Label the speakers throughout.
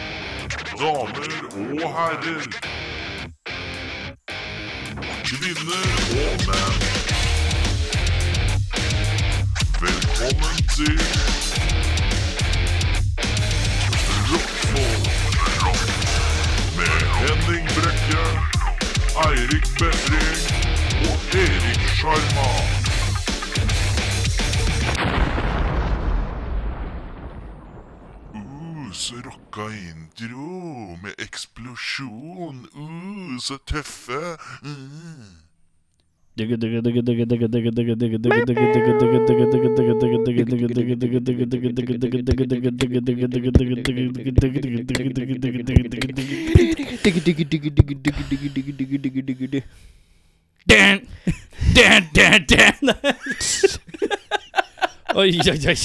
Speaker 1: Damer og herrer. Kvinner og menn. Velkommen til Rockfolk med Henning Brekke, Eirik Befring og Erik Sjarma. Uh, så rocka intro med eksplosjon. Uh, så tøffe. Mm.
Speaker 2: Digge, digge, digge, digge, digge, digge, digge, digge, digge, digge, digge, digge, digge, digge, digge, digge, digge, digge, digge, digge, digge, digge, digge, digge, digge, digge, digge, digge, digge, digge, digge, digge, digge, digge, digge, digge, digge. Dan! Dan, dan, dan!
Speaker 3: Oi, oi, oi.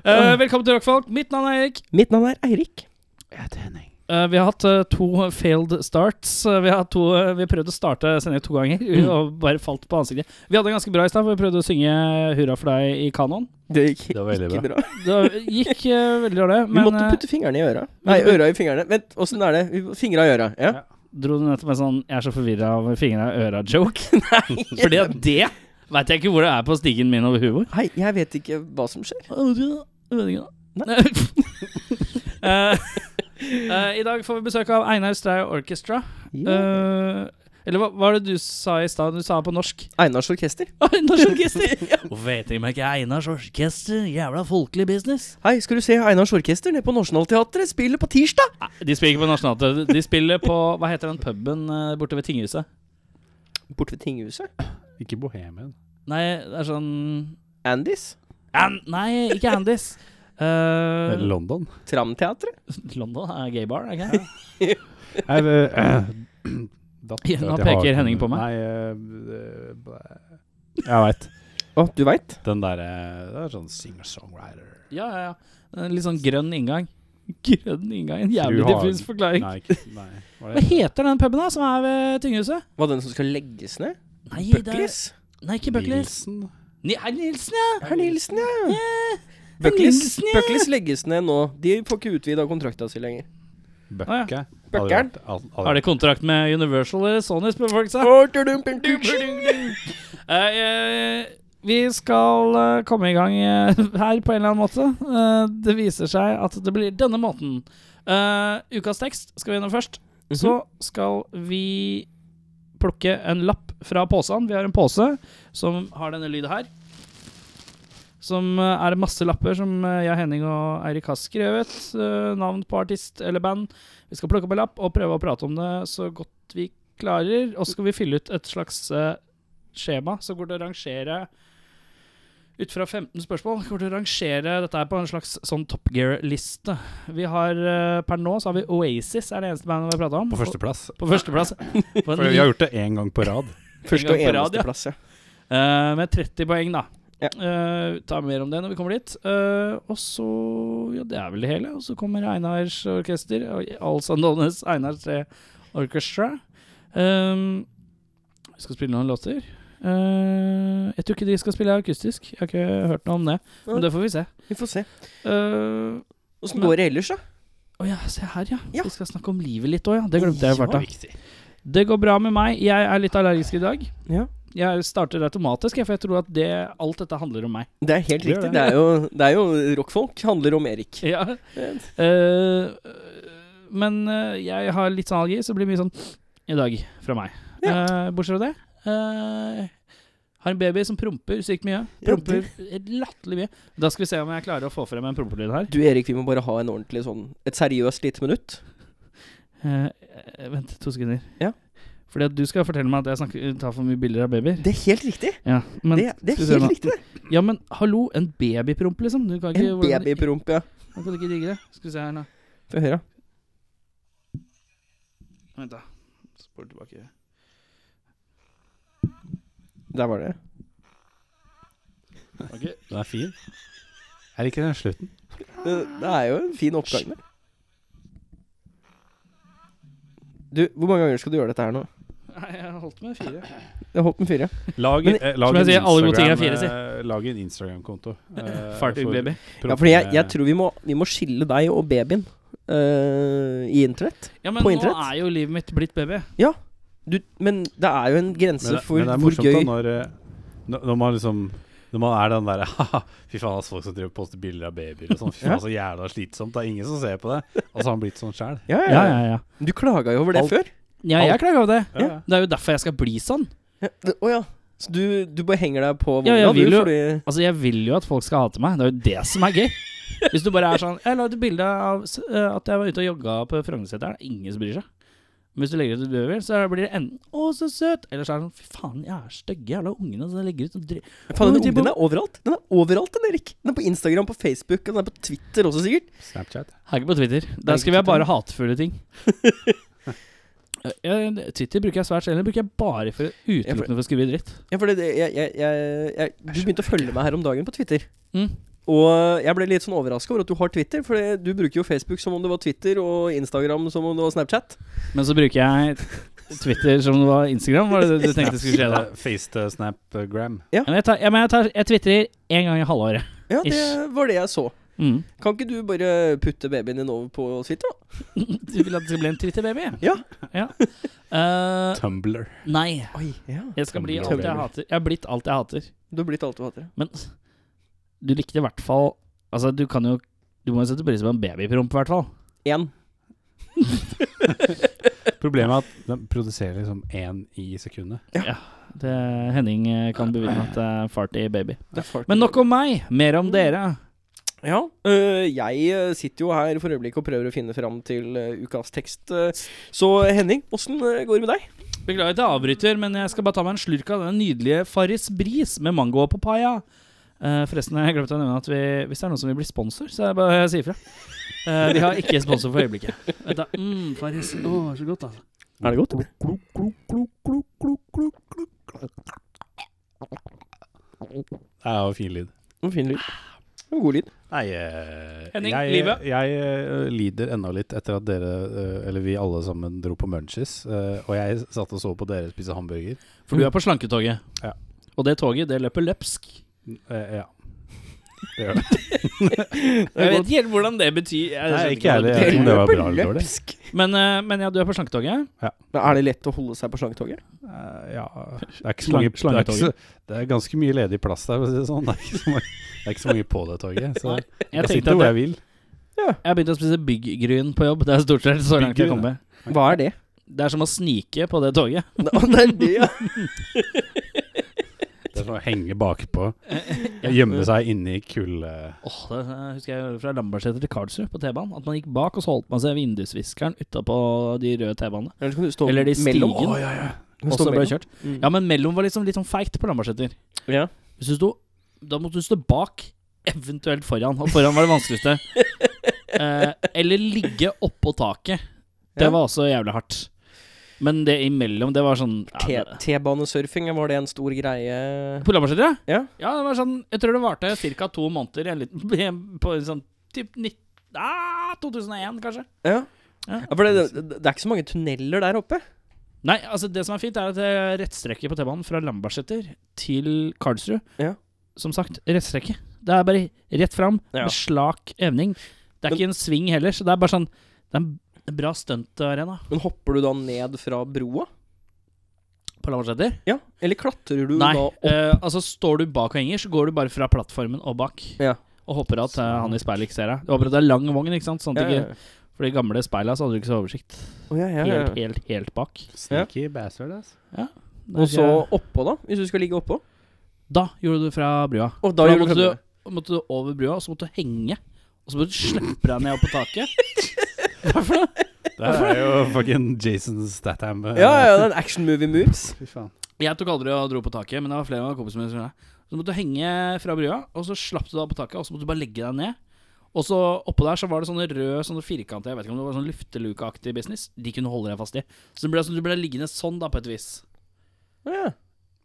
Speaker 3: Eh, velkommen til Rockfolk. Mitt navn er Erik.
Speaker 4: Mitt navn er Eirik.
Speaker 3: Eh, vi har hatt eh, to failed starts. Eh, vi har hatt to, eh, vi har prøvd å starte sendingen to ganger og bare falt på ansiktet. Vi hadde en ganske bra i stad, for vi prøvde å synge 'Hurra for deg' i kanon.
Speaker 4: Det gikk
Speaker 5: Det var veldig
Speaker 4: ikke
Speaker 5: bra.
Speaker 4: bra.
Speaker 3: Det gikk eh, veldig dårlig,
Speaker 4: Vi
Speaker 3: men
Speaker 4: måtte
Speaker 3: eh,
Speaker 4: putte fingrene i øra. Nei, øra i fingrene. Vent, åssen er det? Vi- Fingra i øra. Ja.
Speaker 3: Ja. dro du nettopp en sånn 'jeg er så forvirra av fingra i øra'-joke? Nei. Fordi at det veit jeg ikke hvor det er på stigen min over huet.
Speaker 4: Hei, jeg vet ikke hva som skjer.
Speaker 3: Eh, eh, I dag får vi besøk av Einar Stray Orchestra.
Speaker 4: Mm.
Speaker 3: Eh, eller hva var det du sa i stad? Du sa på norsk.
Speaker 4: Einars orkester.
Speaker 3: Einars orkester! Hvorfor heter de ikke Einars orkester? Jævla folkelig business.
Speaker 4: Hei, skal du se Einars orkester nede på Nationaltheatret? Spiller på tirsdag!
Speaker 3: Nei, de spiller ikke på Nationaltheatret. De spiller på Hva heter den puben eh, borte ved tinghuset?
Speaker 4: Borte ved tinghuset.
Speaker 5: Ikke Bohemian.
Speaker 3: Nei, det er sånn
Speaker 4: Andys.
Speaker 3: An Nei, ikke Andys.
Speaker 5: Eller
Speaker 3: Eh,
Speaker 5: London.
Speaker 4: Tramteatret.
Speaker 3: London er gay bar, er ikke det?
Speaker 5: Nei, det-
Speaker 4: eh,
Speaker 5: Da tror jeg
Speaker 3: Nå
Speaker 5: at jeg har
Speaker 3: peker
Speaker 5: den.
Speaker 3: Henning på meg.
Speaker 5: Nei, eh, det- bæ- jeg veit.
Speaker 4: Å, du veit.
Speaker 5: Den derre Det er sånn singer-songwriter.
Speaker 3: Ja, ja, ja. En Litt sånn grønn inngang. Grønn inngang? En jævlig
Speaker 5: Fru Hagen.
Speaker 3: diffus forklaring.
Speaker 5: Nei, ikke, nei.
Speaker 3: Hva
Speaker 5: Hva er det?
Speaker 3: heter den puben da, som er ved tinghuset?
Speaker 4: Var den som skal legges ned?
Speaker 3: Nei, det er-
Speaker 4: Buckleys?
Speaker 3: Nei, ikke Buckleys.
Speaker 5: Nilsen?
Speaker 3: Ni- Herr Nilsen, ja! Eh.
Speaker 4: Herr Nilsen, ja.
Speaker 3: Yeah.
Speaker 4: Buckleys
Speaker 3: Nilsen, ja.
Speaker 4: Buckleys legges ned nå. De får ikke utvida kontrakta si lenger.
Speaker 3: Ah,
Speaker 5: Bøkke?
Speaker 4: Bøkkeren.
Speaker 3: Har de kontrakt med Universal eller Sony, spør folk seg.
Speaker 4: Å, tudum, pum, tudum.
Speaker 3: Eh, eh, vi skal eh, komme i gang eh, her på en eller annen måte. Eh, det viser seg at det blir denne måten. Eh, ukas tekst skal vi gjennom først. Så skal vi plukke en lapp fra posen. Vi har en pose som har denne lyden her. Som eh, er masse lapper som eh, jeg, Henning og Eirik har skrevet. eh, navn på artist eller band. Vi skal plukke opp en lapp og prøve å prate om det så godt vi klarer. Og så skal vi fylle ut et slags eh, skjema som går til å rangere ut fra 15 spørsmål går til å rangere dette her på en slags sånn Top Gear-liste. Vi har eh, Per nå så har vi Oasis, er det eneste bandet vi har prata om.
Speaker 5: På førsteplass.
Speaker 3: På førsteplass. På en
Speaker 5: For vi har gjort det én gang på rad.
Speaker 4: Første og
Speaker 3: En gang på rad,
Speaker 4: eneste
Speaker 3: ja.
Speaker 4: plass, ja.
Speaker 3: Eh, med 30 poeng, da.
Speaker 4: Ja.
Speaker 3: Eh, tar mer om det når vi kommer dit. Eh, og så Ja, det er vel det hele. Og så kommer Einars orkester. og Altså Nonnes Einars tre Orchestra. Um, vi skal spille noen låter. Eh, jeg tror ikke de skal spille akustisk. Jeg har ikke hørt noe om det. Men det får vi se.
Speaker 4: Vi får se.
Speaker 3: Eh,
Speaker 4: Åssen går det ellers, da?
Speaker 3: Å ja, se her, ja.
Speaker 4: Ja.
Speaker 3: Vi skal snakke om livet litt òg, ja. Det glemte jeg i farta.
Speaker 5: viktig.
Speaker 3: Det går bra med meg. Jeg er litt allergisk i dag.
Speaker 4: Ja.
Speaker 3: Jeg starter automatisk, jeg, for jeg tror at det, alt dette handler om meg.
Speaker 4: Det er helt
Speaker 5: Det gjør
Speaker 4: riktig.
Speaker 5: det.
Speaker 4: Det er jo, det er jo rockfolk. Handler om Erik.
Speaker 3: Ja.
Speaker 4: Eh,
Speaker 3: Eh, men eh, jeg har litt sånn allergi, så det blir mye sånn i dag fra meg. Eh, bortsett fra det eh, Har en baby som promper sykt mye.
Speaker 4: Ja,
Speaker 3: Promper helt latterlig mye. Da skal vi se om jeg klarer å få frem en prompelyd her.
Speaker 4: Du Erik, vi må bare ha en ordentlig sånn Et seriøst lite minutt.
Speaker 3: Eh, eh, vent to sekunder.
Speaker 4: Ja.
Speaker 3: Fordi at du skal fortelle meg at jeg snakker, tar for mye bilder av babyer.
Speaker 4: Det er helt riktig.
Speaker 3: Ja, men,
Speaker 4: det, det
Speaker 3: skal vi
Speaker 4: er
Speaker 3: se nå.
Speaker 4: helt riktig, det.
Speaker 3: ja, men hallo, en babypromp, liksom? Du kan ikke,
Speaker 4: En
Speaker 3: hvordan-
Speaker 4: babypromp, ja.
Speaker 3: Du kan ikke digge det? Skal vi se her nå.
Speaker 4: Få høre.
Speaker 3: Vent, da. Spol tilbake.
Speaker 4: Der var det.
Speaker 5: Den er fin. Jeg liker den slutten.
Speaker 4: Det, det er jo en fin oppgang, det. Du, hvor mange ganger skal du gjøre dette her nå?
Speaker 3: Nei, jeg holdt med fire.
Speaker 4: Jeg har holdt med fire.
Speaker 5: Lag,
Speaker 4: Men-
Speaker 5: eh, lag
Speaker 3: Som jeg
Speaker 5: en
Speaker 3: sier, alle gode ting er
Speaker 5: Instagram,
Speaker 3: fire, si.
Speaker 5: eh, lag en Instagram-konto. eh,
Speaker 3: Farty
Speaker 5: for
Speaker 3: baby.
Speaker 5: proffene-
Speaker 4: Ja, fordi jeg, jeg tror vi må, vi må skille deg og babyen eh, i internett.
Speaker 3: Ja, men
Speaker 4: På
Speaker 3: nå
Speaker 4: internett?
Speaker 3: er jo livet mitt blitt baby.
Speaker 4: Du, men det er jo en grense
Speaker 5: Men det,
Speaker 4: for
Speaker 5: men det er
Speaker 4: hvor
Speaker 5: morsomt
Speaker 4: gøy
Speaker 5: da når, eh, når, når man liksom når man er den derre haha, Fy faen, altså, folk som driver og poster bilder av babyer og sånn. Fy faen, så jævla slitsomt. Det er ingen som ser på det. Og så har han blitt sånn sjæl.
Speaker 4: ja, ja,
Speaker 3: Ja,
Speaker 4: ja.
Speaker 3: ja, ja.
Speaker 4: Du klaga jo over det
Speaker 5: Alt-
Speaker 4: før.
Speaker 3: Ja, jeg klager over det.
Speaker 5: Ja.
Speaker 3: Det er jo derfor jeg skal bli sånn.
Speaker 4: Ja, det- Å ja. Så du, du bare henger deg på
Speaker 3: Ja,
Speaker 4: vogna,
Speaker 3: jeg vil
Speaker 4: du,
Speaker 3: jo-
Speaker 4: fordi
Speaker 3: Altså, jeg vil jo at folk skal hate meg. Det er jo det som er gøy. Hvis du bare er sånn Jeg la ut et bilde av s- eh, at jeg var ute og jogga på Frognerseteren. Ingen som bryr seg. Men hvis du legger ut et baby, så blir det enten 'Å, så søt', eller så er det sånn 'Fy faen, jeg er stygge jævla ungene som legger ut og dri-
Speaker 4: Faen,
Speaker 3: Nå,
Speaker 4: den
Speaker 3: de
Speaker 4: ungen
Speaker 3: bare-
Speaker 4: er overalt. Den er overalt, den, Erik. Den er på Instagram, på Facebook, og den er på Twitter også, sikkert.
Speaker 5: Snapchat.
Speaker 3: Her ikke på Twitter. Der skriver jeg bare hatefulle ting. Ja, Twitter bruker jeg svært sjelden. Bruker jeg bare for utelukkende for å skrive dritt.
Speaker 4: Ja, for det, det- jeg, jeg, jeg, jeg, du begynte å følge meg her om dagen på Twitter.
Speaker 3: Mm.
Speaker 4: Og jeg ble litt sånn overraska over at du har Twitter, for det- du bruker jo Facebook som om det var Twitter, og Instagram som om det var Snapchat.
Speaker 3: Men så bruker jeg Twitter som det var Instagram, var det det du tenkte skulle skje da?
Speaker 5: FaceTime-snapgram.
Speaker 3: Ja, men jeg, tar, ja, men jeg, tar, jeg twitterer én gang i halvåret.
Speaker 4: Ja, det
Speaker 3: Ish.
Speaker 4: var det jeg så.
Speaker 3: Mm.
Speaker 4: Kan ikke du bare putte babyen din over på Twitter, da?
Speaker 3: Du vil at det skal bli en Twitter-baby?
Speaker 4: Ja.
Speaker 3: Ja. Eh,
Speaker 5: Tumblr.
Speaker 3: nei.
Speaker 4: Oi, ja.
Speaker 3: Jeg skal bli alt jeg hater. Jeg har blitt alt jeg hater.
Speaker 4: Du har blitt alt du hater.
Speaker 3: Men du likte i hvert fall Altså, du kan jo Du må jo sette pris på en babypromp, i hvert fall.
Speaker 4: Én.
Speaker 5: Problemet er at de produserer liksom én i sekundet.
Speaker 3: Det, Henning eh, kan bevitne at det er farty baby.
Speaker 4: Det er fart.
Speaker 3: Men nok om meg, mer om dere.
Speaker 4: Ja. øh, jeg øh, sitter jo her for øyeblikket og prøver å finne fram til øh, ukas tekst. øh. så Henning, åssen øh, går det med deg?
Speaker 3: Beklager at jeg avbryter, men jeg skal bare ta meg en slurk av den nydelige Farris Bris med mango og papaya. Eh, forresten, jeg glemte å nevne at vi, hvis det er noen som vil bli sponsor, så er det bare å si ifra. Eh, vi har ikke sponsor for øyeblikket. Vent da. Mm, Farris. Å, så godt, altså.
Speaker 4: Er det godt?
Speaker 5: Det er jo fin lyd.
Speaker 4: En fin lyd. En god lyd.
Speaker 5: Nei, eh,
Speaker 3: Henning,
Speaker 5: jeg,
Speaker 3: livet?
Speaker 5: Jeg eh, lider ennå litt etter at dere, eh, eller vi alle sammen, dro på Munchies. eh, og jeg satt og så på dere spise hamburger.
Speaker 3: For du er på slanketoget.
Speaker 5: Ja.
Speaker 3: Og det toget, det løper løpsk.
Speaker 5: Eh, ja. Det gjør det.
Speaker 3: Jeg vet ikke helt hvordan det betyr. Jeg
Speaker 5: Nei,
Speaker 3: skjønner
Speaker 5: ikke
Speaker 3: hva
Speaker 5: jeg heller.
Speaker 3: betyr.
Speaker 5: om det var bra
Speaker 4: Løper
Speaker 5: eller dårlig.
Speaker 4: løpsk.
Speaker 3: Men, eh, men ja, du er på slanketoget.
Speaker 4: Men er det lett å holde seg på slangetoget?
Speaker 5: Eh, ja. Det er ikke så
Speaker 3: Slang-
Speaker 5: mange det er, ikke så,
Speaker 3: slangetoget.
Speaker 5: det er ganske mye ledig plass der, for å si det sånn. Det er ikke så mange, det er ikke så mange på det toget. Så jeg,
Speaker 3: Jeg tenkte
Speaker 5: sitter
Speaker 3: at
Speaker 5: hvor
Speaker 3: jeg,
Speaker 5: jeg vil.
Speaker 3: jeg har begynt å spise byggryn på jobb. Det er stort sett så langt jeg
Speaker 5: Byggryn,
Speaker 3: kommer.
Speaker 4: Hva er det?
Speaker 3: Det er som å snike på det toget.
Speaker 4: Å, det er det, ja.
Speaker 5: Det er sånn å henge bakpå. Gjemme seg inni kulde...
Speaker 3: Åh, det eh, husker jeg gjorde fra Lambertseter til Karlsrud på T-banen. At man gikk bak, og så holdt man seg vindusviskeren utapå de røde T-banene.
Speaker 4: Eller så kan du stå
Speaker 3: Eller de
Speaker 4: mellom.
Speaker 3: stigen.
Speaker 5: ja, ja.
Speaker 4: Du kan
Speaker 3: Og
Speaker 4: stå
Speaker 3: så ble
Speaker 4: mellom.
Speaker 3: det kjørt.
Speaker 4: Mm.
Speaker 3: Ja, men mellom var liksom litt sånn feigt på Lambertseter.
Speaker 4: Ja.
Speaker 3: Hvis du sto Da måtte du stå bak, eventuelt foran. Og foran var det vanskeligste. eh, eller ligge oppå taket. Det
Speaker 4: Ja.
Speaker 3: var også jævlig hardt. Men det imellom, det var sånn ja,
Speaker 4: T-
Speaker 3: det,
Speaker 4: T-banesurfing, var det en stor greie?
Speaker 3: På Lambertseter,
Speaker 4: Ja.
Speaker 3: ja? Det var sånn, jeg tror det varte ca. to måneder i en liten, på en sånn typ 19... Ah, 2001, kanskje.
Speaker 4: Ja.
Speaker 3: Ja.
Speaker 4: ja for det, det, det er ikke så mange tunneler der oppe.
Speaker 3: Nei, altså det som er fint, er at eh, rettstrekket på T-banen fra Lambertseter til Karlsrud
Speaker 4: Ja.
Speaker 3: Som sagt, rettstrekket. Det er bare rett fram,
Speaker 4: Ja.
Speaker 3: med slak evning. Det er
Speaker 4: Men-
Speaker 3: ikke en sving heller, så det er bare sånn Det er en bra stuntarena
Speaker 4: Men hopper du da ned fra broa?
Speaker 3: på Lambertseter.
Speaker 4: Ja. Eller klatrer du
Speaker 3: Nei,
Speaker 4: da opp?
Speaker 3: eh, altså står du bak og henger, så går du bare fra plattformen og bak.
Speaker 4: Ja.
Speaker 3: Og håper at eh, han i speilet ikke ser deg. Du håper at det er lang vogn, ikke sant? Sånn at
Speaker 4: Ja, ja,
Speaker 3: ikke, for de gamle speila så hadde du ikke så oversikt.
Speaker 4: Å, ja, ja, ja.
Speaker 3: Helt, helt, helt bak.
Speaker 5: Sneaky bastard, ass.
Speaker 4: Og så oppå, da? Hvis du skal ligge oppå?
Speaker 3: Da gjorde du fra brua.
Speaker 4: Og
Speaker 3: For da
Speaker 4: gjør
Speaker 3: måtte
Speaker 4: kanskje
Speaker 3: du, måtte du over brua, og så måtte du henge. Og så måtte du slippe deg ned på taket.
Speaker 5: Det er jo fucking Jason Statham. eh,
Speaker 4: det. Ja, ja, det er en action movie moves.
Speaker 5: Fy faen.
Speaker 3: Jeg tok aldri og dro på taket, men det var flere av kompisene mine som gjorde det. Så måtte du henge fra brua, og så slapp du deg på taket, og så måtte du bare legge deg ned. Og så oppå der så var det sånn sånne røde, sånne firkanter, jeg vet ikke om det var sånn luftelukeaktig business. De kunne holde deg fast i. Så det ble, sånn- du ble liggende sånn, da, på et vis.
Speaker 4: Ja.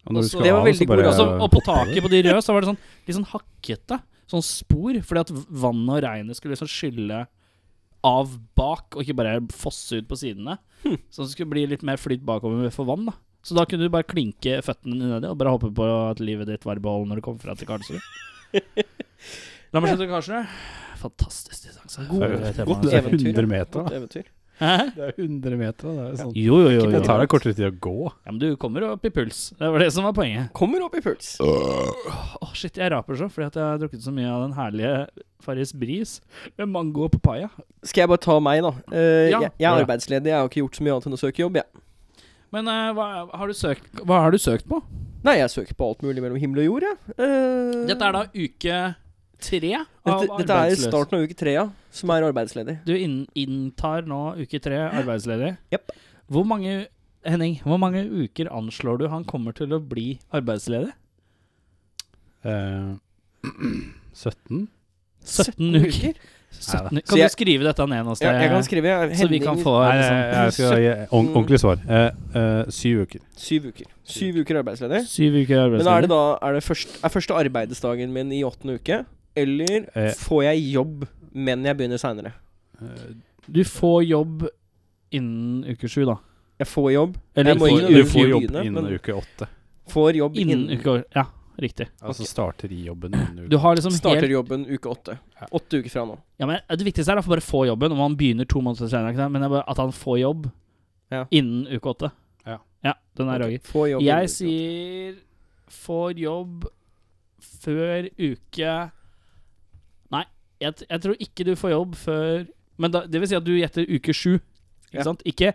Speaker 5: Og når du
Speaker 3: Også-
Speaker 5: skal
Speaker 4: det var
Speaker 5: av, så
Speaker 4: veldig god
Speaker 5: bare
Speaker 3: Og, så, altså, og på
Speaker 5: hopper du.
Speaker 3: taket på de røde så var det sånn litt sånn hakkete, sånn spor, fordi at vannet og regnet skulle liksom skylle av bak, og ikke bare fosse ut på sidene. Så det skulle bli litt mer flyt bakover for vann, da. Så da kunne du bare klinke føttene dine nedi og bare håpe på at livet ditt var i behold når du kom fra til Karlsrud. La meg slutte til Karlsrud. Fantastisk distanse.
Speaker 5: Det er jo-
Speaker 4: tema.
Speaker 5: det er jo
Speaker 4: Eventyr, ja.
Speaker 5: 100 meter, da.
Speaker 4: Eventyr.
Speaker 3: Hæ?
Speaker 5: Det er jo 100 meter, da. Det er jo sånn.
Speaker 3: Jo, jo, jo. jo.
Speaker 5: Det tar deg kortere tid å gå.
Speaker 3: Ja, men du kommer opp i puls. Det var det som var poenget.
Speaker 4: Kommer opp i puls.
Speaker 3: Åh, shit, jeg raper så fordi at jeg har drukket så mye av den herlige Farris Bris med mango og papaya.
Speaker 4: Skal jeg bare ta meg, da? Eh,
Speaker 3: Ja.
Speaker 4: jeg, jeg er
Speaker 5: Ja.
Speaker 4: arbeidsledig, jeg har ikke gjort så mye annet enn å søke jobb, jeg.
Speaker 3: Men eh, hva, har du søkt, hva har du søkt på?
Speaker 4: Nei, jeg søker på alt mulig mellom himmel og jord, jeg. Eh,
Speaker 3: Dette er da uke tre av
Speaker 4: dette, dette er
Speaker 3: arbeidsløs.
Speaker 4: starten av uke tre, ja, som er arbeidsledig.
Speaker 3: Du inn, inntar nå uke tre arbeidsledig.
Speaker 4: Jepp.
Speaker 3: Hvor mange Henning, hvor mange uker anslår du han kommer til å bli arbeidsledig?
Speaker 5: Eh, 17?
Speaker 3: 17, uker. 17, kan
Speaker 5: Neida.
Speaker 4: Så jeg-
Speaker 3: du skrive dette ned noe
Speaker 4: Ja,
Speaker 3: sted?
Speaker 4: jeg kan skrive jeg,
Speaker 3: så vi kan
Speaker 4: Henning,
Speaker 3: få
Speaker 5: Nei,
Speaker 3: liksom,
Speaker 5: jeg, jeg skal gi ordent- ordentlig svar. Eh, eh, syv uker.
Speaker 4: syv uker. Syv uker arbeidsledig.
Speaker 3: syv uker arbeidsledig.
Speaker 4: Men er det da er, det først, er første arbeidsdagen min i åttende uke? Eller
Speaker 5: Eh.
Speaker 4: får jeg jobb, men jeg begynner seinere?
Speaker 3: Du får jobb innen uke sju, da.
Speaker 4: Jeg får jobb,
Speaker 3: Eller
Speaker 4: Jeg
Speaker 3: får-
Speaker 4: må inn
Speaker 5: Du
Speaker 4: uke
Speaker 5: får
Speaker 4: i
Speaker 5: jobb
Speaker 4: byene,
Speaker 5: innen
Speaker 4: men-
Speaker 5: uke åtte.
Speaker 4: får jobb innen,
Speaker 3: innen uke Ja, riktig.
Speaker 5: Altså starter i jobben innen
Speaker 3: Du
Speaker 5: uke
Speaker 3: har liksom
Speaker 4: Starter
Speaker 3: helt
Speaker 4: jobben uke åtte.
Speaker 5: Ja.
Speaker 4: Åtte uker fra nå.
Speaker 3: ja, men Det viktigste er da for bare å få jobben, om han begynner to måneder senere, ikke sant? men det er bare at han får jobb
Speaker 4: Ja.
Speaker 3: innen uke åtte.
Speaker 5: Ja.
Speaker 3: den er
Speaker 4: Ok,
Speaker 3: Roger.
Speaker 4: Får jobb innen uke
Speaker 3: Jeg sier
Speaker 4: åtte.
Speaker 3: får jobb før uke Nei, jeg, t- jeg tror ikke du får jobb før Men da, det vil si at du gjetter uke sju, ikke
Speaker 4: Ja.
Speaker 3: sant? Ikke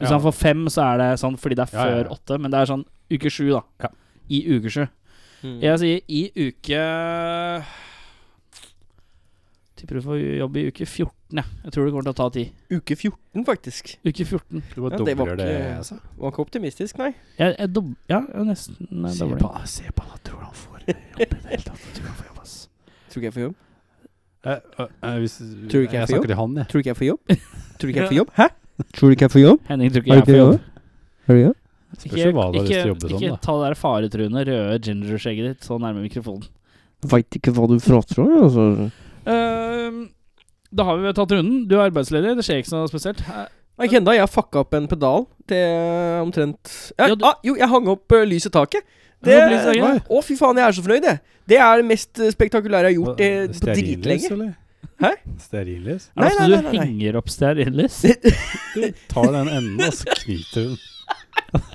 Speaker 3: hvis
Speaker 5: Ja.
Speaker 3: han får fem, så er det sånn fordi det er
Speaker 5: Ja, ja, ja.
Speaker 3: før åtte, men det er sånn uke sju, da.
Speaker 5: Ja.
Speaker 3: I uke sju.
Speaker 4: Mm.
Speaker 3: Jeg sier i uke Tipper du får jobb i uke 14, jeg. Jeg tror det kommer til å ta tid.
Speaker 4: Uke 14, faktisk.
Speaker 3: Uke 14.
Speaker 5: Du bare
Speaker 4: Ja, det var ikke-
Speaker 5: dobler det, altså.
Speaker 4: Var ikke optimistisk, nei.
Speaker 3: Jeg, jeg dob ja, jeg er nesten eh, jeg
Speaker 5: Se
Speaker 3: dobler.
Speaker 5: på han, se på han, han tror han får jobb i det hele tatt. Jeg Tror han får jobb, ass.
Speaker 4: Tror ikke jeg får jobb.
Speaker 5: Eh, eh, hvis,
Speaker 4: Tror du ikke jeg får
Speaker 5: snakker til han, jeg.
Speaker 4: Tror ikke jeg får jobb. Tror ikke jeg får jobb. Hæ? Tror ikke jeg får jobb.
Speaker 3: Henning tror ikke jeg får jobb.
Speaker 4: Har du jobb?
Speaker 5: Spørs jo hva du har lyst til å jobbe
Speaker 3: ikke
Speaker 5: som, da.
Speaker 3: ta det der faretruende røde gingerskjegget ditt så nærme mikrofonen.
Speaker 4: Veit ikke hva du prater om, altså.
Speaker 3: Ehm, da har vi tatt runden. Du er arbeidsledig, det skjer ikke noe spesielt. Eh,
Speaker 4: Ikke ennå. Jeg fucka opp en pedal til eh, omtrent jeg,
Speaker 3: Ja, du-
Speaker 4: ah, Jo, jeg hang opp uh, lys i taket. Det,
Speaker 3: Ja, lys i taket.
Speaker 4: Oi. Å, fy faen, jeg er så fornøyd, jeg. Det er det mest eh, spektakulære jeg har gjort eh, på
Speaker 5: Stearinlys,
Speaker 3: altså.
Speaker 4: dritlenge.
Speaker 5: eller?
Speaker 4: Hæ?
Speaker 5: Stearinlys?
Speaker 3: Er det ofte
Speaker 4: Nei, nei,
Speaker 3: sånn du
Speaker 4: nei, nei, nei.
Speaker 3: henger opp stearinlys?
Speaker 5: Du tar den enden, og så knyter du den.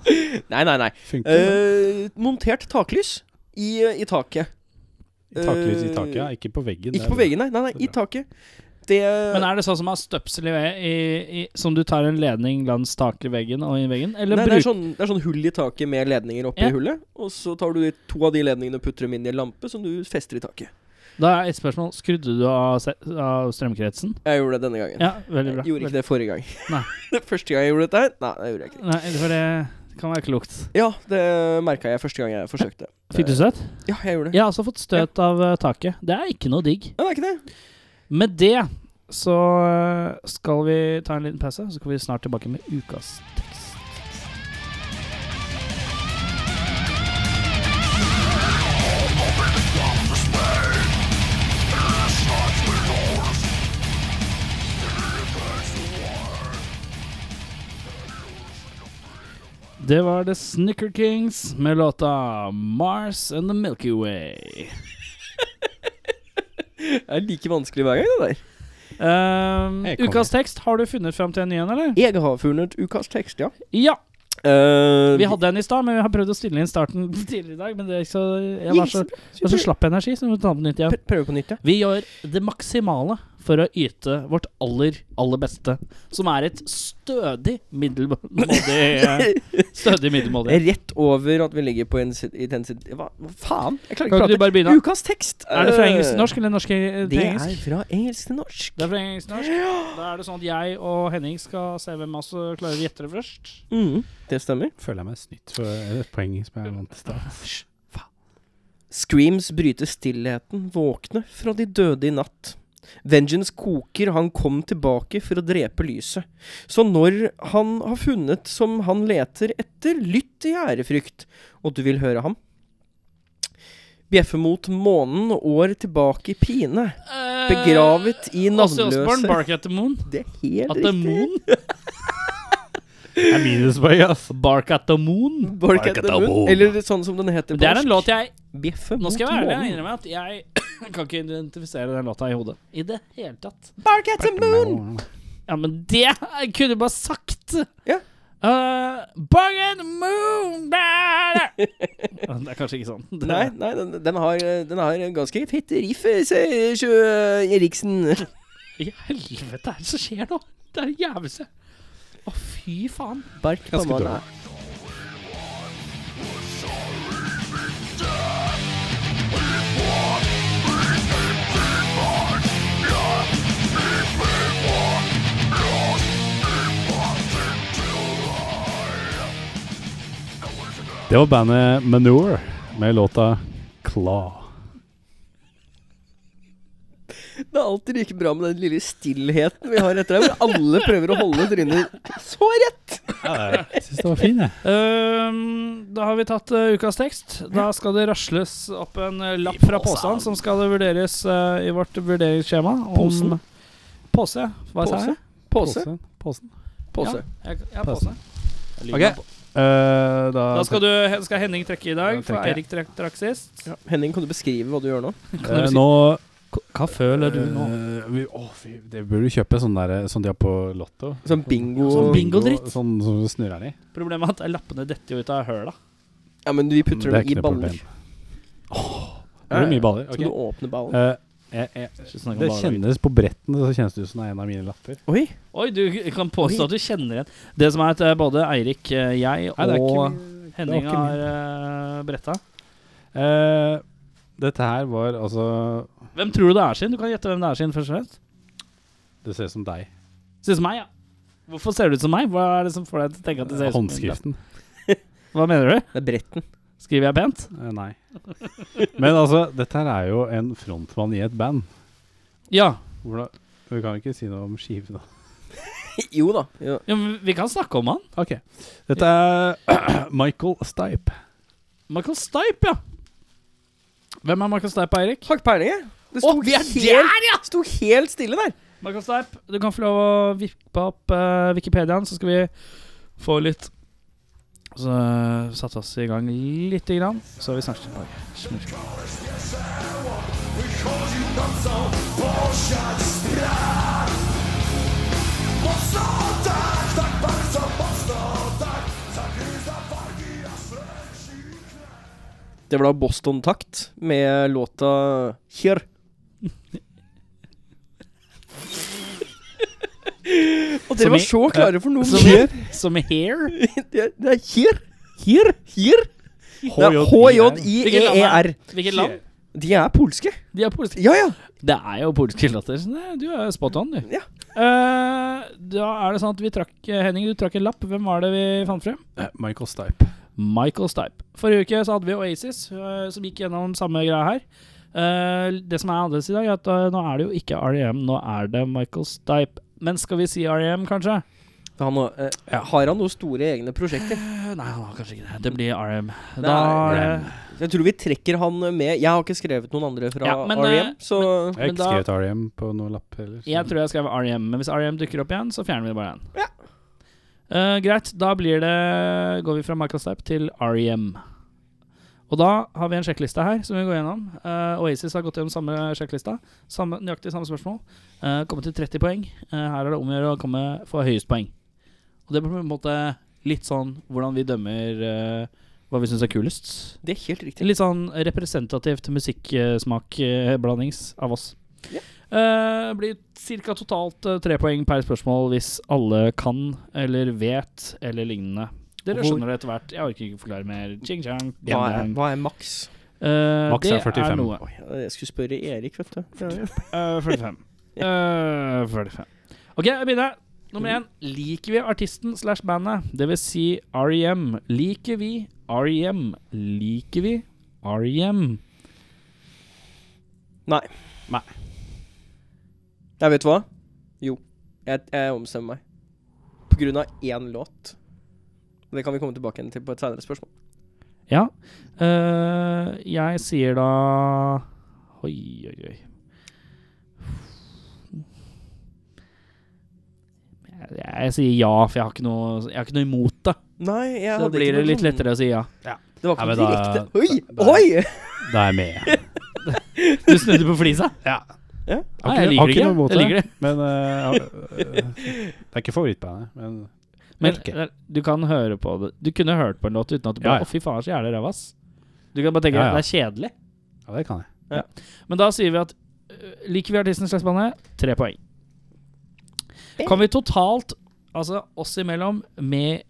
Speaker 4: Nei, nei, nei.
Speaker 5: Funker det?
Speaker 4: Eh, montert taklys i, eh, i taket.
Speaker 5: Taklys i
Speaker 4: eh,
Speaker 5: taket, ja. Ikke på veggen.
Speaker 4: Ikke på veggen, nei. nei,
Speaker 5: Det
Speaker 4: nei I
Speaker 5: er
Speaker 4: taket. Det
Speaker 3: Men er det sånn som har støpsel i, ve- i, i Som du tar en ledning langs taket i veggen og i veggen? Eller
Speaker 4: Nei, det er,
Speaker 3: bruk,
Speaker 4: sånn, det er sånn hull i taket med ledninger oppi
Speaker 3: Ja.
Speaker 4: hullet. Og så tar du de to av de ledningene og putter dem inn i en lampe som du fester i taket.
Speaker 3: Da er et spørsmål. Skrudde du av, se- av strømkretsen?
Speaker 4: Jeg gjorde det denne gangen.
Speaker 3: Ja, veldig bra.
Speaker 4: jeg gjorde ikke det forrige gang.
Speaker 3: Nei.
Speaker 4: det første gang jeg gjorde dette her, nei, det gjorde jeg ikke.
Speaker 3: Nei, for det kan være klokt.
Speaker 4: Ja, det merka jeg første gang jeg forsøkte.
Speaker 3: Fikk du støt?
Speaker 4: Ja, jeg gjorde det.
Speaker 3: Jeg har også fått støt av eh, taket. Det er ikke noe digg.
Speaker 4: Ja, det er ikke det.
Speaker 3: Med det så øh, skal vi ta en liten pause, så kommer vi snart tilbake med ukas tekst. Det var The Snicker Kings med låta 'Mars and the Milky Way'.
Speaker 4: Det er like vanskelig hver gang, det der.
Speaker 3: Ehm,
Speaker 5: Jeg kommer.
Speaker 3: ukas tekst, har du funnet fram til en ny en, eller?
Speaker 4: Jeg har funnet ukas tekst, ja.
Speaker 3: Ja!
Speaker 4: Eh,
Speaker 3: Vi hadde en i stad, men vi har prøvd å stille inn starten tidligere i dag. Men det er ikke så, jeg var så,
Speaker 4: vi
Speaker 3: jeg var så slapp i energi, så vi må ta den på nytt igjen.
Speaker 4: prø- Prøve på nytt, ja.
Speaker 3: Vi gjør det maksimale for å yte vårt aller, aller beste. Som er et stødig middelmådig Stødig middelmådig.
Speaker 4: Rett over at vi ligger på en intensitet Hva, hva faen? Jeg klarer
Speaker 3: Kan
Speaker 4: ikke
Speaker 3: ikke
Speaker 4: å
Speaker 3: du bare begynne?
Speaker 4: prate. Ukas tekst.
Speaker 3: Er det fra
Speaker 4: eh,
Speaker 3: engelsk til norsk, eller norsk til
Speaker 4: Det
Speaker 3: engelsk?
Speaker 4: er fra engelsk til norsk.
Speaker 3: Det er fra engelsk til norsk. Da er det sånn at jeg og Henning skal se hvem av oss som klarer å gjette det først.
Speaker 4: Mm, det stemmer.
Speaker 5: Føler jeg meg snytt for et poeng som jeg vant i stad.
Speaker 4: Screams bryter stillheten, våkne fra de døde i natt. Vengeance koker, han kom tilbake for å drepe lyset. Så når han har funnet som han leter etter, lytt i ærefrykt, og du vil høre ham. Bjeffe mot månen, år tilbake i pine. Begravet i
Speaker 3: Eh, Åse Osborn,
Speaker 4: navnløse
Speaker 3: Bark at the Moon.
Speaker 4: Det er helt
Speaker 3: At the
Speaker 4: riktig.
Speaker 3: Moon?
Speaker 5: Det er minuspoeng, ass.
Speaker 3: Bark at the moon.
Speaker 4: Bark at the moon. Eller sånn som den heter på
Speaker 3: Det er en låt jeg
Speaker 4: Bjeffe
Speaker 3: Nå
Speaker 4: mot
Speaker 3: skal jeg være ærlig jeg
Speaker 4: månen.
Speaker 3: innrømme at jeg kan ikke identifisere den låta i hodet. I det hele tatt.
Speaker 4: Bark at the moon!
Speaker 3: Ja, men det kunne du bare sagt!
Speaker 4: Ja.
Speaker 3: Uh, Bug and the moon da, da. Ja, Det er kanskje ikke sånn. Det-
Speaker 4: Nei, nei den, den, har, den har en ganske fett riff, sier Sjø Eriksen.
Speaker 3: I helvete, er det som skjer nå? Det er det jævligste. Å, fy faen.
Speaker 4: Bark på
Speaker 5: Ganske
Speaker 4: månen.
Speaker 5: bra. Det var bandet Manure med låta Claw.
Speaker 4: Det er alltid like bra med den lille stillheten vi har etter deg, hvor alle prøver å holde trynet så rett.
Speaker 5: Jeg syns det var fin, jeg.
Speaker 3: Øhm, da har vi tatt øh, ukas tekst. Da skal det rasles opp en øh, lapp fra påsen som skal det vurderes øh, i vårt vurderingsskjema. om-
Speaker 4: Posen?
Speaker 3: Påse, hva sa jeg?
Speaker 4: Pose. Pose.
Speaker 5: Posen.
Speaker 4: Pose.
Speaker 3: Ja, jeg- ja, påse.
Speaker 5: Ok. Eh, da,
Speaker 3: Da skal, du, skal Henning trekke i dag,
Speaker 5: Da
Speaker 3: for
Speaker 5: trekker jeg.
Speaker 3: Eirik trakk, trakk sist.
Speaker 4: Henning, kan du beskrive hva du gjør nå?
Speaker 5: Eh, nå
Speaker 3: Hva føler
Speaker 5: Eh, vi, å, fy, det burde du kjøpe sånn der Sånn de har på Lotto.
Speaker 4: Sånn bingo
Speaker 3: Sånn bingo. bingodritt.
Speaker 5: Sånn som du snurrer den i.
Speaker 3: Problemet er at lappene detter jo ut av høla.
Speaker 4: Ja, men vi putter
Speaker 5: Det
Speaker 4: dem
Speaker 5: er
Speaker 4: i
Speaker 5: ikke noe
Speaker 4: baller.
Speaker 5: problem. Det blir mye baller.
Speaker 4: Så
Speaker 3: Sånn
Speaker 5: ok.
Speaker 4: du åpner ballen.
Speaker 5: Eh, jeg, jeg, det kjennes på bretten, så kjennes det ut som det er en av mine lapper.
Speaker 4: Oi!
Speaker 3: Oi, du kan påstå at du kjenner igjen. Det som er at øh, både Eirik, øh, jeg
Speaker 5: Nei, det er ikke
Speaker 3: og Henning
Speaker 5: ikke
Speaker 3: har øh, bretta.
Speaker 5: Eh, dette her var altså
Speaker 3: Hvem tror du det er sin? Du kan gjette hvem det er sin, først og fremst.
Speaker 5: Det ser ut som deg.
Speaker 3: Synes meg, ja. Hvorfor ser du ut som meg? Hva er det som får deg til å tenke at det ser ut som
Speaker 5: Håndskriften.
Speaker 3: Hva mener du?
Speaker 4: Det er bretten.
Speaker 3: Skriver jeg pent?
Speaker 5: Eh, nei. Men altså, dette her er jo en frontmann i et band.
Speaker 3: Ja.
Speaker 5: Hvordan Vi kan ikke si noe om skiven, da.
Speaker 4: Jo da. Jo.
Speaker 3: ja men vi kan snakke om han.
Speaker 5: Ok. Dette er Michael Stipe.
Speaker 3: Michael Stipe, ja. Hvem er Michael Stipe, Eirik?
Speaker 4: Har ikke peiling, jeg. Det
Speaker 3: Å,
Speaker 4: sto,
Speaker 3: vi er
Speaker 4: helt, sto helt stille der.
Speaker 3: Michael Stipe, du kan få lov å vippe opp eh, Wikipediaen, så skal vi få litt Så eh, satte oss i gang lite grann, så er vi snart tilbake. Smurf.
Speaker 4: Det var da Boston-takt med låta Kjør. Og
Speaker 3: Som
Speaker 4: dere var
Speaker 3: i-
Speaker 4: så klare for noe
Speaker 3: som i-
Speaker 4: mer.
Speaker 3: Som hair.
Speaker 4: Det er- det er Kjør. Kjør. Kjør. Det er E H-J-I-E-E-R.
Speaker 3: Hvilket land?
Speaker 4: De er polske.
Speaker 3: De er polske.
Speaker 4: Ja, ja.
Speaker 3: Det er jo polske latter. så det- Du er spot on, du.
Speaker 4: Ja.
Speaker 3: Eh, da er det sånn at vi trakk Henning, du trakk en lapp. Hvem var det vi fant frem?
Speaker 5: Eh, Michael Stipe.
Speaker 3: Michael Stipe. Forrige uke så hadde vi Oasis, eh, som gikk gjennom samme greia her. Eh, det som er annerledes i dag, er at eh, nå er det jo ikke REM, nå er det Michael Stipe. Men skal vi si REM, kanskje?
Speaker 4: Han, har- eh, Har han noen store egne prosjekter?
Speaker 3: Eh, nei, han har kanskje ikke det. Det blir REM.
Speaker 4: Det
Speaker 3: Da
Speaker 4: er-
Speaker 3: er E det
Speaker 4: Jeg tror vi trekker han med. Jeg har ikke skrevet noen andre fra
Speaker 3: Ja, men, eh,
Speaker 4: REM, så
Speaker 5: Jeg har
Speaker 3: Men
Speaker 5: ikke
Speaker 3: da-
Speaker 5: skrevet REM på noen lapp heller. så-
Speaker 3: Jeg tror jeg skrev REM, E men hvis REM dukker opp igjen, så fjerner vi det bare igjen. Eh, greit, da blir det går vi fra Michael Stipe til REM. Og da har vi en sjekkliste her som vi går gjennom. Eh, Oasis har gått gjennom samme sjekklista. Samme, nøyaktig samme spørsmål. Eh, kommet til 30 poeng. Eh, her er det om å gjøre å komme få høyest poeng. Og det blir på en måte litt sånn hvordan vi dømmer eh, hva vi syns er kulest.
Speaker 4: Det er helt riktig.
Speaker 3: Litt sånn representativt musikksmakblandings av oss.
Speaker 4: Ja.
Speaker 3: Eh, blir ca. totalt eh, tre poeng per spørsmål hvis alle kan eller vet eller lignende. Dere
Speaker 4: Hvor-
Speaker 3: skjønner det etter hvert. Jeg orker ikke forklare mer. Ching chang.
Speaker 4: Hva er, hva er maks?
Speaker 3: Eh,
Speaker 5: Maks er
Speaker 3: det
Speaker 5: 45.
Speaker 3: noe.
Speaker 4: Oi, Jeg skulle spørre Erik, vet du. Det er jo-
Speaker 3: Eh, 45. Eh, 45. OK, jeg begynner. Nummer én. Liker vi artisten slash bandet? Det vil si REM. Liker vi REM? Liker vi E REM?
Speaker 4: Nei.
Speaker 5: Nei.
Speaker 4: Nei, vet du hva? Jo. Jeg, jeg ombestemmer meg. På grunn av én låt. Og Det kan vi komme tilbake igjen til på et senere spørsmål.
Speaker 3: Ja. Eh, jeg sier da Oi, oi, oi. Jeg Jeg, jeg sier ja, for jeg har ikke noe, jeg har ikke noe imot det.
Speaker 4: Nei, jeg
Speaker 3: Så da
Speaker 4: hadde
Speaker 3: blir
Speaker 4: ikke
Speaker 3: det
Speaker 4: noe
Speaker 3: litt
Speaker 4: sånn-
Speaker 3: lettere å si ja.
Speaker 4: Det var ikke noe
Speaker 5: Nei, men da-
Speaker 4: direkte
Speaker 5: da-
Speaker 4: Oi! Oi!
Speaker 5: Da er jeg med.
Speaker 3: Du snudde på flisa?
Speaker 5: Ja.
Speaker 4: Ja.
Speaker 3: Nei, jeg liker det ikke. Jeg liker det.
Speaker 5: Men eh, jeg- eh, det er ikke favorittbandet. Men
Speaker 3: Men
Speaker 5: Ok.
Speaker 3: eh, du kan høre på det. Du kunne hørt på en låt uten at du
Speaker 5: Ja,
Speaker 3: bare Å,
Speaker 5: ja.
Speaker 3: fy faen, så jævlig ræva, ass. Du kan bare tenke
Speaker 5: Ja, ja.
Speaker 3: det er kjedelig.
Speaker 5: ja, det kan jeg.
Speaker 3: Men da sier vi at øh, liker vi artisten slags bandet? Tre poeng. Kan vi totalt, altså oss imellom, med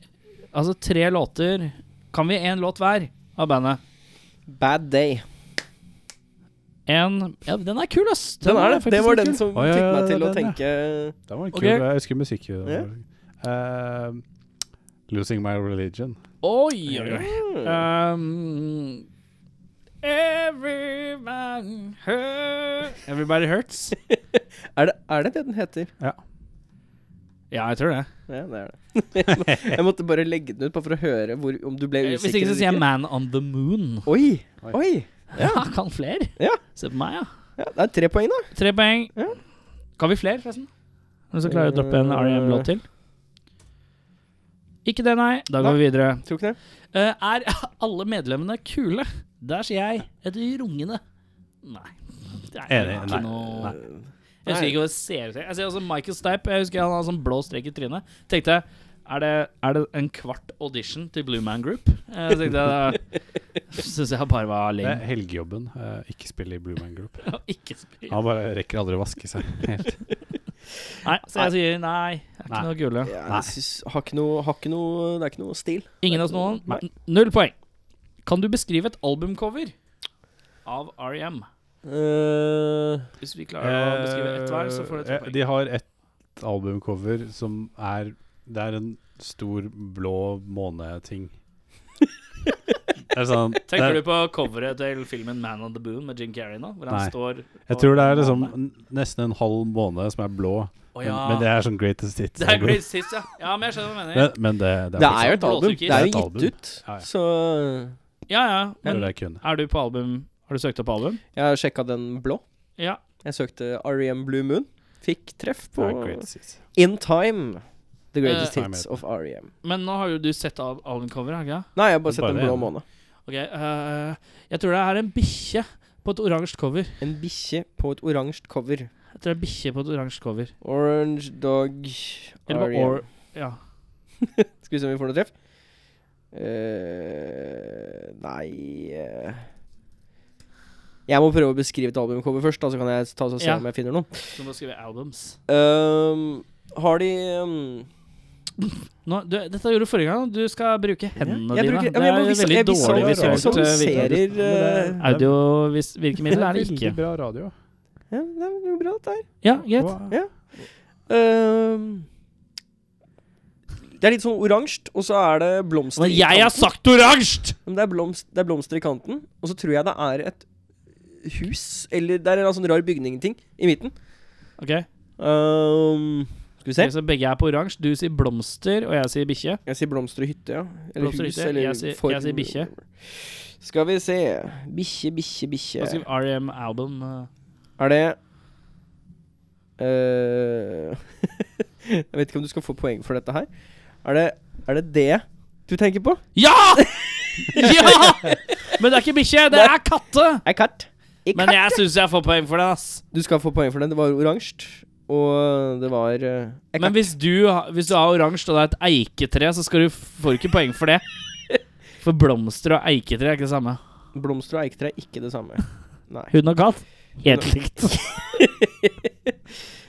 Speaker 3: altså tre låter Kan vi én låt hver av bandet?
Speaker 4: Bad Day.
Speaker 3: En Ja, den er kul, ass!
Speaker 4: Den er det. Det
Speaker 3: faktisk
Speaker 4: var
Speaker 3: litt
Speaker 4: den
Speaker 3: kul.
Speaker 4: som
Speaker 5: Å, ja,
Speaker 4: fikk meg
Speaker 5: ja,
Speaker 4: til å
Speaker 5: den, ja.
Speaker 4: tenke
Speaker 5: Det var en kul,
Speaker 3: Ok.
Speaker 5: Jeg husker musikk.
Speaker 4: Ja.
Speaker 5: Eh, Losing My Religion.
Speaker 3: Oi, oi, oi. Um, every man hurt. Everybody hurts.
Speaker 4: er, det, er det det den heter?
Speaker 3: Ja, jeg tror det.
Speaker 4: Ja, det er det. jeg måtte bare legge den ut bare for å høre hvor, om du ble
Speaker 3: Eh,
Speaker 4: usikker.
Speaker 3: Hvis ikke så
Speaker 4: eller
Speaker 3: sier jeg Man on the Moon.
Speaker 4: Oi!
Speaker 5: Oi.
Speaker 4: Oi!
Speaker 3: Ja, Kan flere?
Speaker 4: Ja.
Speaker 3: Se på meg, ja.
Speaker 4: Ja, det er tre poeng, da.
Speaker 3: Tre poeng.
Speaker 4: Ja.
Speaker 3: Kan vi flere, forresten? Hvis du klarer å droppe en R.E.M.-låt til? Ikke det, nei. Da går vi videre.
Speaker 4: Tror ikke det.
Speaker 3: Eh, er alle medlemmene kule? Der sier jeg et rungende nei. Det er
Speaker 5: Enig.
Speaker 3: ikke
Speaker 5: Nei.
Speaker 3: noe-
Speaker 5: Nei.
Speaker 3: Jeg husker
Speaker 4: Eh, Nei.
Speaker 3: ikke hva det ser ut til. Jeg ser også Michael Stipe. Jeg husker han hadde sånn blå strek i trynet. Tenkte jeg, er det, er det en kvart audition til Blue Man Group? Jeg tenkte, Syns jeg bare var
Speaker 5: Det er
Speaker 3: lame.
Speaker 5: helgejobben. eh, ikke spille i Blue Man Group.
Speaker 3: å Ikke spille.
Speaker 5: Han bare rekker aldri å vaske seg helt.
Speaker 3: Nei, så jeg sier nei. Det er ikke noe kule.
Speaker 4: Ja,
Speaker 5: Nei.
Speaker 4: jeg synes, har ikke noe, har ikke noe Det er ikke noe stil.
Speaker 3: Ingen av oss noen.
Speaker 4: Nei.
Speaker 3: N- Null poeng. Kan du beskrive et albumcover av R.E.M.?
Speaker 4: Eh,
Speaker 3: Hvis vi klarer å beskrive ett hver, så får du
Speaker 5: Eh,
Speaker 3: tre
Speaker 5: De
Speaker 3: poeng.
Speaker 5: har et albumcover som er Det er en stor blå måneting. Det er sånn det
Speaker 3: Tenker
Speaker 5: er,
Speaker 3: du på coveret til filmen 'Man on the Boon' med Jim Carrey nå? Hvor han
Speaker 5: Nei.
Speaker 3: står
Speaker 5: Jeg tror det er liksom n- nesten en halv måne som er blå,
Speaker 3: Å ja.
Speaker 5: men, men det er sånn greatest hits.
Speaker 3: Det er Great Hits, ja. Ja, men jeg skjønner hva du mener.
Speaker 5: Men, men det, det
Speaker 4: det
Speaker 5: er
Speaker 4: er jo et album.
Speaker 3: Blåtrykker.
Speaker 4: Det er
Speaker 5: Det er et
Speaker 4: jo
Speaker 5: album.
Speaker 4: gitt ut.
Speaker 5: Ja, ja.
Speaker 4: Så eh,
Speaker 3: Ja, ja.
Speaker 5: men,
Speaker 3: Men
Speaker 5: det er kun.
Speaker 3: er du på album? Har du søkt opp album?
Speaker 4: jeg har sjekka den blå.
Speaker 3: Ja.
Speaker 4: Jeg søkte R.E.M. Blue Moon. Fikk treff
Speaker 5: Det
Speaker 4: på
Speaker 5: er greatest hits.
Speaker 4: In Time. The Greatest
Speaker 5: Eh,
Speaker 4: Hits of R.E.M.
Speaker 3: Men nå har jo du sett al- albumcoveret, har ikke det?
Speaker 4: Nei, jeg har bare sett
Speaker 5: Bare
Speaker 4: Den blå
Speaker 5: en.
Speaker 4: måne.
Speaker 3: Ok, eh, jeg tror det er en bikkje på et oransje cover.
Speaker 4: En bikkje på et oransje cover.
Speaker 3: Jeg tror det er en bikkje på et oransje cover.
Speaker 4: Orange Dog
Speaker 3: Eller bare
Speaker 4: R.E.M..
Speaker 3: or... Ja.
Speaker 4: Skal vi se om vi får noe treff. Eh, nei eh. Jeg må prøve å beskrive et albumcover først, da, så kan jeg ta og se
Speaker 3: Ja.
Speaker 4: om jeg finner noe.
Speaker 3: Du må skrive albums.
Speaker 4: Ehm, har de ehm,
Speaker 3: Nå, du, dette gjorde du forrige gang. Du skal bruke hendene
Speaker 4: jeg
Speaker 3: dine.
Speaker 4: bruker- ja,
Speaker 3: det
Speaker 4: men
Speaker 3: er
Speaker 4: jeg må visa-
Speaker 3: veldig
Speaker 4: jeg visa-
Speaker 3: dårlig
Speaker 5: jeg
Speaker 3: visuelt. eh,
Speaker 4: visualiserer,
Speaker 3: virkemiddel.
Speaker 4: Ser, eh,
Speaker 3: Audiovirkemiddel er det
Speaker 5: veldig
Speaker 3: ikke.
Speaker 5: bra radio.
Speaker 4: ja, det er jo bra, dette her.
Speaker 3: Ja, greit.
Speaker 5: Hva-
Speaker 4: Ja. Ehm, det er litt sånn oransje, og så er det blomster
Speaker 3: Men
Speaker 4: i
Speaker 3: jeg har
Speaker 4: kanten.
Speaker 3: sagt oransje!
Speaker 4: Men det, er blomst, det er blomster i kanten, og så tror jeg det er et hus Eller det er en eller annen sånn rar bygning-ting i midten.
Speaker 3: Ok,
Speaker 4: Ehm, skal vi se.
Speaker 3: Så begge er på oransje. Du sier blomster, og jeg sier bikkje.
Speaker 4: Jeg sier blomster og hytte, ja. Eller
Speaker 3: Blomster og
Speaker 4: hus,
Speaker 3: hytte.
Speaker 4: eller
Speaker 3: Jeg sier- jeg sier bikkje.
Speaker 4: Skal vi se. Bikkje, bikkje, bikkje.
Speaker 3: Da skriver REM album. eh.
Speaker 4: Er det øh, Jeg vet ikke om du skal få poeng for dette her. Er det er det, det du tenker på?
Speaker 3: Ja! Ja! Men det er ikke bikkje, det er katte!
Speaker 4: Ei katt. Ei
Speaker 3: Men
Speaker 4: katt.
Speaker 3: jeg syns jeg får poeng for det, ass.
Speaker 4: Du skal få poeng for den. Det var oransje, og det var øh, ei
Speaker 3: Men
Speaker 4: katt.
Speaker 3: hvis du, ha- hvis du har oransje og det er et eiketre, så skal du, får du ikke poeng for det. For blomster og eiketre er ikke det samme.
Speaker 4: Blomster og eiketre er ikke det samme. Nei.
Speaker 3: Hund og katt? Helt likt.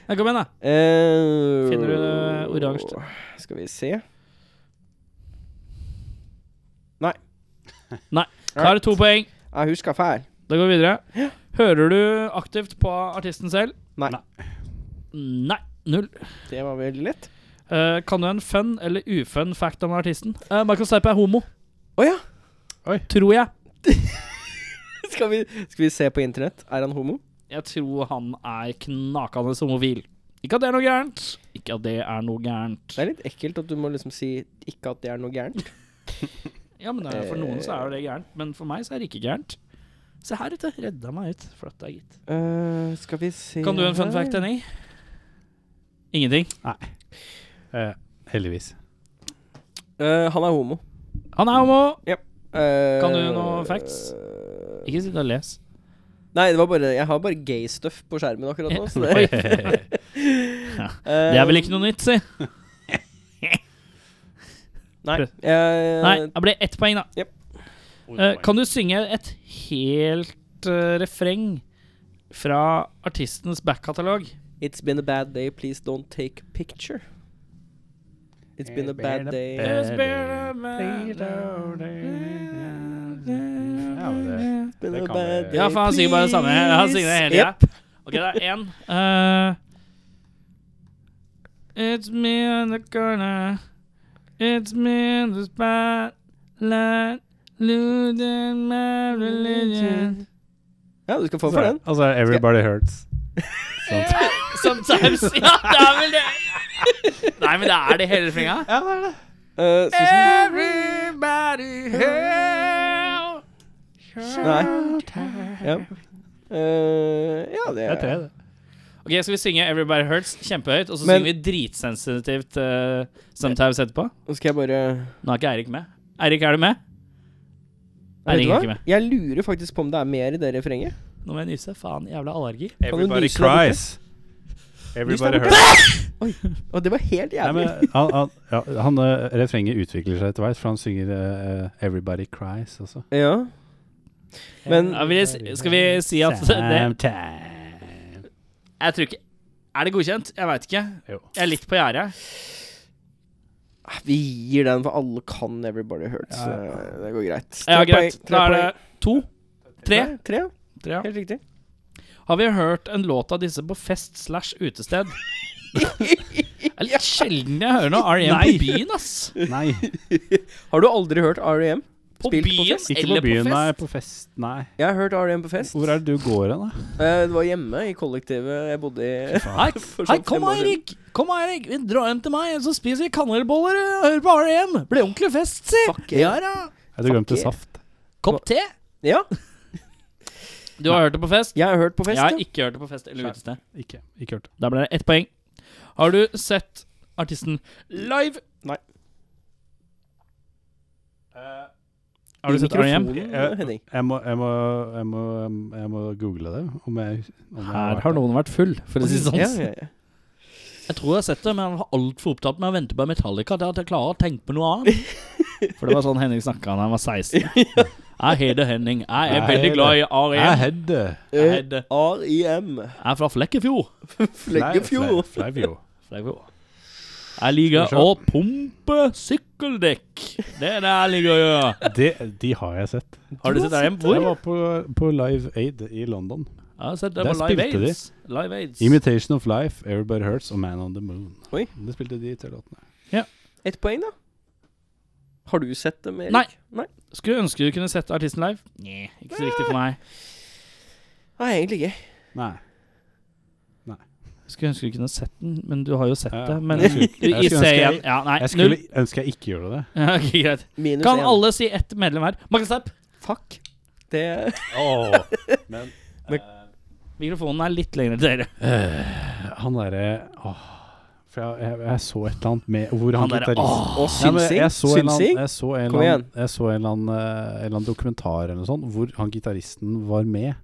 Speaker 3: Ja, kom igjen, da.
Speaker 4: Eh,
Speaker 3: Finner du det oransje?
Speaker 4: Skal vi se. Nei.
Speaker 3: Nei. Da er det to poeng.
Speaker 4: Jeg husker feil.
Speaker 3: Da går vi videre. Hører du aktivt på artisten selv?
Speaker 4: Nei.
Speaker 3: Nei. Null.
Speaker 4: Det var veldig lett.
Speaker 3: Eh, kan du en fun eller ufun fact om artisten? Eh, Michael Stipe er homo,
Speaker 4: Å ja!
Speaker 3: tror jeg.
Speaker 4: Skal vi, skal vi se på internett? Er han homo?
Speaker 3: Jeg tror han er knakende homofil. Ikke at det er noe gærent. Ikke at det er noe gærent.
Speaker 4: Det er litt ekkelt at du må liksom si ikke at det er noe gærent.
Speaker 3: Ja, men eh, For noen så er jo det gærent, men for meg så er det ikke gærent. Se her ute. Redda meg ut. Flott deg, gitt.
Speaker 4: Eh, skal vi se
Speaker 3: Kan du en fun fact,
Speaker 4: her.
Speaker 3: Henning? Ingenting.
Speaker 5: Eh, heldigvis.
Speaker 4: Eh, han er homo.
Speaker 3: Han er homo!
Speaker 4: Eh,
Speaker 3: Kan du noe facts?
Speaker 4: eh,
Speaker 3: Ikke sitt og les.
Speaker 4: Nei, det var bare, jeg har bare gay stuff på skjermen akkurat nå. Så det,
Speaker 5: det
Speaker 3: Det er vel ikke noe nytt, si.
Speaker 4: Eh, Nei.
Speaker 3: Prøv.
Speaker 4: jeg-
Speaker 3: Nei, det blir ett poeng, da. Eh,
Speaker 5: kan
Speaker 3: kan du synge et helt eh, refreng fra artistens backkatalog?
Speaker 4: It's been a bad day, please don't take picture. It's been a bad day.
Speaker 3: Eh,
Speaker 5: bad- Ja, men det-
Speaker 3: Ja,
Speaker 4: It's been
Speaker 5: det
Speaker 4: a
Speaker 5: kan
Speaker 4: bad
Speaker 5: vi-
Speaker 4: day,
Speaker 5: Ja,
Speaker 3: for han sier bare det samme. Han
Speaker 4: please.
Speaker 3: synger det hele
Speaker 4: Yep.
Speaker 3: tida. Ok, det er én. Eh, It's me in the corner. It's me in the spotlight. Losing my religion.
Speaker 4: Ja, du skal få
Speaker 5: Altså,
Speaker 4: for den.
Speaker 5: altså, everybody hurts. Sånn. Sant.
Speaker 3: Sometimes Ja, det er vel det! Nei, men det er det hele refrenget.
Speaker 5: Ja, det er det.
Speaker 4: Eh, Susan?
Speaker 3: Everybody help!
Speaker 4: Nei. Ja. Eh, ja, det
Speaker 5: Det er tre, det.
Speaker 3: Ok, Skal vi synge 'Everybody Hurts' kjempehøyt, og så
Speaker 4: Men-
Speaker 3: synger vi dritsensitivt eh, sometimes etterpå?
Speaker 4: Nå skal jeg bare
Speaker 3: Nå er ikke Eirik med. Eirik, er du med?
Speaker 4: Vet
Speaker 3: Eirik
Speaker 4: du
Speaker 3: er
Speaker 4: hva?
Speaker 3: ikke med.
Speaker 4: Jeg lurer faktisk på om det er mer i det refrenget.
Speaker 3: Nå må jeg nyse. Faen, jævla allergi.
Speaker 4: du
Speaker 5: Everybody
Speaker 4: nyse der borte?
Speaker 5: cries. Everybody
Speaker 4: der borte.
Speaker 5: hurts.
Speaker 4: Og det var helt
Speaker 5: Nei,
Speaker 4: jævlig.
Speaker 5: men, han, han, ja, han eh, Refrenget utvikler seg etter hvert, for han synger eh, eh, 'Everybody Cries' også.
Speaker 4: ja. Men-
Speaker 3: Ja, vil jeg, si- skal vi si at det
Speaker 5: Sometime.
Speaker 3: Jeg tror ikke Er det godkjent? Jeg veit ikke.
Speaker 5: Jo.
Speaker 3: Jeg er litt på gjerdet.
Speaker 4: Vi gir den, for alle kan 'Everybody Hurts'.
Speaker 5: Ja, ja.
Speaker 4: så Det går greit.
Speaker 3: Ja,
Speaker 4: Tre
Speaker 3: greit.
Speaker 4: poeng, tre
Speaker 3: Da er det
Speaker 4: poeng.
Speaker 3: to. Tre.
Speaker 4: Tre, ja.
Speaker 3: Tre, ja.
Speaker 4: Helt riktig.
Speaker 3: Har vi hørt en låt av disse på fest slash utested? Det er litt sjelden jeg hører noe R.E.M. på
Speaker 5: Nei.
Speaker 3: byen, ass.
Speaker 5: Nei,
Speaker 4: Har du aldri hørt R.E.M.?
Speaker 3: På
Speaker 4: Spilt på
Speaker 3: byen
Speaker 4: fest?
Speaker 5: ikke på
Speaker 3: eller på
Speaker 5: byen,
Speaker 3: fest.
Speaker 5: nei. På fest, nei.
Speaker 4: Jeg har hørt R.E.M. på fest.
Speaker 5: Hvor er det du går hen, da?
Speaker 4: Eh, det var hjemme i kollektivet jeg bodde i.
Speaker 3: Hei,
Speaker 4: For
Speaker 3: hei
Speaker 4: sånn fem
Speaker 3: kom
Speaker 4: år siden.
Speaker 3: Eirik! Kom Eirik, vi drar hjem til meg, så spiser vi kanelboller og hører på R.E.M. Blir ordentlig fest, si!
Speaker 4: Fuck
Speaker 3: ja
Speaker 4: yeah.
Speaker 3: da.
Speaker 5: Jeg hadde
Speaker 4: Fuck
Speaker 5: glemt til
Speaker 4: yeah.
Speaker 5: saft.
Speaker 3: Kopp te?
Speaker 4: Ja,
Speaker 3: Du har hørt det på fest?
Speaker 4: jeg har hørt på fest.
Speaker 3: Jeg har
Speaker 4: ja.
Speaker 3: ikke hørt det på fest eller utested.
Speaker 5: Ikke, ikke hørt.
Speaker 3: Da ble det ett poeng. Har du sett artisten live?
Speaker 4: Nei.
Speaker 3: Har
Speaker 4: I
Speaker 3: Eh, du sett E R.E.M.?
Speaker 4: mikrofonen,
Speaker 5: Jeg-
Speaker 4: Henning.
Speaker 5: Jeg må, jeg, må, jeg, må, jeg må google det. Om jeg, om jeg
Speaker 3: Her
Speaker 5: vært
Speaker 3: har
Speaker 5: der.
Speaker 3: noen vært full, for å si det sånn.
Speaker 4: Ja, ja, ja.
Speaker 3: Jeg tror jeg har sett det, men jeg var altfor opptatt med å vente på Metallica til at jeg klarer å tenke på noe annet. For det var sånn Henning snakka da han var 16. Jeg heter Henning. Jeg er
Speaker 5: Jeg
Speaker 3: veldig
Speaker 5: heter-
Speaker 3: glad i
Speaker 5: Jeg
Speaker 3: R.E.M.
Speaker 5: hadde
Speaker 3: Jeg
Speaker 4: Eh,
Speaker 3: heter-
Speaker 4: R.I.M.
Speaker 3: Jeg er fra Flekkefjord.
Speaker 4: Fleggefjord.
Speaker 5: Fle- Fleivjord.
Speaker 3: Flekkefjord. Jeg liker å pumpe sykkeldekk. Det er det jeg liker å gjøre.
Speaker 5: Det, de har jeg sett.
Speaker 3: Har du sett R.E.M.
Speaker 5: Jeg
Speaker 3: hvor?
Speaker 5: var på, på Live Aid i London.
Speaker 3: Jeg har sett det
Speaker 5: Der
Speaker 3: på Live
Speaker 5: spilte de.
Speaker 3: Aids. Live Aids.
Speaker 5: Imitation of Life, Everybody Hurts og Man on the Moon.
Speaker 4: Oi.
Speaker 5: Det spilte de tre låtene.
Speaker 4: Ett poeng, da. Har du sett dem, Erik?
Speaker 3: Nei.
Speaker 4: Nei,
Speaker 3: Skulle ønske du kunne sett artisten live. Nei, ikke så riktig for meg.
Speaker 4: Nei Ah, egentlig ikke.
Speaker 5: Nei.
Speaker 3: Skulle ønske du kunne sett den, men du har jo sett
Speaker 5: Ja.
Speaker 3: det. Men
Speaker 5: Jeg skulle- jeg
Speaker 3: i
Speaker 5: skulle
Speaker 3: se
Speaker 5: ønske jeg-
Speaker 3: igjen. Ja, nei,
Speaker 5: Jeg
Speaker 3: null.
Speaker 5: skulle ønske jeg ikke gjorde det.
Speaker 3: Ja, ok, greit.
Speaker 4: Minus
Speaker 3: Kan
Speaker 4: én.
Speaker 3: alle si ett medlem her? Markus Tepp,
Speaker 4: Fuck. Det
Speaker 5: men
Speaker 3: mikrofonen er litt lenger til dere.
Speaker 5: eh, Han derre Åh. For jeg, jeg, jeg så et eller annet med Hvor han
Speaker 3: Han derre,
Speaker 5: gitaristen
Speaker 4: Å,
Speaker 5: Ja, men
Speaker 4: synsing?
Speaker 5: jeg så en eller annen-
Speaker 4: synsing?
Speaker 5: Jeg så en
Speaker 4: Kom
Speaker 5: eller annen-
Speaker 4: igjen.
Speaker 5: jeg så en eller annen eh, en eller annen dokumentar eller noe sånt hvor han gitaristen var med.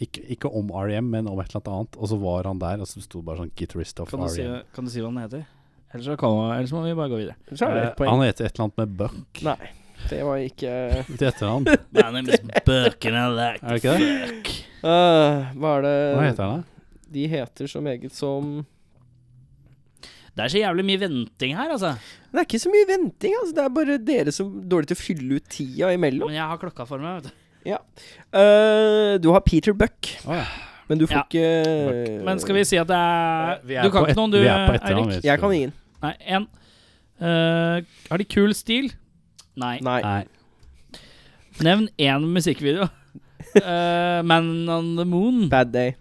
Speaker 5: Ikke, ikke om R.E.M., men om et eller annet annet. Og så var han der, og så sto det bare sånn 'Guitarist of
Speaker 3: Kan du, si,
Speaker 5: R.E.M'.
Speaker 3: kan du si hva den heter? Ellers, så kan- ellers må vi bare gå videre.
Speaker 4: Så er det ett
Speaker 5: Eh,
Speaker 4: poeng.
Speaker 5: han heter et eller annet med Buck
Speaker 4: Nei, det var ikke
Speaker 5: til etternavn.
Speaker 3: My name is Buck and I like
Speaker 5: Er det ikke det?
Speaker 4: Øh, Hva er det
Speaker 5: Hva heter han, da?
Speaker 4: De heter så meget som
Speaker 3: Det er så jævlig mye venting her, altså.
Speaker 4: Det er ikke så mye venting, altså. Det er bare dere som er dårlige til å fylle ut tida imellom.
Speaker 3: Men jeg har klokka for meg, vet du.
Speaker 4: Øh, du har Peter Buck,
Speaker 5: Å, ja.
Speaker 4: men du får
Speaker 3: Ja.
Speaker 4: ikke
Speaker 3: Eh, Men skal vi si at det er,
Speaker 5: Vi er
Speaker 3: Eh, Du kan
Speaker 5: på
Speaker 3: ikke
Speaker 5: et-
Speaker 3: noen, du, eh,
Speaker 5: vi er på etternavn,
Speaker 3: Eirik?
Speaker 5: vi.
Speaker 4: Jeg kan ingen.
Speaker 3: Nei, én. har de kul stil? Nei.
Speaker 4: Nei.
Speaker 5: Nei.
Speaker 3: Nevn én musikkvideo. Eh, Man on the Moon.
Speaker 4: Bad Day.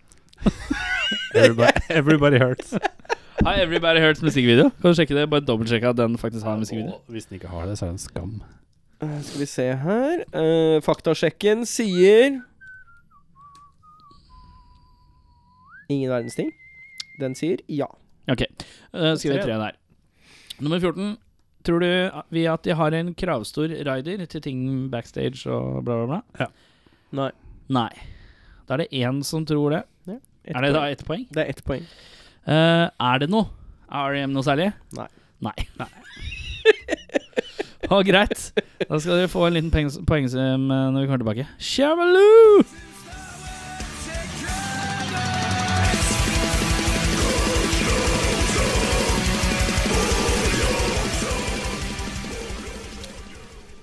Speaker 5: Everybody, everybody Hurts.
Speaker 3: Har Everybody Hurts musikkvideo? Kan du sjekke det? Bare dobbeltsjekke at den faktisk har en musikkvideo.
Speaker 5: Og Hvis den ikke har det, så er det en skam.
Speaker 4: Øh, skal vi se her Øh, Faktasjekken sier Ingen verdens ting. Den sier ja.
Speaker 3: Ok, uh, skriv eh, tre der. Nummer 14. Tror du vi at de har en kravstor rider til ting backstage og bla, bla, bla?
Speaker 4: Nei.
Speaker 3: Nei. Da er det én som tror det.
Speaker 4: ett
Speaker 3: er det da
Speaker 4: poeng.
Speaker 3: ett poeng?
Speaker 4: Det er ett poeng.
Speaker 3: Eh, er det noe? Er REM noe særlig?
Speaker 4: Nei.
Speaker 3: Nei. Å, greit. Da skal dere få en liten poeng- poengsum eh, når vi kommer tilbake. Shabaloo!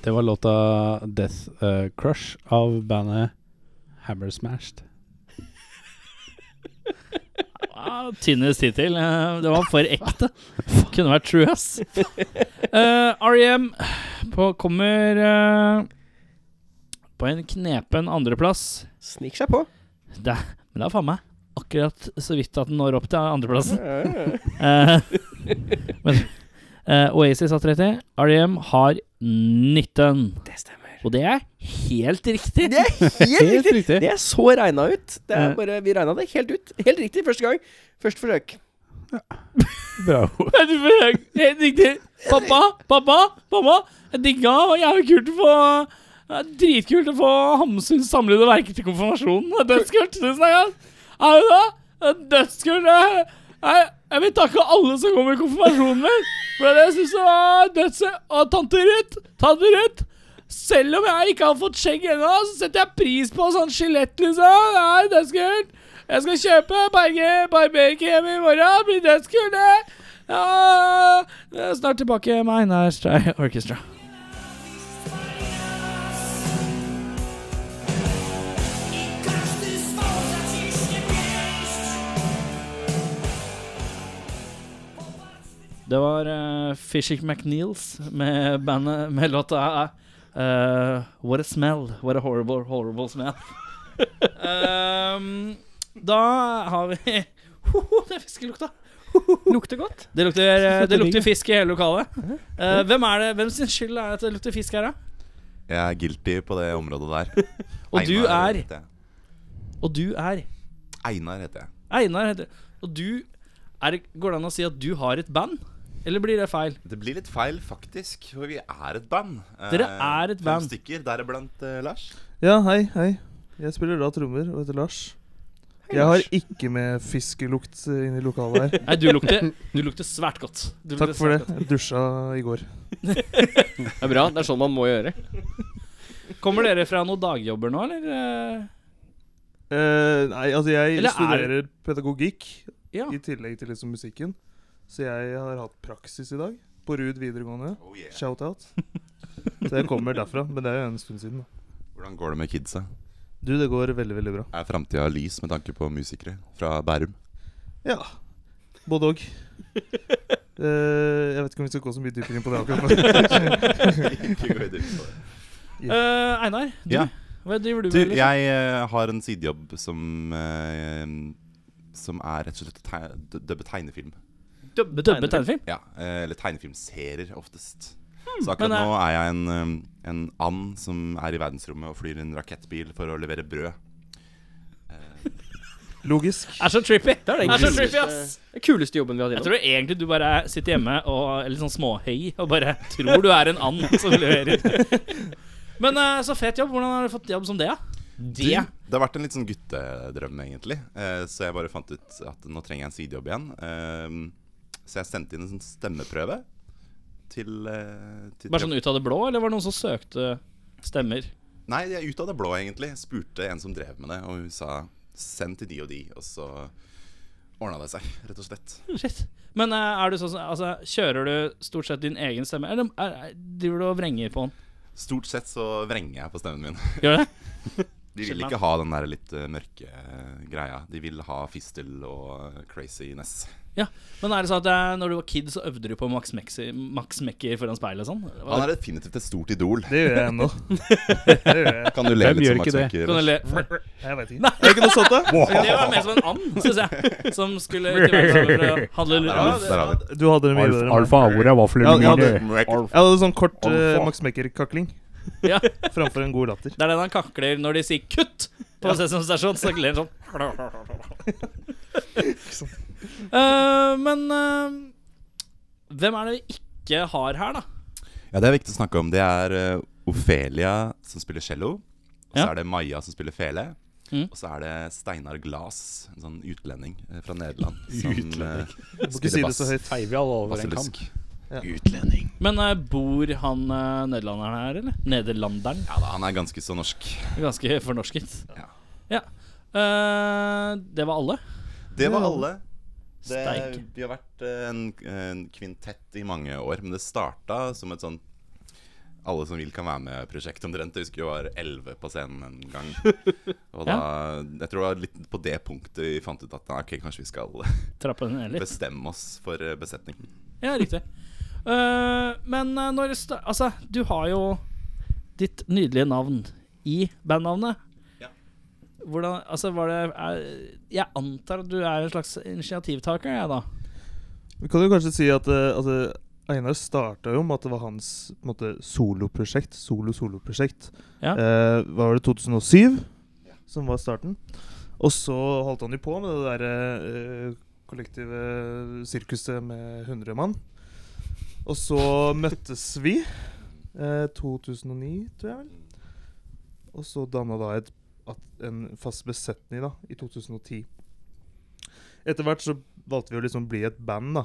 Speaker 5: Det var låta 'Death eh, Crush' av bandet Hammer Smashed.
Speaker 3: Ja, Tynnest hittil. Eh, Det var for ekte. Kunne vært true, ass. Eh, REM på, kommer eh, på en knepen andreplass.
Speaker 4: Snik seg på.
Speaker 3: Det, men det er faen meg akkurat så vidt at den når opp til andreplassen.
Speaker 4: Ja,
Speaker 3: Eh, men eh, Oasis har 30. REM E har 19.
Speaker 4: Det stemmer.
Speaker 3: Og det er helt riktig.
Speaker 4: Det er helt
Speaker 5: Helt
Speaker 4: riktig.
Speaker 5: riktig.
Speaker 4: Det er så regna ut. Det er bare, vi regna det helt ut. Helt riktig første gang. Første forsøk.
Speaker 5: Bravo.
Speaker 3: Men du får høre, Helt riktig. Pappa, pappa, pappa. Jeg digga og jævlig kult å få det er Dritkult å få Hamsuns samlede verker til konfirmasjonen. Det er dødskult. Tusen takk. ass. Er det da? Det er Dødskult. Jeg, jeg, jeg vil takke alle som kom i konfirmasjonen min. For det syns jeg var dødsø... Og tante Ruth, tante Ruth. Selv om jeg ikke har fått skjegg ennå, så setter jeg pris på sånn skjelett, liksom. Det er dødskult. Jeg skal kjøpe barge- barberkrem i morgen. Det blir dødskult, det. Ja, jeg er snart tilbake med Einar Stray Orchestra. Det var uh, Fishick McNeils med bandet med låta eh, What a smell. What a horrible, horrible smell. Ehm, da har vi Hoho, Det er fiskelukta!
Speaker 4: Lukter godt.
Speaker 3: Det lukter, eh, det lukter fisk i hele lokalet. Eh, hvem, er det, hvem sin skyld er det at det lukter fisk her, da?
Speaker 6: Jeg er guilty på det området der.
Speaker 3: Og du
Speaker 6: Einar
Speaker 3: er
Speaker 6: heter jeg.
Speaker 3: Og du er
Speaker 6: Einar heter jeg.
Speaker 3: Einar heter det. Og du er, Går det an å si at du har et band? Eller blir det feil?
Speaker 6: Det blir litt feil, faktisk. For vi er et band. Eh,
Speaker 3: Dere er et band.
Speaker 6: Fem stykker, deriblant uh, Lars.
Speaker 7: Ja, hei, hei. Jeg spiller da trommer og heter Lars. Jeg har ikke med fiskelukt eh, inn i lokalet her.
Speaker 3: Nei, du lukter, du lukter svært godt. Du
Speaker 7: Takk
Speaker 3: lukter
Speaker 7: for det.
Speaker 3: svært
Speaker 7: Jeg dusja i går.
Speaker 4: Det er bra. Det er sånn man må gjøre.
Speaker 3: godt. Kommer dere fra noen dagjobber nå, eller? eh?
Speaker 7: Eh, nei, altså jeg
Speaker 3: Eller er-
Speaker 7: studerer pedagogikk
Speaker 3: Ja.
Speaker 7: i tillegg til liksom musikken. Så jeg har hatt praksis i dag på Ruud videregående.
Speaker 6: Oh, yeah.
Speaker 7: Shout-out. Så jeg kommer derfra, men det er jo en stund siden. da.
Speaker 6: Hvordan går det med kidsa?
Speaker 7: Du, det går veldig, veldig bra.
Speaker 6: Er framtida lys med tanke på musikere fra Bærum?
Speaker 7: Ja. Både òg. Eh, jeg vet ikke om vi skal gå så mye dypere inn på det akkurat
Speaker 6: Ikke
Speaker 7: nå.
Speaker 6: gå i dypet på det.
Speaker 3: Eh, Einar, du?
Speaker 6: Ja.
Speaker 3: Hva driver du
Speaker 6: Du,
Speaker 3: med? liksom?
Speaker 6: jeg eh, har en sidejobb som eh, Som er rett og slett å teg- d- dubbe tegnefilm.
Speaker 3: Dubbe dubbe tegnefilm?
Speaker 6: Ja, eh, Eller tegnefilmserier, oftest. Så akkurat
Speaker 3: men, eh,
Speaker 6: nå er jeg en, eh, en and som er i verdensrommet og flyr en rakettbil for å levere brød. Eh,
Speaker 7: Logisk.
Speaker 3: Er så trippy.
Speaker 4: Det er den
Speaker 3: Er så
Speaker 4: kuleste-
Speaker 3: trippy, ass.
Speaker 4: den kuleste jobben vi har hatt
Speaker 3: Jeg
Speaker 4: innom.
Speaker 3: tror egentlig du bare er- sitter hjemme og er litt sånn småhøy og bare tror du er en and som leverer. Men eh, så fet jobb. Hvordan har du fått jobb som det, da?
Speaker 6: Du, Det har vært en litt sånn guttedrøm, egentlig. Eh, så jeg bare fant ut at nå trenger jeg en sidejobb igjen. Eh, så jeg sendte inn en sånn stemmeprøve til, eh, til
Speaker 3: Bare sånn ut av det blå, eller var det noen som søkte stemmer?
Speaker 6: Nei, jeg ut av det blå, egentlig. Spurte en som drev med det, og hun sa send til de og de. Og så ordna det seg, rett og slett.
Speaker 3: Shit. Men eh, er du sånn som- altså, kjører du stort sett din egen stemme, eller er, er, driver du og vrenger på den?
Speaker 6: Stort sett så vrenger jeg på stemmen min.
Speaker 3: Gjør du det?
Speaker 6: De vil ikke ha den der litt eh, mørke eh, greia. De vil ha fistel og eh, craziness.
Speaker 3: Men er det sånn at eh, når du var kid, så øvde du på Max, Mexi, Max Mekker foran speilet og sånn?
Speaker 6: Han er definitivt et stort idol.
Speaker 7: Det gjør jeg ennå. Det gjør jeg.
Speaker 6: Kan du le
Speaker 5: Hvem
Speaker 6: litt
Speaker 5: gjør
Speaker 6: som
Speaker 5: ikke
Speaker 6: Max
Speaker 5: det?
Speaker 6: Mekker?
Speaker 3: Kan du le?
Speaker 7: Jeg vet ikke. Er det ikke noe sånt, da?
Speaker 3: Det var mer som en and, syns jeg, som skulle til verdensrommet for å handle
Speaker 6: Der
Speaker 3: lur-
Speaker 6: har vi- der har vi det.
Speaker 7: Du hadde det mye bedre. enn meg.
Speaker 5: hvor er vaflene
Speaker 7: Ja, ja, det-
Speaker 6: Mekker.
Speaker 7: Jeg hadde sånn kort eh, Max Mekker-kakling
Speaker 3: Ja.
Speaker 7: framfor en god latter.
Speaker 3: Det er den han kakler når de sier 'kutt' på Sesam Stasjon. Så ler han sånn. Eh, men eh, hvem er det vi ikke har her, da.
Speaker 6: Ja, det er viktig å snakke om. Det er eh, Ofelia som spiller cello. Og så
Speaker 3: Ja.
Speaker 6: er det Maja som spiller fele.
Speaker 3: Mm.
Speaker 6: Og så er det Steinar Glas, en sånn utlending eh, fra Nederland.
Speaker 5: Utlending.
Speaker 6: Som, eh,
Speaker 7: Må ikke si
Speaker 6: spiller
Speaker 7: det så
Speaker 6: bass,
Speaker 7: høyt.
Speaker 5: Feier vi alle over en kam?
Speaker 6: basselusk.
Speaker 7: Ja.
Speaker 6: Utlending.
Speaker 3: Men eh, bor han eh, nederlanderen her, eller? Nederlanderen?
Speaker 6: Ja da, han er ganske så norsk.
Speaker 3: Ganske fornorsket.
Speaker 6: Ja.
Speaker 3: Ja. Eh, det var alle.
Speaker 6: Det var alle. Det,
Speaker 3: Steik.
Speaker 6: vi har vært eh, en, en kvintett i mange år, men det starta som et sånn alle som vil kan være med-prosjekt omtrent. Jeg husker vi var elleve på scenen en gang. Og da, Jeg tror det var litt på det punktet vi fant ut at nei, ok, kanskje vi skal
Speaker 3: Trappa den ned litt.
Speaker 6: bestemme oss for eh, besetning.
Speaker 3: Ja, riktig. Eh, men eh, når det sta- Altså, du har jo ditt nydelige navn i bandnavnet.
Speaker 6: Ja.
Speaker 3: Hvordan Altså, var det er, Jeg antar at du er en slags initiativtaker, jeg, da.
Speaker 7: Vi kan jo kanskje si at, eh, at eh, Einar starta jo med at det var hans på en måte, soloprosjekt. Solo-soloprosjekt.
Speaker 3: Ja.
Speaker 7: Eh, hva var det 2007 som var starten? Og så holdt han jo på med det derre eh, kollektive sirkuset med 100 mann. Og så møttes vi. Eh, 2009, tror jeg vel. Og så danna da et, at, en fast besetning da, i 2010. Etter hvert så valgte vi å liksom bli et band, da.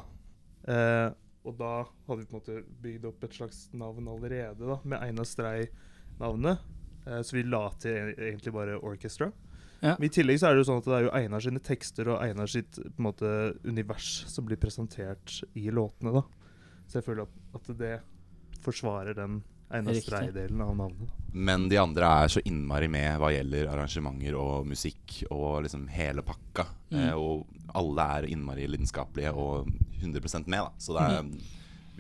Speaker 7: Eh, og da hadde vi på en måte bygd opp et slags navn allerede, da, med Einar Strei-navnet. Eh, så vi la til e- egentlig bare Orchestra.
Speaker 3: Ja.
Speaker 7: Men I tillegg så er det jo sånn at det er jo Einar sine tekster og Einar sitt på en måte, univers som blir presentert i låtene, da. Så jeg føler at, at det forsvarer den Einar
Speaker 3: Riktig.
Speaker 7: Strei-delen av navnet. da.
Speaker 6: Men de andre er så innmari med hva gjelder arrangementer og musikk og liksom hele pakka. Eh, og alle er innmari lidenskapelige og 100 med, da. Så det er,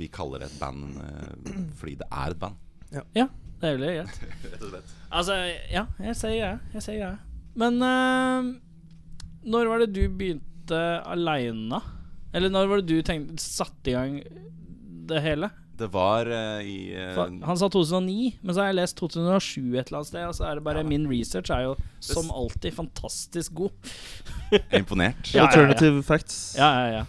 Speaker 6: vi kaller det et band eh, fordi det er et band,
Speaker 3: Ja, det er vel greit.
Speaker 6: rett og slett.
Speaker 3: Altså, ja, jeg sier greia. Jeg sier greia. Men eh, når var det du begynte aleine? Eller når var det du tenkte satte i gang det hele?
Speaker 6: Det var eh, i eh,
Speaker 3: For han sa 2009, men så har jeg lest 2007 et eller annet sted. Og så er det bare Min research er jo som alltid fantastisk god.
Speaker 6: Imponert.
Speaker 3: Ja, ja, ja.
Speaker 7: Alternative facts.
Speaker 3: Ja, ja, ja.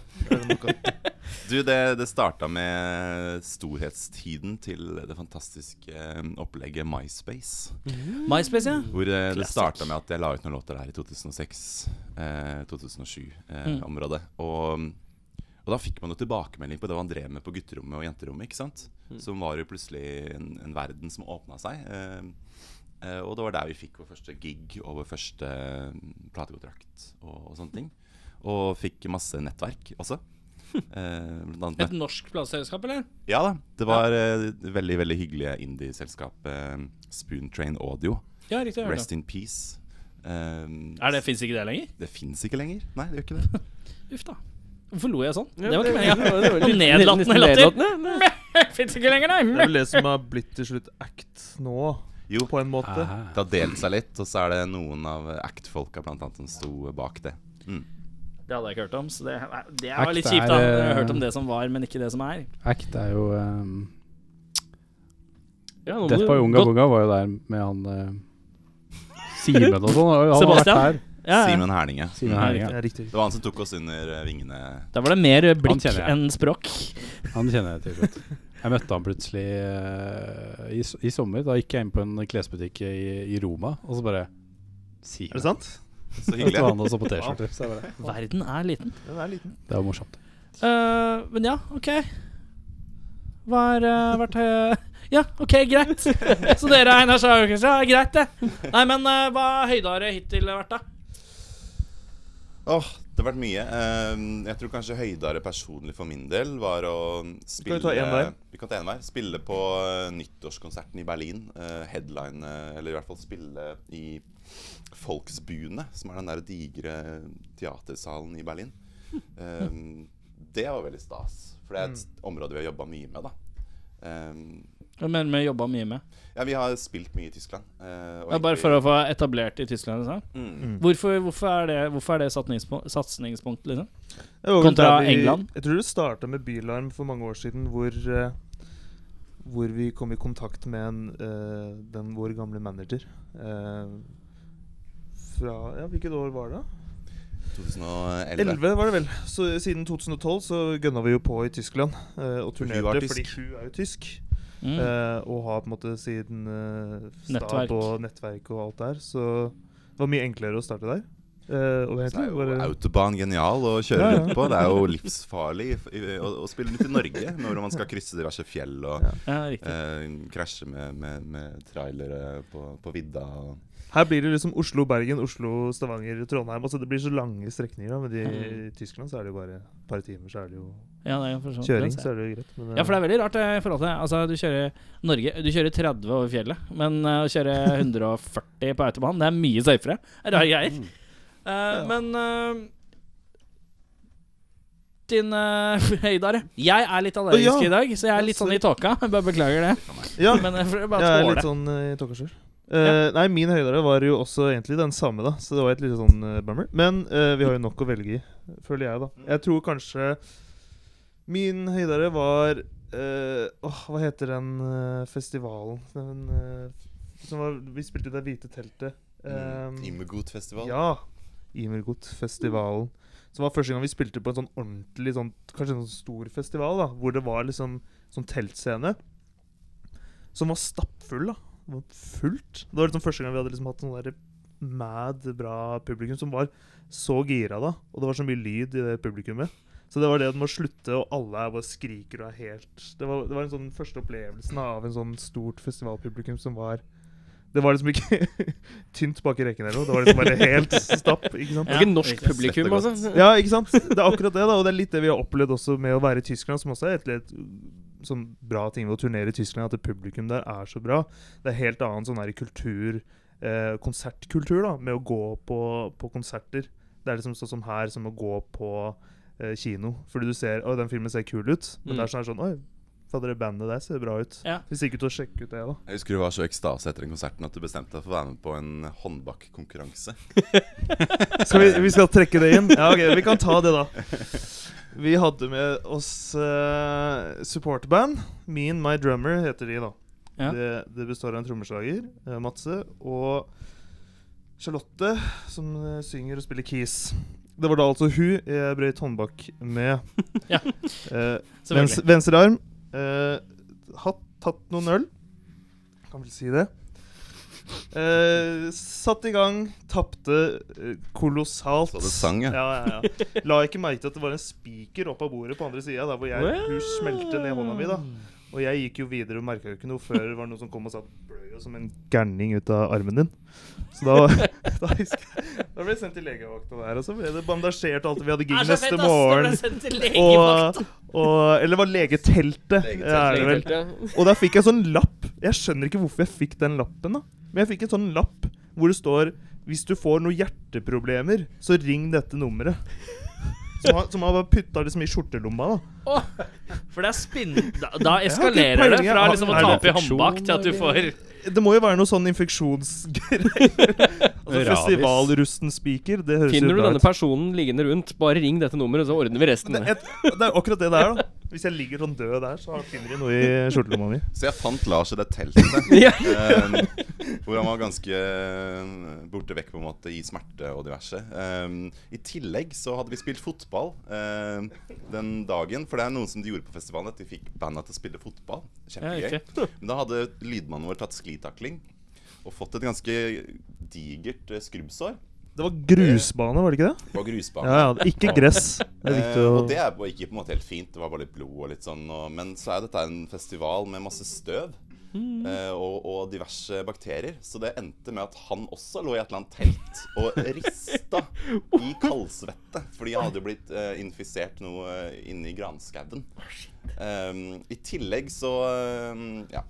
Speaker 6: Du, det, det starta med storhetstiden til det fantastiske eh, opplegget MySpace.
Speaker 4: Mm.
Speaker 3: MySpace, ja.
Speaker 6: Hvor eh, det starta med at jeg la ut noen låter der i eh, 2006-2007-området. eh, og, og da fikk man jo tilbakemelding på det man drev med på gutterommet og jenterommet. ikke sant? Som var jo plutselig en, en verden som åpna seg. eh, eh, og det var der vi fikk vår første gig og vår første eh, platekontrakt og, og sånne ting. Og fikk masse nettverk også. Eh, blant annet
Speaker 3: Et norsk plateselskap, eller?
Speaker 6: ja da. Det var eh, veldig veldig hyggelige indie-selskap. eh, Spoon Train Audio.
Speaker 3: Ja, riktig. jeg hørte
Speaker 6: Rest in peace. Um,
Speaker 3: om. Er det Fins ikke det lenger?
Speaker 6: det fins ikke lenger. Nei, det gjør ikke det.
Speaker 3: Uff da. Hvorfor lo jeg sånn?
Speaker 4: Ja,
Speaker 3: Det var ikke meninga.
Speaker 4: det var litt-
Speaker 3: Nedlatende
Speaker 4: litt
Speaker 3: latter.
Speaker 4: nedlatende.
Speaker 3: Fins ikke lenger,
Speaker 7: Det er
Speaker 3: nei.
Speaker 7: vel det som har blitt til slutt act nå,
Speaker 6: Jo,
Speaker 7: på en måte.
Speaker 3: Ah.
Speaker 6: det har delt seg litt, og så er det noen av Act-folka blant annet som sto bak det.
Speaker 3: Det hadde jeg ikke hørt om, så det, det var litt
Speaker 5: Act
Speaker 3: kjipt. da
Speaker 5: er,
Speaker 3: Jeg har
Speaker 5: eh,
Speaker 3: hørt om det som var, men ikke det som er.
Speaker 5: Act er jo um,
Speaker 4: Ja, nå må
Speaker 5: Death
Speaker 4: du
Speaker 5: by Unga
Speaker 4: godt-
Speaker 5: Bunga var jo der med han eh, Simen og sånn. Han har vært
Speaker 3: Sebastian?
Speaker 5: her.
Speaker 3: Ja, ja.
Speaker 6: Simen Herninge.
Speaker 5: Simen
Speaker 6: Mm.
Speaker 5: Herring,
Speaker 7: Det
Speaker 5: ja.
Speaker 7: er riktig.
Speaker 6: Det var han som tok oss under eh, vingene.
Speaker 3: Da var det mer blikk
Speaker 5: kjenner jeg.
Speaker 3: enn språk.
Speaker 5: Han kjenner jeg til godt. Jeg møtte han plutselig eh, i, s- i sommer. Da gikk jeg inn på en klesbutikk i, i Roma, og så bare
Speaker 7: Er det
Speaker 5: Simen.
Speaker 7: sant?
Speaker 6: Så
Speaker 5: Og så var
Speaker 6: hyggelig.
Speaker 5: han også på T-skjorte. så jeg bare,
Speaker 3: Verden er liten.
Speaker 7: Den er liten.
Speaker 5: Det var morsomt.
Speaker 3: Eh, men ja, OK. Hva har eh, vært eh, Ja, OK, greit. Så dere Einar Sjøorkestra, ja, greit det. Nei, men eh, hva høyde har det hittil vært, da?
Speaker 6: Åh, det har vært mye. Um, jeg tror kanskje høydare personlig for min del var å spille
Speaker 7: ta en hver?
Speaker 6: Vi kan ta en hver. Spille på eh, nyttårskonserten i Berlin. eh, headline, eh, eller i hvert fall spille i Folksbuene, som er den der digre eh, teatersalen i Berlin. Um, det var veldig stas, for det er et område vi har jobba mye med, da. Um,
Speaker 3: Jeg mener vi jobba mye med.
Speaker 6: ja, vi har spilt mye i Tyskland. eh, og
Speaker 3: Ja, bare
Speaker 6: egentlig-
Speaker 3: for å få etablert i Tyskland. Liksom.
Speaker 6: Mm.
Speaker 3: Hvorfor, hvorfor er det, hvorfor er det satningspo- satsingspunkt, liksom?
Speaker 7: Det var vel
Speaker 3: Kontra
Speaker 7: der vi-
Speaker 3: England?
Speaker 7: Jeg tror det starta med Bylarm for mange år siden, hvor, eh, hvor vi kom i kontakt med en, eh, den vår gamle manager. eh, fra Ja, hvilket år var det?
Speaker 6: 2011.
Speaker 7: 11 var det vel. Så siden 2012 så gønna vi jo på i Tyskland. eh, og
Speaker 6: For hun var
Speaker 7: turnerte fordi
Speaker 6: tysk.
Speaker 7: hun er jo tysk.
Speaker 3: Mm.
Speaker 7: eh, og har på en måte siden eh, stab
Speaker 3: Nettverk.
Speaker 7: og nettverk og alt der. Så det var mye enklere å starte der. Eh, og
Speaker 6: Så
Speaker 7: hva heter
Speaker 6: er
Speaker 7: det?
Speaker 6: jo
Speaker 7: Bare-
Speaker 6: autobahn genial å kjøre
Speaker 7: Ja, ja.
Speaker 6: rundt på. Det er jo livsfarlig i- i- å, å spille rundt i Norge når man skal krysse diverse fjell og
Speaker 3: Ja, riktig.
Speaker 6: eh, krasje med, med, med trailere på, på vidda. og-
Speaker 7: Her blir det liksom Oslo, Bergen, Oslo, Stavanger, Trondheim. Altså Det blir så lange strekninger. da Men de, i Tyskland så er det jo bare et par timer, så er det jo
Speaker 3: Mm. Ja, det er for sånn.
Speaker 7: kjøring. Så er det jo greit. Men, eh,
Speaker 3: Ja, for det er veldig rart eh, i forhold til Altså, du kjører Norge Du kjører 30 over fjellet, men eh, å kjøre 140 på autobahn, det er mye safere. Det er Rare greier.
Speaker 7: Mm.
Speaker 3: Eh, Men eh, din uh, Høydar Jeg er litt allergisk
Speaker 7: Å, ja.
Speaker 3: i dag, så jeg
Speaker 7: Ja,
Speaker 3: er litt sånn
Speaker 7: sorry.
Speaker 3: i tåka. Jeg bare beklager det.
Speaker 7: ja,
Speaker 3: Men jeg får
Speaker 7: jeg
Speaker 3: bare
Speaker 7: er
Speaker 3: tåle
Speaker 7: litt
Speaker 3: det.
Speaker 7: sånn eh, i tåka sjøl. Eh, Nei, min høydare var jo også egentlig den samme, da. Så det var et lite sånn eh, bummer. Men eh, vi har jo nok å velge i, føler jeg, da. Jeg tror kanskje min høydare var eh, Åh, hva heter den eh, festivalen den, eh, som var, Vi spilte i det hvite teltet.
Speaker 6: Mm.
Speaker 7: Eh,
Speaker 6: Immergut-festival.
Speaker 7: Ja. Imergot-festivalen. Som var første gang vi spilte på en sånn ordentlig sånn, Kanskje en sånn stor festival, da hvor det var liksom sånn teltscene. Som var stappfull, da. Det var fullt. Det var liksom første gang vi hadde liksom hatt sånn der mad bra publikum som var så gira da. Og det var så mye lyd i det publikummet. Så det var det at man må slutte, og alle er bare skriker og er helt Det var, det var en sånn første opplevelsen av en sånn stort festivalpublikum som var Det var liksom ikke tynt bak i rekken eller noe. Det var liksom bare helt stapp, sånn. ikke sant?
Speaker 4: Det er ikke norsk publikum,
Speaker 6: Dette
Speaker 4: altså.
Speaker 6: godt.
Speaker 7: Ja, ikke sant? Det er akkurat det, da. Og det er litt det vi har opplevd også med å være i Tyskland, som også er et litt sånn bra ting ved å turnere i Tyskland, at det publikum der er så bra. Det er helt annen sånn her kultur, eh, konsertkultur, da, med å gå på, på konserter. Det er liksom sånn som her, som å gå på eh, kino. Fordi du ser Oi, den filmen ser kul ut. Men det er sånn, her sånn Oi, fader, det bandet der ser bra ut.
Speaker 3: Ja.
Speaker 7: Vi stikker ut og sjekker ut det, da.
Speaker 6: Jeg husker du var så i ekstase etter den konserten at du bestemte deg for å være med på en håndbakkonkurranse.
Speaker 7: Skal vi, vi skal trekke det inn? Ja, ok, Vi kan ta det, da. Vi hadde med oss eh, supportband. Me and My Drummer heter de, da.
Speaker 3: Ja.
Speaker 7: Det, det består av en trommeslager, eh, Matse, og Charlotte, som eh, synger og spiller keys. Det var da altså hun jeg brøyt håndbak med.
Speaker 3: Ja.
Speaker 7: Eh, vens,
Speaker 3: Selvfølgelig.
Speaker 7: venstre arm. Eh, hatt, tatt noen øl. Kan vel si det. Eh, satt i gang, tapte eh, kolossalt.
Speaker 6: Så det sang, ja.
Speaker 7: ja. ja, ja. La ikke merke til at det var en spiker opp av bordet på andre sida, der hvor jeg hun smelte ned hånda mi. da Og jeg gikk jo videre og merka jo ikke noe før det var noen som kom og satt bløy som en gærning ut av armen din. Så da, da, husker jeg, da ble jeg sendt til legevakta der, og så ble det bandasjert og alt. Vi hadde gig neste morgen. Og, og, eller det var legeteltet. Ja, er det vel. Og der fikk jeg sånn lapp. Jeg skjønner ikke hvorfor jeg fikk den lappen, da. Men jeg fikk en sånn lapp hvor det står Hvis du får noen hjerteproblemer, så ring dette nummeret. Som han, som han bare putta liksom i skjortelomma, da.
Speaker 3: For det er spinn... Da, da
Speaker 7: Jeg
Speaker 3: eskalerer
Speaker 7: har
Speaker 3: det
Speaker 7: ikke peiling,
Speaker 3: fra
Speaker 7: jeg.
Speaker 3: liksom å
Speaker 7: Er
Speaker 3: tape i
Speaker 5: det fiksjon,
Speaker 3: håndbak til at du får
Speaker 7: Det må jo være noe sånn infeksjonsgreier. altså
Speaker 5: Rabies.
Speaker 7: Festivalrusten spiker, det høres
Speaker 4: Finner
Speaker 7: jo
Speaker 4: du
Speaker 7: bra
Speaker 4: denne
Speaker 7: ut.
Speaker 4: personen liggende rundt, bare ring dette nummeret, så ordner vi resten.
Speaker 7: Det, er- det er akkurat det det er, da. Hvis jeg ligger sånn død der, så finner de noe i skjortelomma mi.
Speaker 6: Så jeg fant Lars i det teltet.
Speaker 4: Ja.
Speaker 6: eh, hvor han var ganske eh, borte vekk på en måte i smerte og diverse. Eh, I tillegg så hadde vi spilt fotball eh, den dagen. For det er noen som de gjorde på festivalen, at de fikk banda til å spille fotball. Kjempegøy.
Speaker 3: Ja,
Speaker 6: Men da hadde lydmannen vår tatt sklitakling og fått et ganske digert eh, skrubbsår
Speaker 7: Det var grusbane, var det ikke det?
Speaker 6: på grusbanen.
Speaker 7: Ja, ja. Ikke gress. Det er viktig
Speaker 6: Eh,
Speaker 7: å
Speaker 6: og det er bare- gikk på en måte helt fint. Det var bare litt blod og litt sånn. Og, men så er dette en festival med masse støv.
Speaker 7: Mm.
Speaker 6: eh, og, og diverse bakterier. Så det endte med at han også lå i et eller annet telt og rista i kaldsvette. Fordi han hadde jo blitt eh, infisert noe eh, inni granskauen. Um, I tillegg så um, Ja.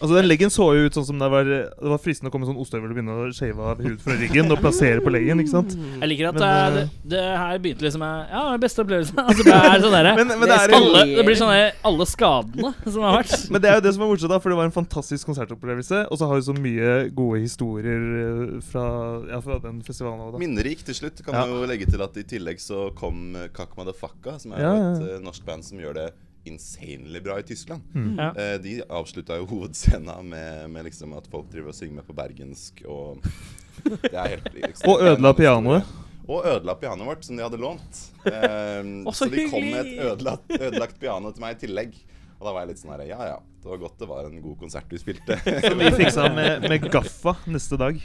Speaker 7: Altså Den leggen så jo ut sånn som det var Det var fristende å komme med sånn ostehøvel og begynne å shave av hud fra ryggen og plassere på leggen. ikke sant?
Speaker 3: Jeg liker at
Speaker 7: Men,
Speaker 3: eh, det,
Speaker 7: eh,
Speaker 3: det her begynte liksom med Ja, det var den beste opplevelsen. Altså, det er sånn derre
Speaker 7: Men, men, det er, jo-
Speaker 3: alle, Det blir sånn derre alle skadene som har vært.
Speaker 7: men det er jo det som er morsomt, da, for det var en fantastisk konsertopplevelse. Og så har vi så mye gode historier eh, fra, ja, fra den festivalen. Også, da.
Speaker 6: Minnerik til slutt. Kan
Speaker 7: Ja.
Speaker 6: jo legge til at i tillegg så kom eh, Kak Madafaka, som er
Speaker 7: Ja,
Speaker 6: jo
Speaker 7: ja,
Speaker 6: et
Speaker 7: ja.
Speaker 6: eh, norsk band som gjør det insanely bra i Tyskland.
Speaker 7: Mm.
Speaker 3: Ja.
Speaker 6: Eh, de avslutta jo hovedscena med, med liksom at folk driver og synger med på bergensk og det er helt,
Speaker 7: Og ødela pianoet.
Speaker 6: Historie. Og ødela pianoet vårt, som de hadde lånt. Ehm,
Speaker 4: Å, så
Speaker 6: så de kom
Speaker 4: hyggelig!
Speaker 6: med et ødelagt, ødelagt piano til meg i tillegg. Og da var jeg litt sånn her Ja ja, det var godt det var en god konsert du spilte.
Speaker 7: Som vi fiksa med, med gaffa neste dag.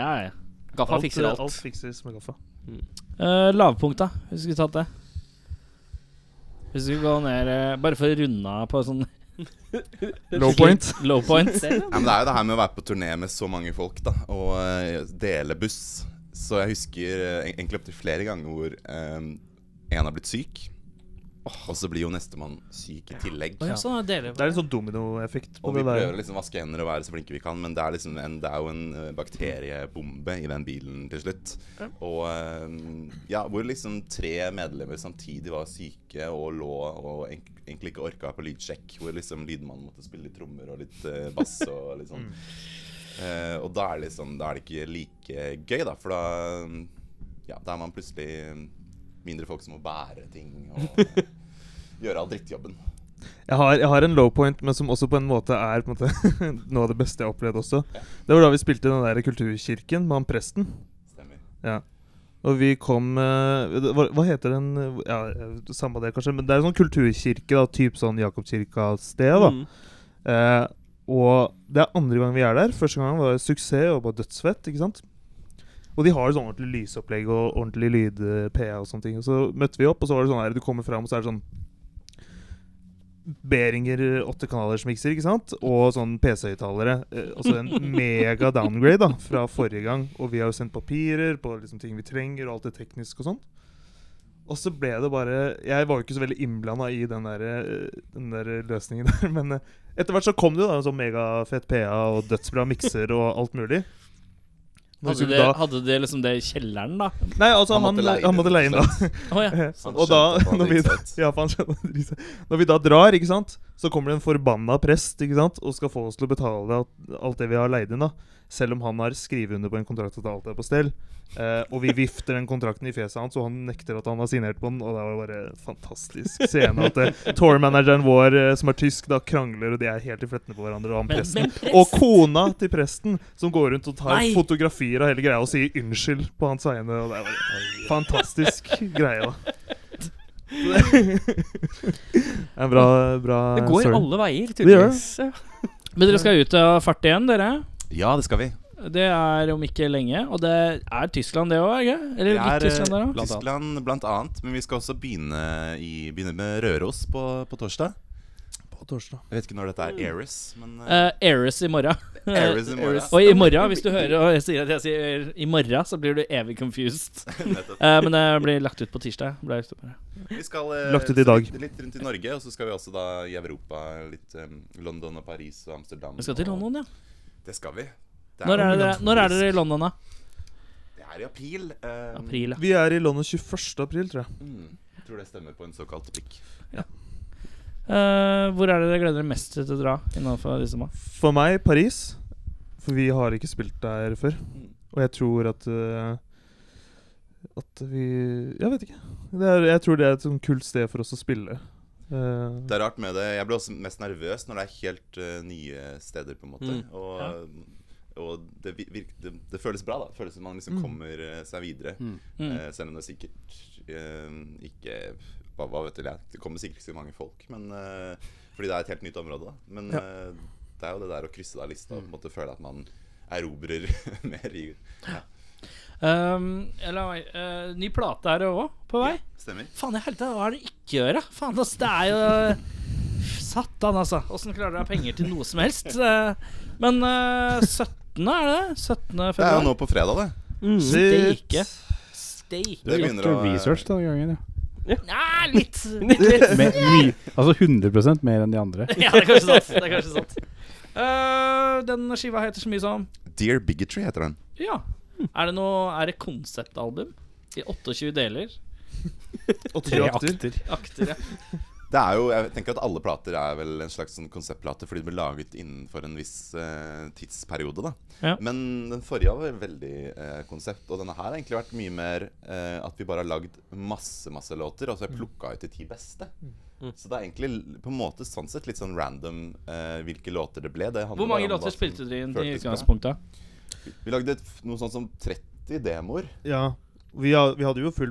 Speaker 2: Ja, ja.
Speaker 4: Gaffa fikser alt.
Speaker 7: alt fikses med gaffa.
Speaker 3: Uh, lavpunkta, hvis vi skulle tatt det. Hvis vi skulle gå ned eh, Bare for å runde av på sånn
Speaker 7: Low point.
Speaker 3: low point.
Speaker 6: Ja, men det er jo det her med å være på turné med så mange folk da, og eh, dele buss. Så jeg husker eh, egentlig opptil flere ganger hvor eh, en har blitt syk, og så blir jo nestemann syk i tillegg.
Speaker 3: Å ja, sånn er
Speaker 7: Det er en sånn dominoeffekt på
Speaker 6: Og vi
Speaker 7: det
Speaker 6: prøver å
Speaker 7: der.
Speaker 6: liksom vaske hender og være så flinke vi kan, men det er, liksom en, det er jo en eh, bakteriebombe i den bilen til slutt. Og eh, ja, hvor liksom tre medlemmer samtidig var syke og lå og en- egentlig ikke orka på lydsjekk. Hvor liksom lydmannen måtte spille litt trommer og litt eh, bass og litt
Speaker 7: Mm.
Speaker 6: sånn. Eh, og da er, det liksom, da er det ikke like gøy, da, for da mm, ja, da er man plutselig mindre folk som må bære ting og eh, gjøre all drittjobben.
Speaker 7: Jeg har, jeg har en low point, men som også på en måte er på en måte noe av det beste jeg har opplevd også. Det var da vi spilte den der kulturkirken med han presten.
Speaker 6: Stemmer.
Speaker 7: Ja. Og vi kom eh, det- hva, hva heter den ja, eh, Samme det, kanskje. Men det er en sånn kulturkirke, da, typ sånn Jakobkirka-sted. da
Speaker 4: Mm.
Speaker 7: Eh, og det er andre gang vi er der. Første gang var det suksess og bare dødsfett. ikke sant? Og de har sånn ordentlig lysopplegg og ordentlig lyd-PA og sånne ting. Og så møtte vi opp, og så var det sånn her Du kommer fram, og så er det sånn Behringer åtte kanalers mikser, ikke sant? Og sånn PC-høyttalere. Eh, altså en mega downgrade da, fra forrige gang. Og vi har jo sendt papirer på liksom ting vi trenger, og alt det tekniske og sånn. Og så ble det bare Jeg var jo ikke så veldig innblanda i den der, eh, den der løsningen der, men eh, etter hvert så kom det jo da en sånn megafett PA og dødsbra mikser og alt mulig. Når vi
Speaker 3: Hadde
Speaker 7: skulle
Speaker 3: det,
Speaker 7: sånn da-
Speaker 3: hadde det liksom det i kjelleren, da?
Speaker 7: Nei, altså,
Speaker 6: Han
Speaker 7: han,
Speaker 6: måtte leie
Speaker 7: han måtte
Speaker 6: det, liksom.
Speaker 7: leie inn, da.
Speaker 3: Å ja.
Speaker 6: Han
Speaker 7: og
Speaker 6: skjønte
Speaker 7: da,
Speaker 6: at han
Speaker 7: når vi,
Speaker 6: hadde gitt seg ut.
Speaker 7: ja, for han skjønte at det gikk seg. når vi da drar, ikke sant, så kommer det en forbanna prest ikke sant, og skal få oss til å betale alt- alt det vi har leid inn, da. Selv om han har skrevet under på en kontrakt at alt er på stell. Eh, og vi vifter den kontrakten i fjeset hans, og han nekter at han har signert på den. Og det var bare en fantastisk scene. At eh, tourmanageren vår, eh, som er tysk, da krangler, og de er helt i flettene på hverandre. Og han
Speaker 3: Men-
Speaker 7: presten
Speaker 3: men prest-
Speaker 7: og kona til presten som går rundt og tar
Speaker 3: Nei.
Speaker 7: fotografier av hele greia og sier unnskyld på hans vegne. Og det er bare fantastisk greie, da. Så Det Det er en bra, bra
Speaker 4: Det går
Speaker 7: story.
Speaker 4: alle veier,
Speaker 7: gjør
Speaker 4: tydeligvis. Ja.
Speaker 3: Men dere skal ut og farte igjen, dere.
Speaker 6: Ja, det skal vi.
Speaker 3: Det er om ikke lenge. Og det er Tyskland, det òg, ikke? Eller
Speaker 6: Det er
Speaker 3: litt Tyskland der
Speaker 6: eh,
Speaker 3: òg?
Speaker 5: også?
Speaker 6: Tyskland blant annet, men vi skal også begynne, i, begynne med Røros på, på torsdag.
Speaker 7: På torsdag.
Speaker 6: Jeg vet ikke når dette er Eris, men
Speaker 3: Uh,
Speaker 6: eh,
Speaker 3: Eris i morgen.
Speaker 6: Eris i morgen.
Speaker 3: Og i morgen, hvis du hører og jeg sier at jeg sier i morgen, så blir du evig confused.
Speaker 6: Nettopp.
Speaker 3: Eh, men det blir lagt ut på tirsdag. Blir lagt ut på det.
Speaker 6: Vi skal eh,
Speaker 7: Lagt ut i dag.
Speaker 6: Litt, litt rundt i Norge, og så skal vi også da i Europa litt eh, London og Paris og Amsterdam.
Speaker 3: Vi skal til
Speaker 6: og-
Speaker 3: London, ja.
Speaker 6: Det skal vi. Det
Speaker 3: Når er,
Speaker 6: jo-
Speaker 3: dere, når er dere i London, da?
Speaker 6: Det er i april. eh,
Speaker 3: April, ja.
Speaker 7: Vi er i London 21. april, tror jeg.
Speaker 6: Mm, jeg tror det stemmer på en såkalt prikk.
Speaker 3: Eh, hvor er det dere gleder dere mest til å dra? Innenfor disse månedene?
Speaker 7: For meg Paris. For vi har ikke spilt der før.
Speaker 6: Mm.
Speaker 7: Og jeg tror at eh, At vi Jeg vet ikke. Det er, jeg tror det er et sånn kult sted for oss å spille. Eh,
Speaker 6: Det er rart med det. Jeg blir også mest nervøs når det er helt eh, nye steder, på en måte.
Speaker 4: Mm.
Speaker 6: Og, og det, vir- virk- det, det føles bra, da. Det føles som man liksom kommer eh, seg videre.
Speaker 3: Mm.
Speaker 6: Eh, selv om det sikkert eh, ikke hva, hva vet jeg, Det kommer sikkert ikke så mange folk, men eh, fordi det er et helt nytt område. da. Men eh, det er jo det der å krysse av lista og på en måte føle at man erobrer mer i
Speaker 3: Um, eller, eh, ny plate er det òg, på vei.
Speaker 6: Stemmer.
Speaker 3: Faen i helvete, hva er det ikke gjør, da? Faen, altså, det er jo Satan, altså. Åssen klarer dere å ha penger til noe som helst? Eh, Men eh, 17. er det? 17.
Speaker 6: Det er jo
Speaker 3: februar?
Speaker 6: nå på fredag, det.
Speaker 3: Mm, Steike. Steike.
Speaker 5: Du har gjort
Speaker 6: begynner å-
Speaker 5: research denne gangen, ja.
Speaker 3: Nei, litt
Speaker 5: Med, mye, altså 100 mer enn de andre.
Speaker 3: Ja, det er kanskje sant. Det er kanskje sant. Eh, den skiva heter så mye som
Speaker 6: Dear Bigotry heter den.
Speaker 3: Ja. Er det noe Er det konseptalbum? I 28 deler?
Speaker 5: Tre akter.
Speaker 3: Akter, ja.
Speaker 6: Det er jo, jeg tenker at Alle plater er vel en slags sånn konseptplate fordi de ble laget innenfor en viss eh, tidsperiode. da
Speaker 3: Ja.
Speaker 6: Men den forrige var veldig eh, konsept, og denne her har egentlig vært mye mer eh, at vi bare har lagd masse masse låter, og så
Speaker 3: Mm.
Speaker 6: har jeg plukka ut de ti beste. Så det er egentlig l- på en måte sånn sett litt sånn random eh, hvilke låter det ble. Det handler
Speaker 3: Hvor mange
Speaker 6: bare om hva
Speaker 3: låter
Speaker 6: som
Speaker 3: spilte dere inn i
Speaker 6: føltes bra.
Speaker 3: utgangspunktet?
Speaker 6: Vi lagde f- noe sånn som 30 demoer.
Speaker 7: ja. Vi, ha- vi hadde jo full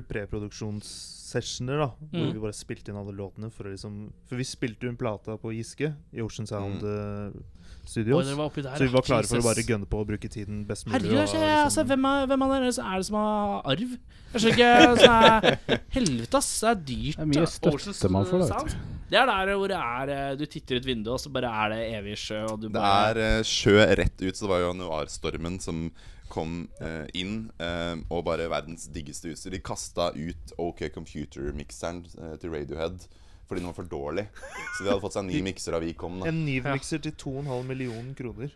Speaker 7: preproduksjonssessioner, da. Hvor
Speaker 3: Mm.
Speaker 7: vi bare spilte inn alle låtene. For, å liksom, for vi spilte jo en plata på Giske, i Ocean Sound eh,
Speaker 3: Oi,
Speaker 7: Studios.
Speaker 3: dere var oppi der,
Speaker 7: så vi
Speaker 3: ja.
Speaker 7: var klare for å
Speaker 3: Jesus.
Speaker 7: bare gunne på og bruke tiden best mulig.
Speaker 3: Herregud,
Speaker 7: og
Speaker 3: altså,
Speaker 7: liksom-
Speaker 3: altså, hvem, er, hvem av dere er det som har arv? Jeg skjønner ikke som er, Helvete, ass. Det er dyrt.
Speaker 5: Det er mye
Speaker 3: da.
Speaker 5: støtte
Speaker 3: Oceans
Speaker 5: man får, da, vet
Speaker 3: Sound. Det er der hvor det er eh, Du titter ut vinduet, og så bare er det evig sjø, og du
Speaker 6: Det
Speaker 3: bare
Speaker 6: er eh, sjø rett ut, så det var jo januarstormen som kom eh, inn. eh, og bare verdens diggeste utstyr. De kasta ut OK Computer-mikseren eh, til Radiohead fordi den var for dårlig. Så de hadde fått seg en ny mikser da vi kom. da
Speaker 7: En Niv-mikser til 2,5 millioner kroner.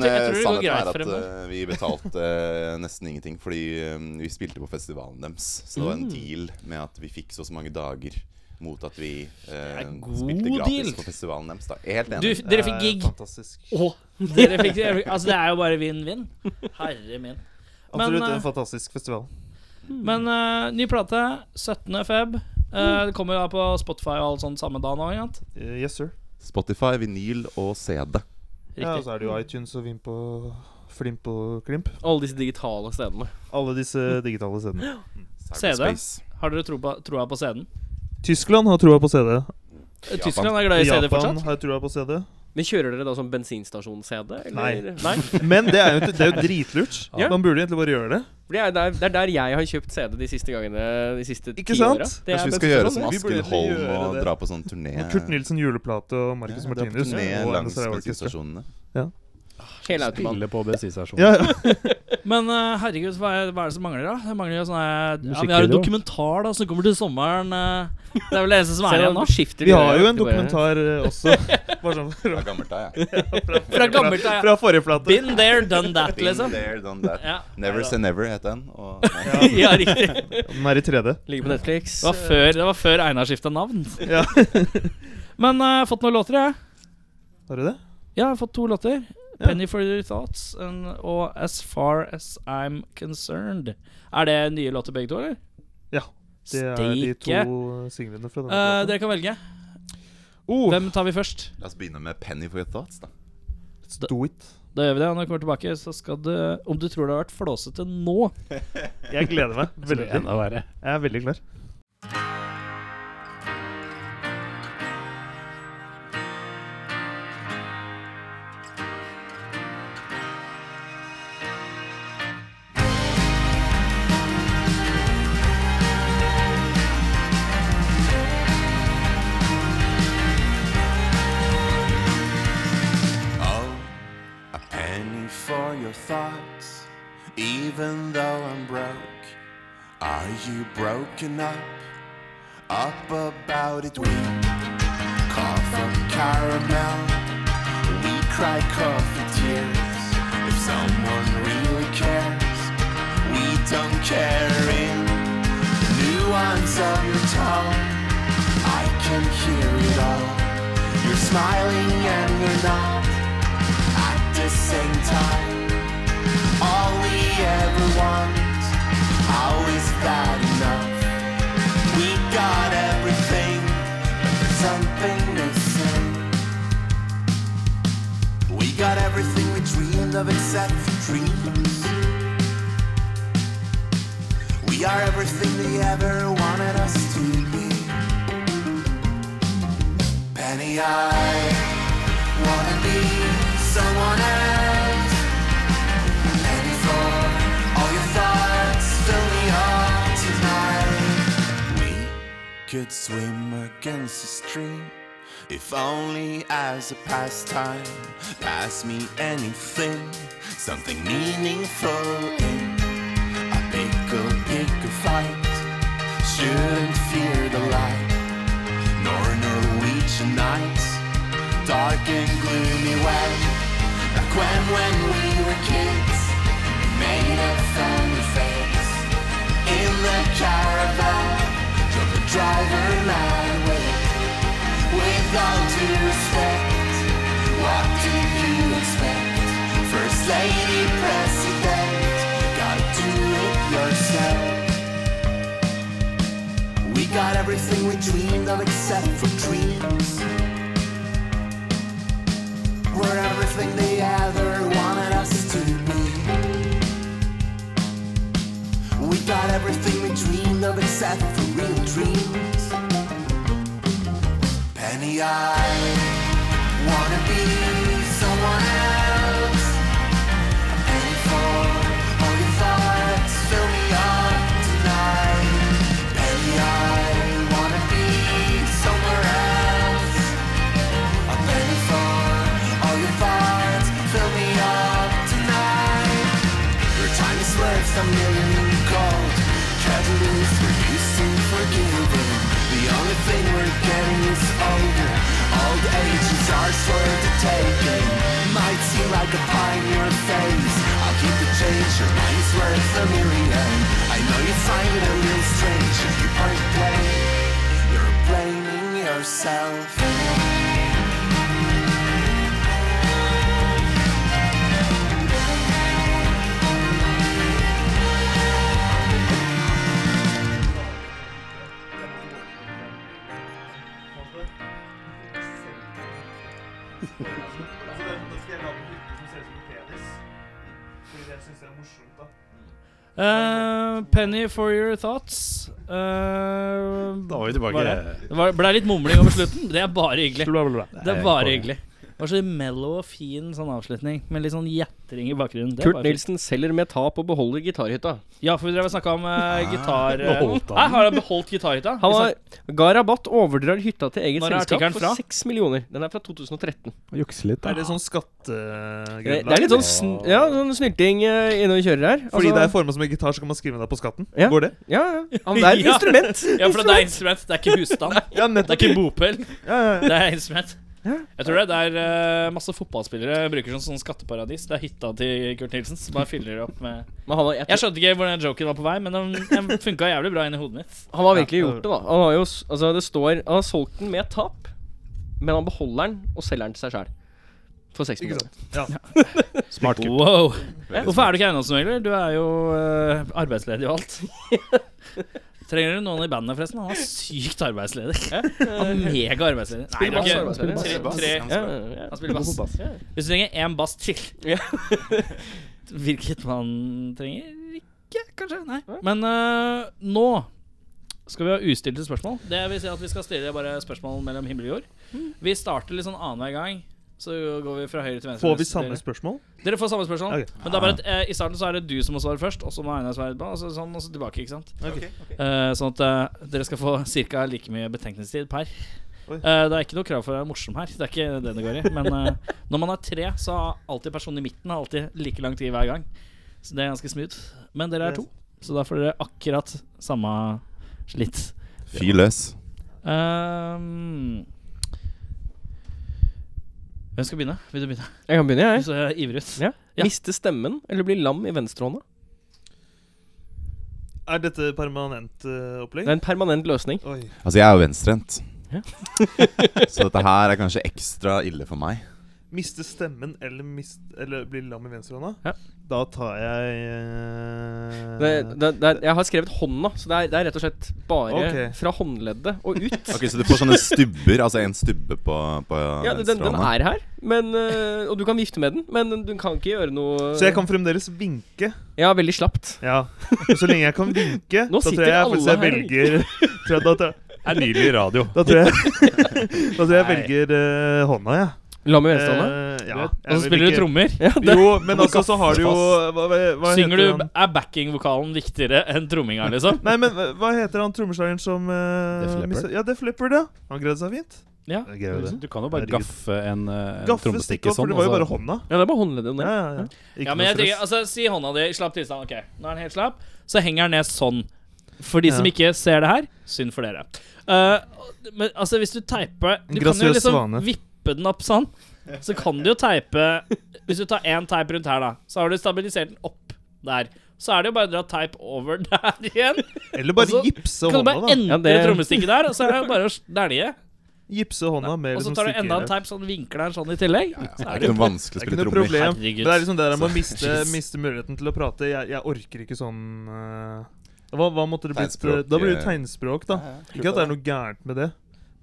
Speaker 3: Jeg tror- jeg
Speaker 6: eh,
Speaker 3: tror det går
Speaker 6: sannheten
Speaker 3: greit
Speaker 6: er at
Speaker 3: for dem, da.
Speaker 6: eh, vi betalte eh, nesten ingenting, fordi eh, vi spilte på festivalen deres. Så det var
Speaker 3: Mm.
Speaker 6: en deal med at vi fikk så og så mange dager mot at vi eh,
Speaker 3: en god
Speaker 6: spilte gratis
Speaker 3: deal.
Speaker 6: på festivalen deres. Da. Jeg er Helt
Speaker 3: du, Dere
Speaker 6: enig.
Speaker 7: Det
Speaker 5: eh,
Speaker 3: fikk
Speaker 7: er
Speaker 3: gig.
Speaker 7: Fantastisk.
Speaker 3: Åh, dere fikk, dere fikk, altså, det er jo bare vinn-vinn. Herre min.
Speaker 7: Absolutt
Speaker 3: eh,
Speaker 7: en fantastisk festival.
Speaker 3: Men eh, ny plate 17. feb. Eh, det kommer jo da på Spotify og alt sånt samme dag nå. Ikke sant?
Speaker 7: Eh, yes, sir.
Speaker 6: Spotify, vinyl og CD.
Speaker 7: Ja, og
Speaker 3: Riktig.
Speaker 4: altså.
Speaker 3: Mm.
Speaker 7: så er det jo iTunes og Vimp og Flimp og Klimp.
Speaker 4: Alle disse digitale stedene.
Speaker 7: Alle disse digitale stedene.
Speaker 6: Cyberspace.
Speaker 3: Har dere tro på, troa på scenen?
Speaker 7: Tyskland har troa på CD.
Speaker 3: Eh, Tyskland er glad i CD
Speaker 7: Japan
Speaker 3: fortsatt?
Speaker 7: har troa på CD.
Speaker 4: Men kjører dere da som bensinstasjon-CD? eller?
Speaker 7: Nei.
Speaker 4: Nei?
Speaker 7: Men det er jo, det er jo dritlurt.
Speaker 4: Ja.
Speaker 7: Man burde egentlig bare gjøre det.
Speaker 4: For Det er der, det er der jeg har kjøpt CD de siste gangene de siste
Speaker 7: Ikke
Speaker 4: ti
Speaker 7: sant?
Speaker 4: åra. Det er
Speaker 6: Kanskje vi skal
Speaker 4: bensinstasjon,
Speaker 6: gjøre som
Speaker 7: Vi burde
Speaker 6: Askild Holm
Speaker 7: egentlig gjøre
Speaker 6: og
Speaker 7: det.
Speaker 6: dra på sånn turné.
Speaker 7: Og Kurt Nilsen juleplate og Marcus
Speaker 6: Ja, dra på
Speaker 7: Martinus.
Speaker 6: turné
Speaker 7: og
Speaker 6: langs
Speaker 7: NSRA Orchestra.
Speaker 6: bensinstasjonene.
Speaker 4: Hele automaten.
Speaker 5: Spille på bensinstasjonen.
Speaker 7: Ja, ja.
Speaker 3: Men eh, herregud, hva er, hva er det som mangler, da? Det mangler jo sånne ja, Vi har en
Speaker 5: Musikkvideo.
Speaker 3: dokumentar da som kommer til sommeren. eh, det er vel det eneste som er
Speaker 4: Se,
Speaker 3: igjen
Speaker 4: nå
Speaker 3: nå.
Speaker 4: skifter
Speaker 7: Vi
Speaker 4: dere
Speaker 7: har jo en
Speaker 4: til bare-
Speaker 7: dokumentar eh, også. Bare sånn
Speaker 6: Det
Speaker 7: fra,
Speaker 6: er gammelt da, jeg.
Speaker 3: Fra gammelt av. ja.
Speaker 7: fra forrige plate.
Speaker 3: Been there, done that,
Speaker 6: Been
Speaker 3: liksom.
Speaker 6: there, done that.
Speaker 3: Ja,
Speaker 6: Never say never het den. Og, nei.
Speaker 3: ja riktig. Det
Speaker 7: Den er i 3D.
Speaker 4: Ligger på Netflix.
Speaker 3: var før, det var før Einar skifta navn.
Speaker 7: Ja.
Speaker 3: Men jeg har fått noen låter, jeg.
Speaker 7: Har du det?
Speaker 3: Ja, jeg har fått to låter.
Speaker 7: Ja.
Speaker 3: 'Penny for Your Thoughts' and, og 'As Far As I'm Concerned'. Er det nye låter begge to, eller?
Speaker 7: Ja, Det er de
Speaker 3: Steike.
Speaker 7: to singlene fra denne
Speaker 3: Eh,
Speaker 7: plata.
Speaker 3: dere kan velge.
Speaker 7: Oh,
Speaker 3: Hvem tar vi først?
Speaker 6: La oss begynne med Penny for your thoughts, da.
Speaker 7: do it.
Speaker 3: Da gjør vi det. og Når vi kommer tilbake, så skal du Om du tror det har vært flåsete nå
Speaker 7: Jeg gleder meg
Speaker 5: Veldig
Speaker 7: veldig.
Speaker 5: enda verre.
Speaker 7: Jeg er veldig klar.
Speaker 8: Oh, a penny for your thoughts, even though I'm broke. Are you broken up? Up about it, we call from caramel. We cry coffee tears. If someone really cares, we don't care in the nuance of your tone. I can hear it all. You're smiling and you're not at the same time. All we ever want, how is that enough? We got everything, but there's something missing. We got everything we dreamed of except for dreams. We are everything they ever wanted us to be. Penny, I wanna be someone else. And before all your thoughts fill me up tonight, we could swim against the stream. If only as a pastime, pass me anything, something meaningful in a pickle, pickle fight. Shouldn't fear the light, nor Norwegian nights dark and gloomy way. Back when, when we were kids, we made a family face. In the caravan, drove the driver mad with. With all due respect, what did you expect? First lady, president, gotta do it yourself. We got everything we dreamed of except for dreams. We're everything they ever wanted us to be. got everything we dreamed of except for real dreams. Penny, I wanna be someone else. A penny for all your thoughts, fill me up tonight. Penny, I wanna be somewhere else. A penny for all your thoughts, fill me up tonight. Your tiny slurps, a million in gold. Tragedies we're used to forgiving. The only thing we're getting is older. Old age is ours for the taking. Might seem like a pie in your face. I'll keep the change, your money's worth a million. I know you find it a little strange if you aren't playing. You're blaming yourself.
Speaker 3: Eh, penny for your thoughts. Eh,
Speaker 5: Da
Speaker 3: var
Speaker 5: var vi tilbake.
Speaker 3: det var, ble litt mumling over slutten. Det er bare hyggelig. Det
Speaker 5: Nei,
Speaker 3: er bare
Speaker 5: jeg-
Speaker 3: hyggelig. Det var så mellow og fin sånn avslutning, med litt sånn gjetring i bakgrunnen. Det er bare
Speaker 4: Kurt
Speaker 3: fint.
Speaker 4: Nilsen selger med tap og beholder gitarhytta.
Speaker 3: Ja, for vi drev og snakka om eh, gitar...
Speaker 5: beholdt han
Speaker 3: Nei, har han beholdt gitarhytta?
Speaker 4: Han har, ga rabatt, overdrar hytta til eget
Speaker 3: Når er
Speaker 4: selskap
Speaker 3: artikkelen
Speaker 4: for
Speaker 3: fra?
Speaker 4: 6 millioner. Den er fra 2013.
Speaker 5: Jukse litt, da.
Speaker 7: Er det sånn
Speaker 4: Det,
Speaker 7: skattegrunnlag?
Speaker 4: det er litt sånn, sn ja, sånn snylting eh, inne og kjører her.
Speaker 7: Fordi
Speaker 4: Altså-
Speaker 7: det er forma som en gitar, så kan man skrive deg på skatten?
Speaker 4: Ja.
Speaker 7: Går det?
Speaker 4: Ja, ja. Han, det er et
Speaker 3: Ja.
Speaker 4: instrument.
Speaker 3: Ja, for det er instrument. Det er ikke husstand.
Speaker 7: Ja,
Speaker 3: Det er ikke bopel.
Speaker 7: Ja, ja, ja.
Speaker 3: Det er instrument. Jeg tror det er der eh, masse fotballspillere bruker som sånn skatteparadis. Det er hytta til Kurt Nilsen som bare fyller opp med
Speaker 4: Men han har, jeg,
Speaker 3: Jeg skjønte ikke hvor den joken var på vei, men den, den funka jævlig bra inni hodet mitt.
Speaker 4: han har virkelig gjort det, da. Han har jo s- Altså, det står Han har solgt den med tap, men han beholder den og selger den til seg sjæl. For 6
Speaker 7: Ikke
Speaker 4: millioner.
Speaker 7: sant. Ja.
Speaker 5: Smart gutt.
Speaker 3: Wow. Hvorfor er du ikke eiendomsmegler? Du er jo eh, arbeidsledig og alt. Trenger du noen i bandet, forresten? Han er sykt arbeidsledig. Han er mega arbeidsledig. Nei, det
Speaker 4: Spiller
Speaker 3: er
Speaker 4: bass,
Speaker 3: ikke
Speaker 4: arbeidsledig.
Speaker 3: tre, tre.
Speaker 4: Ja, ja, ja.
Speaker 3: Han spiller bass.
Speaker 4: Ja.
Speaker 3: Hvis du trenger én bass til
Speaker 4: Ja.
Speaker 3: Hvilket man trenger ikke, kanskje. Nei. Men eh, nå skal vi ha ustilte spørsmål. Det vil si at Vi skal stille bare spørsmål mellom himmel og jord. Vi starter litt sånn annenhver gang. Så går vi fra høyre til venstre.
Speaker 7: Får vi
Speaker 3: mens
Speaker 7: samme
Speaker 3: dere-
Speaker 7: spørsmål?
Speaker 3: Dere får samme spørsmål.
Speaker 7: Ok.
Speaker 3: Men det er bare at eh, i starten så er det du som må svare først, og så må Einar svare etterpå. Og så, sånn, og så tilbake, ikke sant?
Speaker 7: Ok.
Speaker 3: Eh, sånn at eh, dere skal få ca. like mye betenkningstid per.
Speaker 7: Oi.
Speaker 3: Eh, det er ikke noe krav for å være morsom her. Det er ikke det det går i. Men eh, når man er tre, så har alltid personen i midten har alltid like lang tid hver gang. Så det er ganske smooth. Men dere er to, så da får dere akkurat samme slitt.
Speaker 6: Fyr løs.
Speaker 3: Ehm, hvem skal begynne? Vil du begynne?
Speaker 4: Jeg kan begynne,
Speaker 3: Du
Speaker 4: jeg.
Speaker 3: ser ivrig ut.
Speaker 4: Ja.
Speaker 3: Ja.
Speaker 4: Miste stemmen eller bli lam i venstrehånda?
Speaker 7: Er dette permanent eh,
Speaker 4: Det er
Speaker 7: opplegg?
Speaker 4: en permanent løsning.
Speaker 7: Oi.
Speaker 6: Altså, jeg er jo venstrehendt.
Speaker 4: Ja.
Speaker 6: så dette her er kanskje ekstra ille for meg.
Speaker 7: Miste stemmen eller, mist, eller bli lam i venstrehånda?
Speaker 4: Ja.
Speaker 7: Da tar jeg eh,
Speaker 4: Det, det, det, jeg har skrevet hånda, så det er, det er rett og slett bare
Speaker 7: Ok.
Speaker 4: fra håndleddet og ut.
Speaker 6: Ok, Så du får sånne stubber? Altså en stubbe på, på
Speaker 4: Ja, den, den
Speaker 6: venstrehånda?
Speaker 4: er her, men, øh, og du kan vifte med den, men du kan ikke gjøre noe
Speaker 7: Så jeg kan fremdeles vinke.
Speaker 4: Ja, veldig slapt.
Speaker 7: Ja. Så lenge jeg kan vinke,
Speaker 4: Nå
Speaker 7: da tror
Speaker 4: sitter
Speaker 7: jeg
Speaker 4: alle
Speaker 7: faktisk jeg
Speaker 4: her.
Speaker 7: velger tror jeg, da, tar-
Speaker 5: Det er nylig radio.
Speaker 7: da tror jeg, da tror jeg velger eh, hånda, jeg.
Speaker 4: Lam i venstrehånda.
Speaker 7: Eh, ja.
Speaker 3: Og så spiller du trommer.
Speaker 7: trommer. Jo, men altså, så har du jo Hva, hva, hva
Speaker 3: Synger
Speaker 7: heter
Speaker 3: du
Speaker 7: han?
Speaker 3: Er backing-vokalen viktigere enn tromminga, liksom?
Speaker 7: Nei, men hva- hva heter han trommeslageren som eh,
Speaker 5: Def Leppard?
Speaker 7: mista- Ja, Def Leppard, ja. Han greide seg fint.
Speaker 3: Ja.
Speaker 7: Jeg greier det.
Speaker 5: Du kan jo bare
Speaker 7: Herregud.
Speaker 5: gaffe en, eh, en
Speaker 7: Gaffe
Speaker 5: trommestikke
Speaker 7: stikke opp,
Speaker 5: sånn.
Speaker 7: for det var jo
Speaker 5: og
Speaker 7: bare
Speaker 5: så-
Speaker 7: hånda.
Speaker 4: Ja, det er bare håndleddet om
Speaker 7: Ja,
Speaker 4: det.
Speaker 7: ja, ja.
Speaker 3: ja,
Speaker 7: Ikke
Speaker 3: men
Speaker 7: noe
Speaker 3: jeg tenker,
Speaker 7: stress.
Speaker 3: altså, Si hånda di i slapp tilstand. Ok, nå er den helt slapp. Så henger den ned sånn. For de
Speaker 7: Ja.
Speaker 3: som ikke ser det her, synd for dere. Eh, men altså, hvis du teiper Du kan jo
Speaker 7: Grasiøs
Speaker 3: liksom
Speaker 7: svane.
Speaker 3: vippe den opp sånn. Så kan du jo teipe Hvis du tar én teip rundt her, da, så har du stabilisert den opp der. Så er det jo bare å dra teip over der igjen.
Speaker 7: Eller bare
Speaker 3: altså,
Speaker 7: gipse
Speaker 3: Kan du
Speaker 7: hånda,
Speaker 3: bare
Speaker 7: da.
Speaker 3: endre
Speaker 4: Ja, det-
Speaker 3: trommestikket der, og så er det jo bare å dælje.
Speaker 7: Gipse hånda med
Speaker 3: Og så
Speaker 7: liksom
Speaker 3: tar du enda en
Speaker 7: stikkere.
Speaker 3: teip sånn vinkler den sånn i tillegg.
Speaker 6: Det
Speaker 3: Så
Speaker 6: er
Speaker 3: er
Speaker 6: ikke
Speaker 3: det
Speaker 6: noe vanskelig å
Speaker 7: Det er ikke
Speaker 6: spille
Speaker 7: noe
Speaker 6: trommer.
Speaker 7: problem.
Speaker 3: Herregud.
Speaker 7: Men det er liksom det der med å miste,
Speaker 6: Jeez.
Speaker 7: miste muligheten til å prate. Jeg, jeg orker ikke sånn eh, hva, hva måtte det blitt?
Speaker 6: Tegnspråk,
Speaker 7: Da blir det
Speaker 6: eh.
Speaker 7: tegnspråk, da. Ikke at det er noe gærent med det,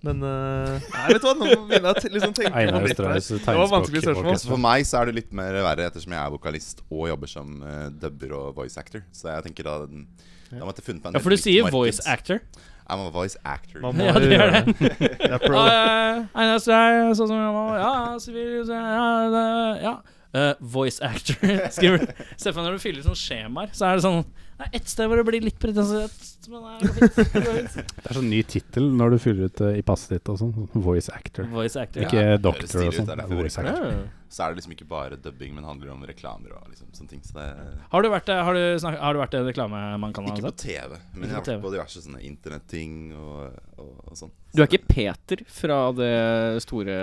Speaker 7: men eh, Nei, vet du hva, nå begynner jeg å te- liksom tenke på
Speaker 5: Einar
Speaker 7: litt her.
Speaker 5: Østerhøys
Speaker 7: Det var vanskelig spørsmål.
Speaker 6: Altså For meg så er det litt mer verre ettersom jeg er vokalist og jobber som eh, dubber og voice actor. Så jeg tenker da den, Da måtte jeg funnet meg en
Speaker 3: Ja, for du
Speaker 6: helt nytt
Speaker 3: sier
Speaker 6: marked.
Speaker 3: voice actor.
Speaker 6: I'm a voice actor.
Speaker 7: Man må
Speaker 3: Ja,
Speaker 7: jo
Speaker 3: det gjør
Speaker 7: gjøre det. Det er pro.
Speaker 3: Uh, Einar Strei, sånn som han var. Ja, sivil så- Ja. det- ja. Eh, voice actor. Skriver Se for deg når du fyller ut sånne skjemaer, så er det sånn Det er ett sted hvor det blir litt pretensiøst, men det er fint. Det går fint.
Speaker 5: Det er sånn ny tittel når du fyller ut eh, i passet ditt og sånn. Voice actor.
Speaker 3: Voice actor.
Speaker 5: Ikke
Speaker 6: Ja, det høres
Speaker 5: doctor og
Speaker 6: stilig ut,
Speaker 5: sånn.
Speaker 6: det er derfor
Speaker 5: Voice
Speaker 6: jeg bruker
Speaker 5: actor.
Speaker 3: Ja.
Speaker 6: Så er det liksom ikke bare dubbing, men handler om reklamer og liksom sånne ting. Så det
Speaker 3: Har du vært eh, har du snak, har du vært i en reklame man kan ha
Speaker 6: Ikke
Speaker 3: sett?
Speaker 6: på TV,
Speaker 3: altså. Ikke
Speaker 6: men jeg
Speaker 3: på
Speaker 6: har vært
Speaker 3: TV.
Speaker 6: på diverse sånne internetting og, og, og sånn.
Speaker 4: Du er ikke Peter fra det store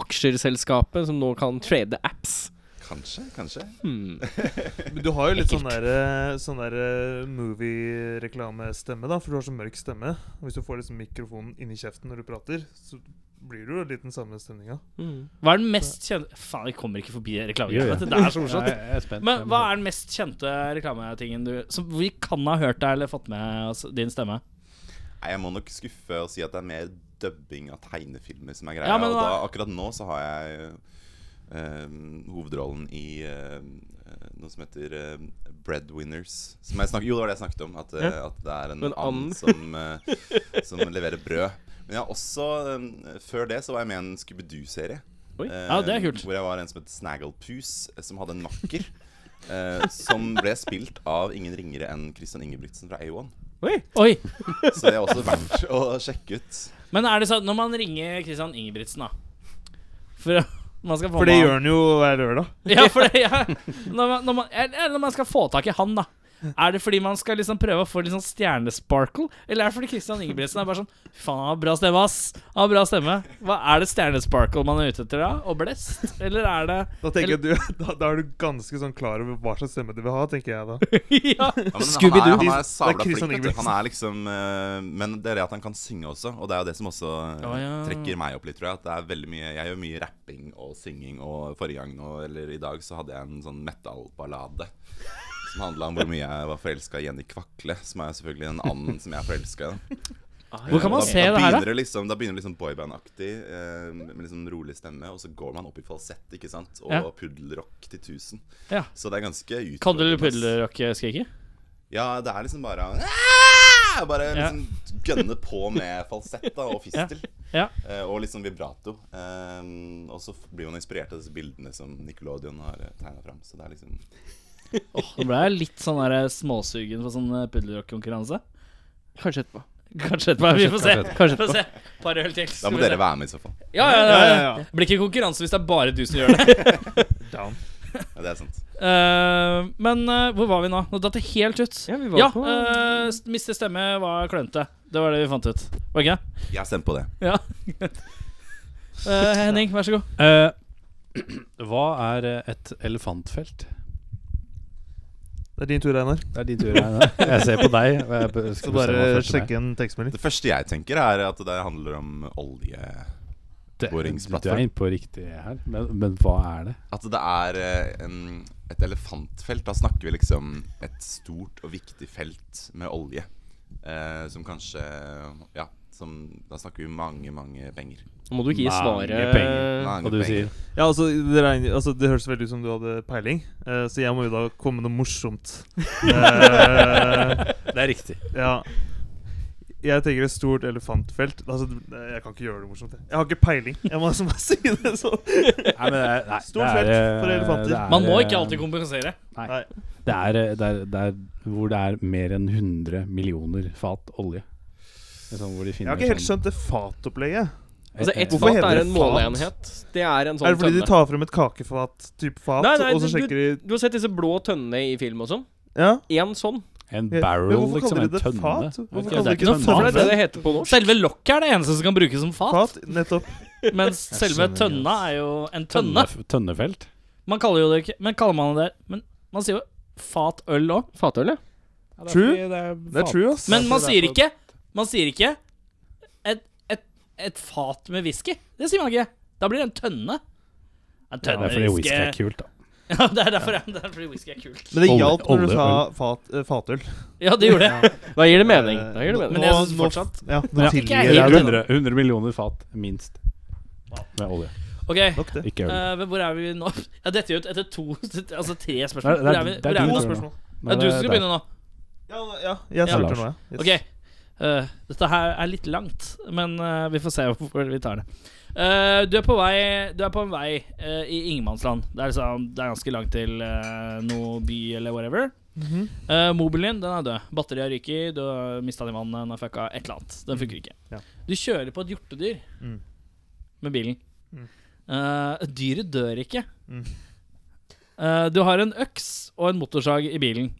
Speaker 4: aksjerselskapet som nå kan trade apps?
Speaker 6: Kanskje, kanskje.
Speaker 4: Hmm.
Speaker 7: Men Du har jo litt sånn der, eh, sånn der eh, movie-reklamestemme, da, for du har så mørk stemme. Og Hvis du får liksom mikrofonen inni kjeften når du prater, så blir du jo litt den samme stemninga.
Speaker 4: Hmm.
Speaker 3: Hva er den mest kjente Faen, jeg kommer ikke forbi
Speaker 5: Jo, jo.
Speaker 3: reklamegreiene. Det er så
Speaker 5: Nei,
Speaker 3: morsomt.
Speaker 5: jeg er spent.
Speaker 3: Men hva er den mest kjente reklametingen du Som vi kan ha hørt deg eller fått med oss din stemme?
Speaker 6: Nei, jeg må nok skuffe og si at det er mer dubbing av tegnefilmer som er greia.
Speaker 3: Ja, men
Speaker 6: og
Speaker 3: hva-
Speaker 6: da, akkurat nå så har jeg eh, hovedrollen i eh, eh, noe som heter eh, Breadwinners. Som jeg snakket, jo, det var det jeg snakket om. At, eh, at det er en
Speaker 4: Men
Speaker 6: and
Speaker 4: and.
Speaker 6: som, eh, som leverer brød. Men jeg har også eh, Før det så var jeg med i en Scooby-Doo-serie.
Speaker 4: Oi.
Speaker 6: Eh,
Speaker 3: Ja, det er kult.
Speaker 6: Hvor jeg var en som het Snagglepuss, eh, som hadde en makker. eh, som ble spilt av ingen ringere enn Christian Ingebrigtsen fra A1.
Speaker 3: Oi!
Speaker 6: Så det er også verdt å sjekke ut.
Speaker 3: Men er det sånn når man ringer Christian Ingebrigtsen, da For man skal få
Speaker 7: For det
Speaker 3: med
Speaker 7: gjør han jo hver lørdag.
Speaker 3: han Ja, for det ja. Når, man, når, man, eller når man skal få tak i han, da. Er det fordi man skal liksom prøve å få litt sånn stjernesparkle? Eller er det fordi Christian Ingebrigtsen er bare sånn Fy faen, han har bra stemme, ass. Han har bra stemme. Hva Er det stjernesparkle man er ute etter da? Og blest? Eller er det
Speaker 7: Da tenker jeg du, da, da er du ganske sånn klar over hva slags stemme du vil ha, tenker jeg da.
Speaker 3: Ja.
Speaker 6: Ja, men han er,
Speaker 4: Scooby-Doo.
Speaker 6: han er
Speaker 7: Det
Speaker 6: sabla
Speaker 7: er
Speaker 6: flink. vet du.
Speaker 7: Christian
Speaker 6: Han
Speaker 7: Ingebrigtsen.
Speaker 6: er liksom eh, Men det er det at han kan synge også, og det er jo det som også eh,
Speaker 3: Å, ja.
Speaker 6: trekker meg opp litt, tror jeg. At det er veldig mye Jeg gjør mye rapping og synging, og forrige gang nå, eller i dag, så hadde jeg en sånn metal-ballade. Som handla om hvor mye jeg var forelska i Jenny Kvakle, som er selvfølgelig en annen som jeg er forelska i.
Speaker 3: Ah, Hvor kan man
Speaker 6: da,
Speaker 3: se det her, da?
Speaker 6: begynner liksom, da begynner det liksom boyband-aktig, eh, med liksom rolig stemme, og så går man opp i falsett, ikke sant, og
Speaker 3: Ja.
Speaker 6: puddelrock til 1000.
Speaker 3: Ja.
Speaker 6: Så det er ganske
Speaker 3: Kan du
Speaker 6: utfordrende, ass.
Speaker 3: puddelrock-skriket?
Speaker 6: Ja, det er liksom bare «Aah!» Bare liksom gønne på med falsett da, og fistel.
Speaker 3: Ja.
Speaker 6: Eh, og litt sånn vibrato. Ehm, og så f- blir man inspirert av disse bildene som Nicolodion har tegna fram. Så det er liksom
Speaker 3: Nå ble jeg litt sånn der småsugen på sånn eh, puddelrock-konkurranse.
Speaker 4: Kanskje etterpå.
Speaker 3: Kanskje etterpå. Vi får se.
Speaker 4: Kanskje
Speaker 3: Få
Speaker 4: etterpå.
Speaker 3: se. Par øl til.
Speaker 6: Da må dere være med, i så fall.
Speaker 3: Ja, ja, ja, ja.
Speaker 7: ja.
Speaker 3: Det blir ikke konkurranse hvis det er bare du som gjør det.
Speaker 7: Down.
Speaker 6: Ja, det er sant.
Speaker 3: Eh, men eh, hvor var vi nå? Nå datt det helt ut.
Speaker 4: Ja, vi var
Speaker 3: Ja,
Speaker 4: på
Speaker 3: eh, s- miste stemme var klønete. Det var det vi fant ut. Var det ikke?
Speaker 6: Jeg har stemt på det.
Speaker 3: Ja. Eh, Henning, vær så god.
Speaker 5: Eh, hva er eh, et elefantfelt?
Speaker 7: Det er din tur, Einar.
Speaker 5: Det er din tur, Einar. Jeg ser på deg. Og jeg b-
Speaker 7: Så
Speaker 5: skal bestemme
Speaker 7: bare
Speaker 5: hva første
Speaker 7: sjekke en tekstmelding.
Speaker 6: Det første jeg tenker, er at det handler om olje.
Speaker 5: Det-
Speaker 6: boringsplattform.
Speaker 5: Du er inne på riktig her, men, men hva er det?
Speaker 6: At det er eh, en, et elefantfelt. Da snakker vi liksom et stort og viktig felt med olje. Eh, som kanskje Ja, som, da snakker vi mange, mange penger.
Speaker 4: Nå må du ikke gi
Speaker 5: Mange
Speaker 4: svaret.
Speaker 7: Eh,
Speaker 5: penger.
Speaker 6: Mange
Speaker 5: Og du
Speaker 6: penger.
Speaker 5: sier
Speaker 7: Ja, altså det, regner, altså, det høres veldig ut som du hadde peiling, eh, så jeg må jo da komme med noe morsomt. Eh,
Speaker 5: Det er riktig.
Speaker 7: ja. Jeg tenker et stort elefantfelt. Altså, det- jeg kan ikke gjøre det morsomt. Jeg, jeg har ikke peiling. Jeg må liksom bare si det sånn.
Speaker 5: Nei, men det er, nei,
Speaker 7: Stort
Speaker 5: det er,
Speaker 7: felt
Speaker 5: eh,
Speaker 7: for elefanter.
Speaker 5: det er,
Speaker 3: Man må ikke
Speaker 5: eh,
Speaker 3: alltid kompensere.
Speaker 7: Nei.
Speaker 5: Det er, eh, det, er, det er hvor det er mer enn 100 millioner fat olje. Det er sånn hvor de
Speaker 7: Jeg
Speaker 5: finner
Speaker 7: har ikke helt
Speaker 5: sånn-
Speaker 7: skjønt det fatopplegget.
Speaker 4: Altså, ett
Speaker 7: Eh, Hvorfor
Speaker 4: fat
Speaker 7: heter
Speaker 4: er
Speaker 7: det
Speaker 4: en
Speaker 7: fat?
Speaker 4: måleenhet. Det er en sånn
Speaker 7: Er det fordi de
Speaker 4: tønne.
Speaker 7: tar frem et kakefat, type fat,
Speaker 4: Nei, nei,
Speaker 7: og så
Speaker 4: du-
Speaker 7: sjekker de
Speaker 4: Du har sett disse blå tønnene i film og sånn?
Speaker 7: Ja?
Speaker 4: Én sånn.
Speaker 5: En
Speaker 7: Ja, men
Speaker 5: barrel,
Speaker 7: hvorfor
Speaker 5: liksom.
Speaker 7: kaller
Speaker 5: En
Speaker 7: de det
Speaker 5: tønne.
Speaker 7: fat?
Speaker 5: Jeg vet
Speaker 7: Hvorfor
Speaker 5: ikke, det
Speaker 7: kaller de
Speaker 5: er
Speaker 7: det
Speaker 5: ikke
Speaker 4: For
Speaker 5: tønne.
Speaker 4: det er det det heter på norsk.
Speaker 3: Selve lokket er det eneste som kan brukes som fat.
Speaker 7: Fat? Nettopp.
Speaker 3: Mens selve
Speaker 7: skjønner,
Speaker 3: tønna er jo en tønne.
Speaker 5: Tønne- Tønnefelt.
Speaker 3: Man kaller jo det ikke Men kaller man det Men man sier jo fatøl òg.
Speaker 4: Fatøl, ja.
Speaker 5: det er
Speaker 7: True.
Speaker 5: fordi Det er,
Speaker 7: Det er
Speaker 5: fat.
Speaker 7: true, ass.
Speaker 3: Men man sier ikke Man sier ikke et, et, et fat med whisky. Det sier man ikke. Da blir det en tønne. En
Speaker 5: Det er
Speaker 3: tønne
Speaker 5: fordi whisky er kult, da.
Speaker 3: Ja, det er derfor det er fordi whisky er kult.
Speaker 7: Men det
Speaker 5: Olje-
Speaker 7: hjalp når du
Speaker 5: olje-
Speaker 7: sa fat, eh, fatøl.
Speaker 3: Ja, det gjorde det.
Speaker 4: Da gir det mening. Da gir det
Speaker 7: Nå-
Speaker 4: mening.
Speaker 3: Men jeg
Speaker 7: nå-
Speaker 3: synes
Speaker 7: nå-
Speaker 3: fortsatt-
Speaker 7: Ja,
Speaker 5: Ja.
Speaker 7: nå
Speaker 3: Ikke
Speaker 7: tilgir
Speaker 3: jeg
Speaker 7: jeg
Speaker 3: helt
Speaker 7: det.
Speaker 5: 100, 100 millioner fat, minst. Med olje.
Speaker 3: OK,
Speaker 7: Nok det.
Speaker 5: Ikke øl.
Speaker 3: eh, men hvor er vi nå? Jeg detter jo ut etter to Altså tre
Speaker 5: Nei,
Speaker 3: spørsmål. Hvor
Speaker 5: det er-
Speaker 3: er vi?
Speaker 5: det er
Speaker 3: Hvor er
Speaker 5: din
Speaker 3: vi
Speaker 7: To
Speaker 3: nå?
Speaker 5: tur nå.
Speaker 7: spørsmål.
Speaker 5: Nei,
Speaker 3: Ja, du
Speaker 5: eh, det er
Speaker 3: skal
Speaker 5: deg.
Speaker 3: begynne nå.
Speaker 7: Ja, ja jeg
Speaker 3: Ja,
Speaker 7: starter
Speaker 2: Lars.
Speaker 7: nå, ja. Yes.
Speaker 3: Ok, eh, dette her er litt langt, men eh, vi får se hvor vi tar det. Eh, du, er på vei, du er på en vei eh, i ingenmannsland. Det, er liksom, det er ganske langt til eh, noe by eller whatever.
Speaker 7: Mhm.
Speaker 3: Eh, mobilen din den er død. Batteriet ryker, du har mista den i vannet, den har fucka et eller annet. Den funker ikke.
Speaker 7: Mhm. Ja.
Speaker 3: Du kjører på et hjortedyr
Speaker 7: Mm.
Speaker 3: med bilen.
Speaker 7: Mm.
Speaker 3: Eh, dyret dør ikke.
Speaker 7: Mm.
Speaker 3: Eh, du har en øks og en motorsag i bilen.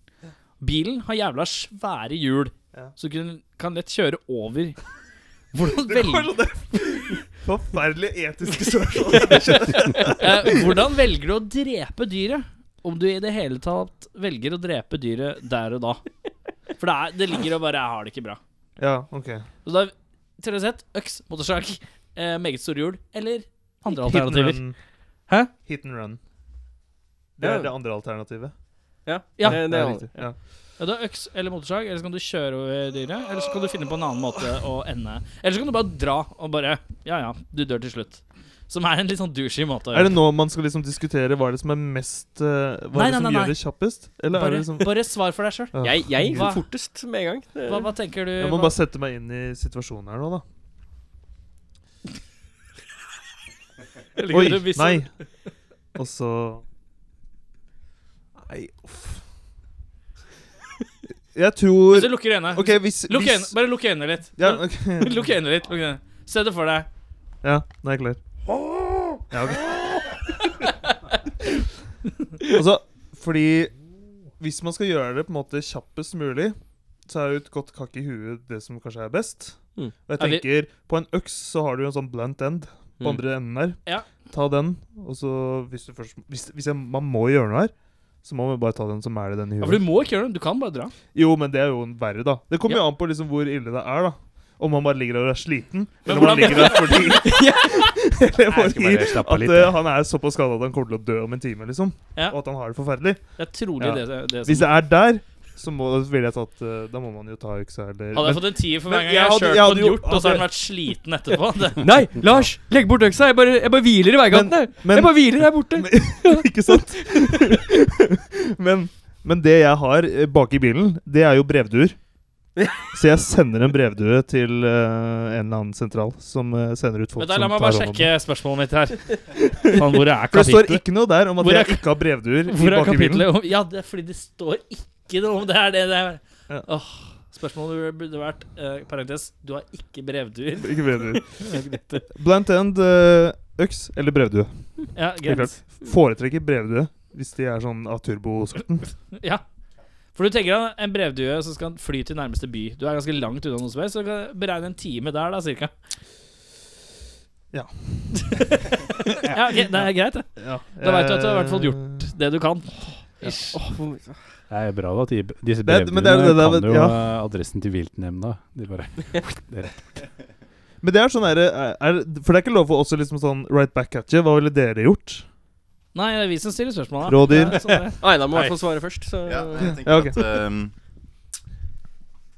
Speaker 3: Bilen har jævla svære hjul,
Speaker 7: Ja.
Speaker 3: så du kan- kan lett kjøre over. Hvordan, velger,
Speaker 7: sånn- Forferdelig etiske spørsmål.
Speaker 3: eh, hvordan velger du å drepe dyret? Om du i det hele tatt velger å drepe dyret der og da. For det, er, det ligger og bare Jeg har det ikke bra.
Speaker 7: ja, ok.
Speaker 3: Så da Tredje sett, øks, motorsag, eh, meget store hjul eller andre
Speaker 7: Hit and
Speaker 3: alternativer.
Speaker 7: run.
Speaker 3: Hæ?
Speaker 7: Hit and run. Det er
Speaker 4: Ja.
Speaker 7: det andre alternativet.
Speaker 4: Ja,
Speaker 3: Ja.
Speaker 4: Eh, det, det
Speaker 7: det
Speaker 4: er
Speaker 7: riktig. Ja.
Speaker 3: Ja, du har øks eller motorsag, eller så kan du kjøre over dyret. Eller så kan du finne på en annen måte å ende Eller så kan du bare dra og bare Ja ja, du dør til slutt. Som er en litt sånn douchey måte å
Speaker 7: Er det nå man skal liksom diskutere hva er det som er mest eh, Hva
Speaker 3: Nei, nei,
Speaker 7: er det som
Speaker 3: nei,
Speaker 7: gjør det kjappest? Eller er
Speaker 3: Bare,
Speaker 7: det liksom
Speaker 3: bare svar for deg sjøl.
Speaker 7: Ah,
Speaker 4: Jeg, jeg
Speaker 3: Hva-
Speaker 4: gikk fortest med en gang. Det-
Speaker 3: Hva, hva tenker du?
Speaker 7: Jeg må
Speaker 3: hva-
Speaker 7: bare sette meg inn i situasjonen her nå, da.
Speaker 3: jeg liker det
Speaker 7: Oi,
Speaker 3: hvis-
Speaker 7: nei! Og så Nei, uff. Jeg
Speaker 3: Hvis
Speaker 7: tror
Speaker 3: du lukker øynene
Speaker 7: OK, hvis,
Speaker 3: lukk
Speaker 7: hvis
Speaker 3: øynene Bare lukk øynene litt.
Speaker 7: ja, ok.
Speaker 3: Lukk øynene litt. Lukk øynene. Se det for deg.
Speaker 7: ja, nå er jeg klar. Ja, ok. Altså, fordi Hvis man skal gjøre det på en måte kjappest mulig, så er jo et godt kakk i huet det som kanskje er best.
Speaker 4: Mm.
Speaker 7: Og jeg
Speaker 3: Ja, vi-
Speaker 7: tenker, på en øks så har du jo en sånn blunt end
Speaker 4: Mm.
Speaker 7: på andre enden der.
Speaker 3: Ja.
Speaker 7: Ta den, og så Hvis, du først, hvis, hvis jeg, man må gjøre noe her, så må man bare ta den som er det den i
Speaker 3: Ja,
Speaker 7: huet.
Speaker 3: for du må ikke gjøre det. Du kan bare dra.
Speaker 7: Jo, men det er jo en verre, da. Det kommer jo an på liksom hvor ille det er, da. Om han bare ligger der og er sliten,
Speaker 3: Men
Speaker 7: eller om han
Speaker 3: hvordan-
Speaker 7: ligger der fordi Eller
Speaker 5: Jeg skal
Speaker 7: fordi
Speaker 5: bare slappe av
Speaker 7: at
Speaker 5: litt,
Speaker 7: eh,
Speaker 5: jeg.
Speaker 7: han er såpass skada at han kommer til å dø om en time, liksom.
Speaker 3: Ja.
Speaker 7: Og at han har det forferdelig.
Speaker 3: Det er trolig
Speaker 7: Ja.
Speaker 3: det, det
Speaker 7: Hvis
Speaker 3: som
Speaker 7: det er der, så må, ville jeg tatt eh, Da må man jo ta øksa,
Speaker 3: Hadde jeg
Speaker 7: eller men-
Speaker 3: fått en tier for
Speaker 7: Men
Speaker 3: hver gang
Speaker 7: jeg
Speaker 3: jeg har
Speaker 7: hadde-
Speaker 3: kjørt
Speaker 7: jeg
Speaker 3: på
Speaker 7: hadde
Speaker 3: en
Speaker 7: jo-
Speaker 3: hjort, og så har
Speaker 7: hadde-
Speaker 3: den vært sliten etterpå. Det.
Speaker 4: Nei, Lars! Legg bort øksa! Jeg bare, jeg bare hviler i veigata. jeg.
Speaker 7: men-
Speaker 4: Jeg bare hviler her borte.
Speaker 7: Men- Ikke sant? men, men det jeg har eh, bak i bilen, det er jo brevduer. Så jeg sender en brevdue til eh, en eller annen sentral som eh, sender ut folk
Speaker 3: Men da, la
Speaker 7: som
Speaker 3: meg bare
Speaker 7: hånd om den.
Speaker 3: sjekke spørsmålet mitt her. Faen, hvor er
Speaker 7: For det står
Speaker 3: kapitlet?
Speaker 7: ikke noe der om at
Speaker 3: Hvor er
Speaker 7: jeg ikke har brevduer i
Speaker 3: Hvor er
Speaker 7: bak i bilen.
Speaker 3: kapitlet? om- Ja, det er fordi det står ikke noe om det her. Det, det er.
Speaker 7: Ja.
Speaker 3: Åh, spørsmålet burde vært eh, Parentes, du har ikke brevduer.
Speaker 7: Ikke brevduer. Blant end eh, øks eller brevdue.
Speaker 3: Ja,
Speaker 7: Helt
Speaker 3: greit.
Speaker 7: klart. Foretrekker brevdue hvis de er sånn av turbosorten.
Speaker 3: Ja. For du tenker deg en brevdue som skal fly til nærmeste by. Du er ganske langt unna noe som helst, så du kan beregne en time der, da, cirka.
Speaker 7: Ja.
Speaker 3: ja, ok, det er greit, det.
Speaker 7: Ja.
Speaker 3: Da vet du at du har i hvert fall
Speaker 7: gjort
Speaker 3: Det du kan. altså.
Speaker 5: Det er bra da, at de, disse
Speaker 7: Det er-
Speaker 5: brevduene
Speaker 7: men det er det der,
Speaker 5: kan jo
Speaker 7: ja.
Speaker 5: eh, adressen til viltnemnda. De bare
Speaker 7: Men det er sånn der, eh, er, For det er ikke lov for oss å liksom sånn right back at you. Hva ville dere gjort?
Speaker 3: Nei, det er vi som stiller spørsmål. da.
Speaker 7: Rådyr.
Speaker 3: Ja, sånn er det.
Speaker 4: Einar må i hvert fall svare først. Så.
Speaker 6: Ja, jeg tenker
Speaker 7: Ja, ok.
Speaker 6: at ehm,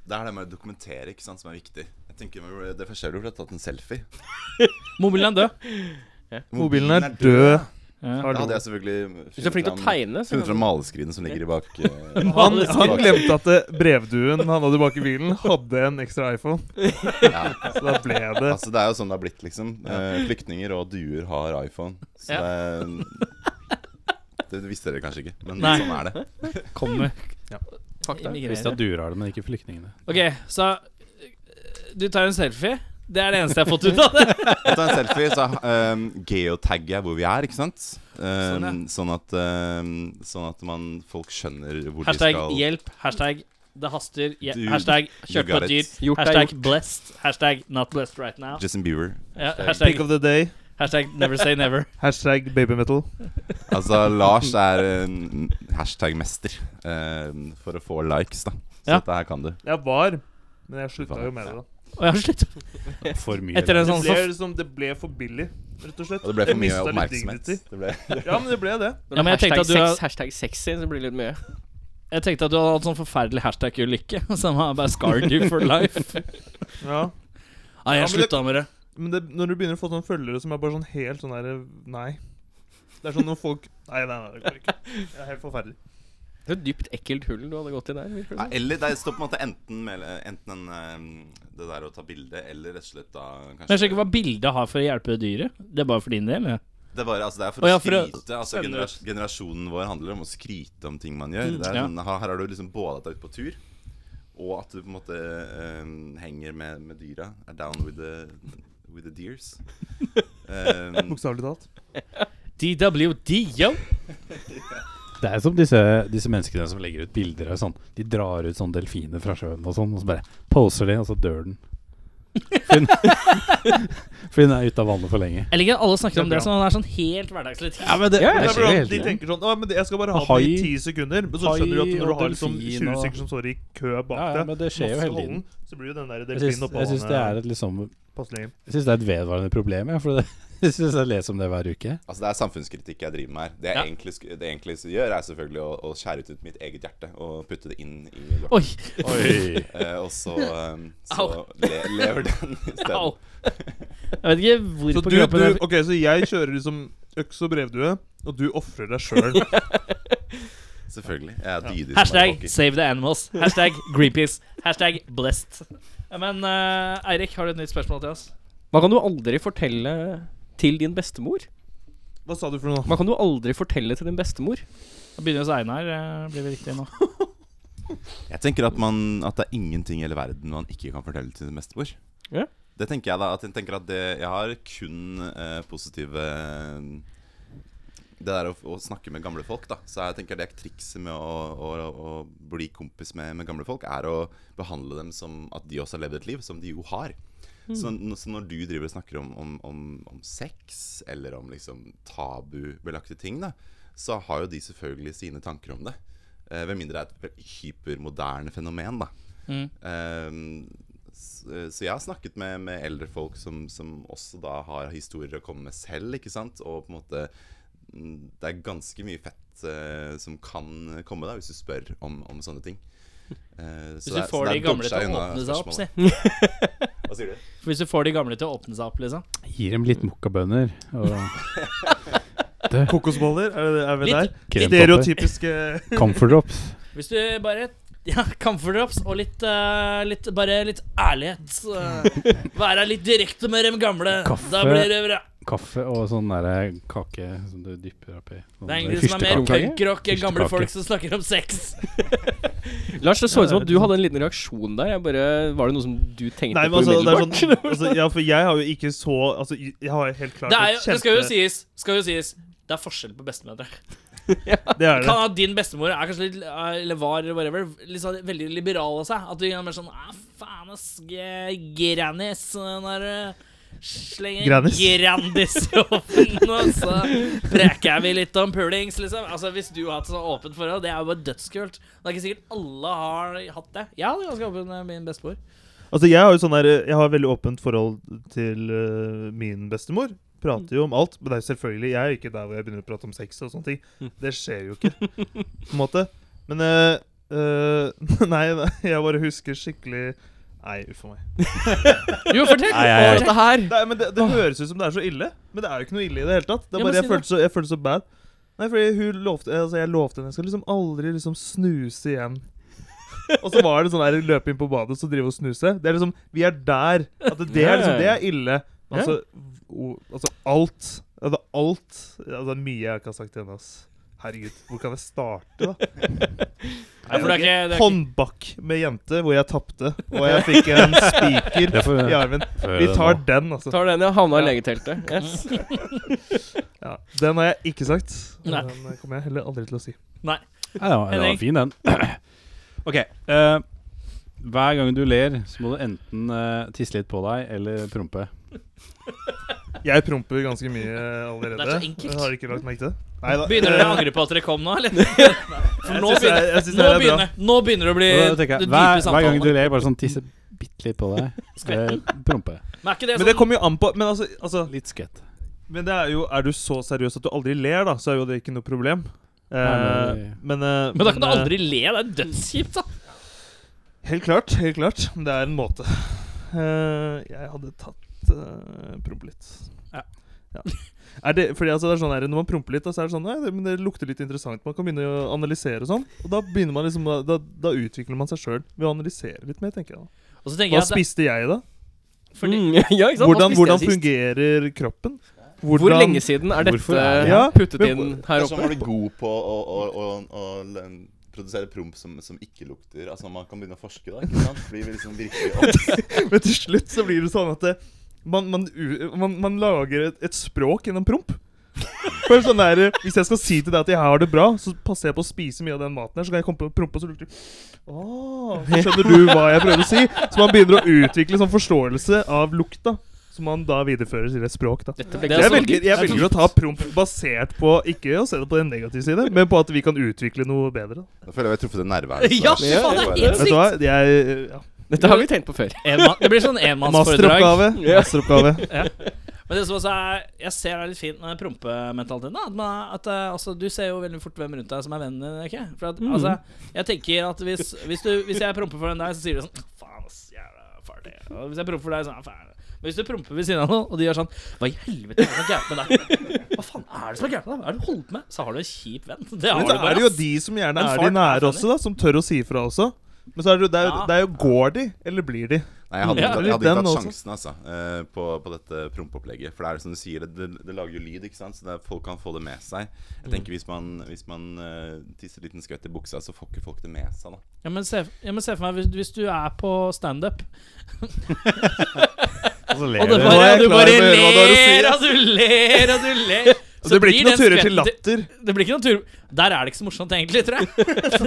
Speaker 6: Det er det med å dokumentere ikke sant, som er viktig. Jeg tenker med- Det første jeg gjorde, var tatt en selfie.
Speaker 3: Mobilen er død.
Speaker 7: Mobilen er død.
Speaker 3: Ja.
Speaker 7: Har
Speaker 6: Da
Speaker 7: du-
Speaker 6: hadde jeg selvfølgelig
Speaker 4: Hvis du er flink til å tegne, så
Speaker 6: funnet fram maleskrinet som ligger i bak eh,
Speaker 7: Han,
Speaker 3: Alle
Speaker 7: han
Speaker 6: skriver.
Speaker 7: glemte at eh, brevduen han hadde bak i bilen, hadde en ekstra iPhone.
Speaker 6: ja.
Speaker 7: Så da ble det
Speaker 6: Altså, det er jo sånn det har blitt, liksom. Eh, flyktninger og duer har iPhone. Så det, det visste dere kanskje ikke, men
Speaker 3: Nei.
Speaker 6: sånn er det.
Speaker 3: kommer.
Speaker 5: Visste at
Speaker 3: Immigrerer.
Speaker 5: duer har det, men ikke flyktningene.
Speaker 3: Ok, så eh, du tar en selfie. Det er det eneste jeg har fått ut av det.
Speaker 6: Jeg tar en selfie, så um, geotagger jeg hvor vi er, ikke sant? Um, sånn,
Speaker 3: Sånn,
Speaker 6: at, um, sånn at man, folk skjønner hvor
Speaker 3: Hashtag
Speaker 6: de skal
Speaker 3: hjelp. Hashtag det haster. je-
Speaker 6: Du-
Speaker 3: Hashtag kjørt på
Speaker 6: got
Speaker 3: et dyr.
Speaker 6: it.
Speaker 4: Gjort er
Speaker 3: Hashtag blessed. Hashtag not blessed right now.
Speaker 6: Justin Bieber.
Speaker 3: Ja,
Speaker 7: Pick
Speaker 3: hashtag,
Speaker 7: of the day.
Speaker 3: hashtag never say never.
Speaker 7: Hashtag babymetal.
Speaker 6: Altså, Lars er um, hashtag-mester um, for å få likes, da. Så
Speaker 3: Ja.
Speaker 6: dette her kan du.
Speaker 7: Jeg var, men jeg slutta jo med det. da
Speaker 3: Og jeg har sluttet.
Speaker 5: For mye.
Speaker 3: Etter en
Speaker 7: Det
Speaker 3: sånn
Speaker 7: ble,
Speaker 3: så,
Speaker 7: liksom, det ble for billig, rett og slett.
Speaker 6: Og det ble
Speaker 7: Jeg
Speaker 6: for mye
Speaker 7: mistet litt
Speaker 6: oppmerksomhet.
Speaker 7: dignity.
Speaker 6: Det ble,
Speaker 7: Ja, men det ble det.
Speaker 3: Ja, men jeg tenkte
Speaker 4: hashtag,
Speaker 3: at du har-
Speaker 4: sex, hashtag sexy, så blir det litt mye.
Speaker 3: Jeg tenkte at du hadde hatt sånn forferdelig hashtag-ulykke. Som har bare scarred you for life.
Speaker 7: Ja.
Speaker 3: Nei,
Speaker 7: Ja,
Speaker 3: jeg
Speaker 7: men det-
Speaker 3: slutta med det.
Speaker 7: Men det, når du begynner å få sånne følgere som er bare sånn helt sånn derre Nei. Det er sånn når folk Nei, nei, nei, det går ikke. Det er helt forferdelig.
Speaker 4: Det er et dypt ekkelt hull du hadde gått i der. virker det
Speaker 6: Ja,
Speaker 4: som.
Speaker 6: eller det står på en måte enten, med, enten en, eh, det der å ta bilde, eller rett og slett da kanskje
Speaker 3: Jeg skjønner ikke hva bildet har for å hjelpe dyret. Det er bare for din del. Ja.
Speaker 6: Det er bare, altså det er
Speaker 3: Å
Speaker 6: for å
Speaker 3: ja, for å
Speaker 6: skryte. Altså
Speaker 3: sende
Speaker 6: generas generasjonen vår handler om å skryte om ting man gjør.
Speaker 3: Mm,
Speaker 6: det er
Speaker 3: ja.
Speaker 6: sånn, her, her er du liksom både at du er ute på tur, og at du på en måte eh, henger med, med dyra. Er down with the, with the deers. Um,
Speaker 7: Bokstavelig talt.
Speaker 3: DWD, yo!
Speaker 5: Det er som disse, disse menneskene som legger ut bilder av sånn De drar ut sånne delfiner fra sjøen og sånn, og så bare poser de, og så dør den. Fordi den, fordi den er ute av vannet for lenge.
Speaker 3: Jeg liker at alle snakker om
Speaker 7: Det er
Speaker 3: det som om det er sånn helt hverdagslig.
Speaker 5: Ja, men det,
Speaker 7: Det
Speaker 5: det
Speaker 7: er
Speaker 5: skjer
Speaker 7: blant
Speaker 5: jo
Speaker 7: De
Speaker 5: hele tiden.
Speaker 7: tenker sånn «Å, men det- Jeg skal bare ha
Speaker 5: Og
Speaker 7: det i
Speaker 5: hai-
Speaker 7: ti sekunder. Men så
Speaker 5: hai
Speaker 7: skjønner du at når du
Speaker 5: og
Speaker 7: har liksom
Speaker 5: delfin
Speaker 7: 20
Speaker 5: og-
Speaker 7: stykker som står i kø bak
Speaker 5: Ja, ja,
Speaker 7: deg,
Speaker 5: men det skjer jo
Speaker 7: masse
Speaker 5: hele tiden.
Speaker 7: holden, så blir jo den der
Speaker 5: Jeg syns-
Speaker 7: delfinen oppå
Speaker 5: Jeg syns det er et liksom
Speaker 7: eh, passelig.
Speaker 5: Jeg syns det er et vedvarende problem, jeg. For det, jeg syns jeg leser om det hver uke.
Speaker 6: Altså Det er samfunnskritikk jeg driver med her. Det jeg
Speaker 3: Ja.
Speaker 6: egentlig, sk- det jeg egentlig s- gjør, er selvfølgelig å, å skjære ut mitt eget hjerte og putte det inn i lorten.
Speaker 3: Oi,
Speaker 5: Oi.
Speaker 6: Eh, og så, um, så
Speaker 3: Au.
Speaker 6: le, lever den
Speaker 3: au.
Speaker 6: isteden.
Speaker 3: Jeg vet ikke hvor
Speaker 7: Så
Speaker 3: på
Speaker 7: du,
Speaker 3: kroppen
Speaker 7: du,
Speaker 3: jeg-
Speaker 7: ok, så jeg kjører liksom øks og brevdue, og du ofrer deg sjøl.
Speaker 6: Selvfølgelig. Jeg er dydig som bare
Speaker 3: Hashtag
Speaker 6: pokker.
Speaker 3: save the animals. Hashtag Greenpeace. Hashtag blessed. Ja, Men eh, Eirik, har du et nytt spørsmål til oss?
Speaker 4: Hva kan du aldri fortelle til din bestemor?
Speaker 7: Hva sa du for noe?
Speaker 4: Hva kan du aldri fortelle til din bestemor?
Speaker 3: Da begynner hos Einar. eh, blir vi riktig nå.
Speaker 6: Jeg tenker at, man, at det er ingenting i hele verden man ikke kan fortelle til sin bestemor.
Speaker 4: Ja.
Speaker 6: Det tenker jeg da. At jeg tenker at det, jeg har kun eh, positive Det der å, å snakke med gamle folk, da. Så jeg tenker det er trikset med å, å, å bli kompis med, med gamle folk, er å behandle dem som at de også har levd et liv, som de jo har.
Speaker 3: Mm.
Speaker 6: Så, n- så når du driver og snakker om, om, om, om sex, eller om liksom tabubelagte ting, da, så har jo de selvfølgelig sine tanker om det. Eh, Ved mindre det er et hypermoderne fenomen, da.
Speaker 3: Mm.
Speaker 6: Ehm, s- eh, så jeg har snakket med, med eldre folk som, som også da har historier å komme med selv, ikke sant. Og på en måte mm, Det er ganske mye fett eh, som kan komme da, hvis du spør om, om sånne ting. Eh,
Speaker 3: Hvis du
Speaker 6: så det er- så
Speaker 3: får
Speaker 6: det
Speaker 3: de
Speaker 6: er
Speaker 3: gamle til å
Speaker 6: dodget unna
Speaker 3: åpne seg opp,
Speaker 6: spørsmålet.
Speaker 3: si.
Speaker 6: Hva sier du?
Speaker 3: Hvis du får de gamle til å åpne seg opp, liksom.
Speaker 5: Gir dem litt mokkabønner og
Speaker 7: Kokosboller? Er, det- er vi der?
Speaker 3: Litt,
Speaker 5: krempapper.
Speaker 7: Stereotypiske
Speaker 5: Comfort drops.
Speaker 3: hvis du bare ja, Comfort drops og litt, eh, litt Bare litt ærlighet. eh, være litt direkte med dem gamle.
Speaker 5: Kaffe.
Speaker 3: Da blir det bra.
Speaker 5: Kaffe og sånn derre kake som du dypper oppi. Sånn, eh,
Speaker 3: Det er egentlig det som er mer
Speaker 5: Fyrstekake.
Speaker 3: punkrock enn gamle
Speaker 5: Fyrstekake.
Speaker 3: folk som snakker om sex.
Speaker 4: Lars, det så ut som at du hadde en liten reaksjon der. Jeg bare, var det noe som du tenkte
Speaker 7: Nei, men
Speaker 4: på
Speaker 7: altså, det er
Speaker 4: umiddelbart?
Speaker 7: sånn altså, Ja, for jeg har jo ikke så Altså, jeg har helt klart
Speaker 3: Det, er jo,
Speaker 7: et
Speaker 3: det skal jo
Speaker 7: kjempe-
Speaker 3: sies. Skal jo sies. Det er forskjell på bestemødre.
Speaker 7: Det er det.
Speaker 3: Kan at din bestemor er kanskje litt eh, Eller var, eller whatever litt sånn, veldig liberal av seg. At du er mer sånn «Ah, Faen, ass. g- eh, Grannis. Når du slenger
Speaker 7: Grannis.
Speaker 3: Grandis i ovnen, og så preker vi litt om pulings, liksom. Altså Hvis du har hatt sånn åpent forhold, det er jo bare dødskult. Det er ikke sikkert alle har hatt det. Jeg hadde ganske åpen med min bestemor.
Speaker 7: Altså, jeg har jo sånn der Jeg har veldig åpent forhold til øh, min bestemor. Prater jo om alt. Men det er jo selvfølgelig jeg er jo ikke der hvor jeg begynner å prate om sex og sånne ting. Det skjer jo ikke, på en måte. Men øh, øh, Nei, nei, jeg bare husker skikkelig Nei, uff a meg.
Speaker 3: Jo, fortell!
Speaker 5: Nei, jeg-
Speaker 3: Dette her
Speaker 7: Nei, men det, det høres ut som det er så ille, men det er jo ikke noe ille i det hele tatt.
Speaker 3: Ja,
Speaker 7: Det er
Speaker 3: men
Speaker 7: bare
Speaker 3: si
Speaker 7: jeg
Speaker 3: det.
Speaker 7: følte, så, jeg følte så bad. Nei, fordi hun lovte Altså, jeg lovte henne jeg skal liksom aldri liksom snuse igjen. og så var det sånn der løpe inn på badet og drive og snuse. Det er liksom Vi er der. At det, det er liksom Det er ille. Men Altså, o, altså alt Altså alt Altså mye jeg ikke har sagt til henne, ass. Herregud, hvor kan jeg starte, da?
Speaker 3: Ja, for det er ikke, det er ikke
Speaker 7: Håndbak med jente, hvor jeg tapte, og jeg fikk en spiker
Speaker 5: Det får-
Speaker 7: i armen.
Speaker 5: Før Eh,
Speaker 7: Vi
Speaker 5: det
Speaker 7: tar
Speaker 5: nå.
Speaker 7: den, altså.
Speaker 4: Tar den, ja. Havna i
Speaker 7: Ja.
Speaker 4: legeteltet. Yes.
Speaker 7: Ja, Den har jeg ikke sagt. og
Speaker 3: Nei.
Speaker 7: Den kommer jeg heller aldri til å si.
Speaker 5: Ja, den var- den var
Speaker 3: Henning?
Speaker 5: fin, den. OK. eh, hver gang du ler, så må du enten eh, tisse litt på deg eller prompe.
Speaker 7: Jeg promper ganske mye allerede.
Speaker 3: Det er så enkelt.
Speaker 7: Jeg har ikke lagt merke til det. Neida.
Speaker 3: Begynner dere å angre på at dere kom nå, eller? For nå
Speaker 7: synes det er-
Speaker 3: begynner,
Speaker 7: jeg synes det
Speaker 3: nå
Speaker 7: er bra.
Speaker 3: begynner, nå begynner det å bli
Speaker 5: Og da
Speaker 3: det
Speaker 5: tenker jeg,
Speaker 3: Eh, dype
Speaker 5: hver, hver gang du
Speaker 3: samtalen.
Speaker 5: ler, bare sånn tisse bitte litt på deg. Eller prompe.
Speaker 3: Men er ikke det
Speaker 7: Men det
Speaker 3: sånn
Speaker 7: kommer jo an på Men altså, altså
Speaker 5: Litt skvett.
Speaker 7: Men det er jo Er du så seriøs at du aldri ler, da, så er jo det ikke noe problem. Eh,
Speaker 5: Nei, men-
Speaker 7: men, eh,
Speaker 3: Men da kan du
Speaker 7: eh,
Speaker 3: aldri le. Det er dødskjipt, da.
Speaker 7: Helt klart. Helt klart. Men det er en måte. Eh, jeg hadde tatt uh, promp litt.
Speaker 3: Ja.
Speaker 7: Ja. Er det, fordi altså det er sånn her, Når man promper litt, da, så er det sånn Nei, det, men det lukter litt interessant. Man kan begynne å analysere og sånn. Og da begynner man liksom Da, da utvikler man seg sjøl ved å analysere litt mer, tenker jeg. da
Speaker 3: Og så tenker
Speaker 7: Hva
Speaker 3: jeg at det,
Speaker 7: spiste jeg, da?
Speaker 3: fordi,
Speaker 4: Mm, ja, ikke sant? Hva
Speaker 7: Hvordan,
Speaker 4: spiste
Speaker 7: hvordan
Speaker 4: jeg sist?
Speaker 7: fungerer kroppen?
Speaker 4: Hvor lenge siden er dette
Speaker 5: Hvorfor er jeg-
Speaker 7: Ja,
Speaker 4: puttet
Speaker 7: men- altså,
Speaker 4: inn her oppe?
Speaker 6: Dersom Altså, man blir god på å, å, å, å, å l- produsere promp som, som ikke lukter Altså Man kan begynne å forske, da. ikke sant? Blir vi liksom virkelig opp.
Speaker 7: Men til slutt så blir det sånn at det, man, man, u- man, man lager et, et språk gjennom promp. For sånn der, Hvis jeg skal si til deg at jeg har det bra, så passer jeg på å spise mye av den maten. her Så kan jeg komme på å prompe, og så lukter det Åh, så Skjønner du hva jeg prøver å si? Så man begynner å utvikle sånn forståelse av lukta. Som man da viderefører til et språk. da
Speaker 4: Dette
Speaker 3: Det
Speaker 4: ble
Speaker 3: er sånn-
Speaker 7: jeg
Speaker 3: så
Speaker 7: velger, jeg
Speaker 3: dypt.
Speaker 7: velger å ta promp basert på ikke å se det på den negative side, men på at vi kan utvikle noe bedre. da.
Speaker 6: Da føler jeg vi har truffet en nerve her. altså.
Speaker 3: Ja, fy faen, det er helt
Speaker 7: Vet du hva? Jeg, eh, ja.
Speaker 4: Dette har vi tenkt på før.
Speaker 3: enma- det blir sånn enmannsforedrag.
Speaker 7: Masteroppgave. Masteroppgave.
Speaker 3: Men det som også er Jeg ser det er litt fint med den prompementaliteten. da, At, man, at eh, altså, du ser jo veldig fort hvem rundt deg som er vennen din. Ikke? For
Speaker 7: Mm.
Speaker 3: at, altså, jeg tenker at hvis, hvis, du, hvis jeg promper for den der, så sier du sånn Faen, ass, jævla farlig. Og hvis jeg promper for deg, sånn faen. Men hvis du promper ved siden av noen, og de gjør sånn Hva i helvete er det som er gærent med deg? Hva faen er det som er gærent med deg? Hva er det du holder på med? Så har du en kjip venn. Det har
Speaker 7: Men
Speaker 3: du
Speaker 7: så
Speaker 3: bare.
Speaker 7: er det jo
Speaker 3: ass.
Speaker 7: de som gjerne
Speaker 3: Men
Speaker 7: er
Speaker 3: faren
Speaker 7: de
Speaker 3: er
Speaker 7: nære
Speaker 3: farlig.
Speaker 7: også, da, som tør å si ifra også. Men så er det jo, det er jo,
Speaker 3: Ja.
Speaker 7: det er jo går de, eller blir de?
Speaker 6: Nei, jeg hadde,
Speaker 3: Ja,
Speaker 6: ikke- jeg hadde
Speaker 7: den
Speaker 6: ikke tatt
Speaker 7: også.
Speaker 6: sjansen altså, eh, på, på dette prompeopplegget. For det er jo som du sier, det, det, det lager jo lyd, ikke sant? så det, er- folk kan få det med seg. Jeg
Speaker 3: Mm.
Speaker 6: tenker Hvis man, hvis man eh, tisser en liten skvett i buksa, så får ikke folk det med seg. da
Speaker 3: Ja, men se, ja, men se for meg hvis, hvis du er på standup,
Speaker 5: Og så
Speaker 3: og
Speaker 5: ler
Speaker 3: det
Speaker 5: jeg.
Speaker 7: Nå
Speaker 3: bare,
Speaker 7: er jeg
Speaker 3: du
Speaker 7: klar
Speaker 3: bare
Speaker 7: over hva du har å si,
Speaker 3: ler altså.
Speaker 7: ass.
Speaker 3: og du ler og du ler
Speaker 7: Og det blir ikke noe
Speaker 3: den
Speaker 7: turer til
Speaker 3: skvetten-
Speaker 7: latter.
Speaker 3: Det blir ikke noen tur Der er det ikke så morsomt egentlig, tror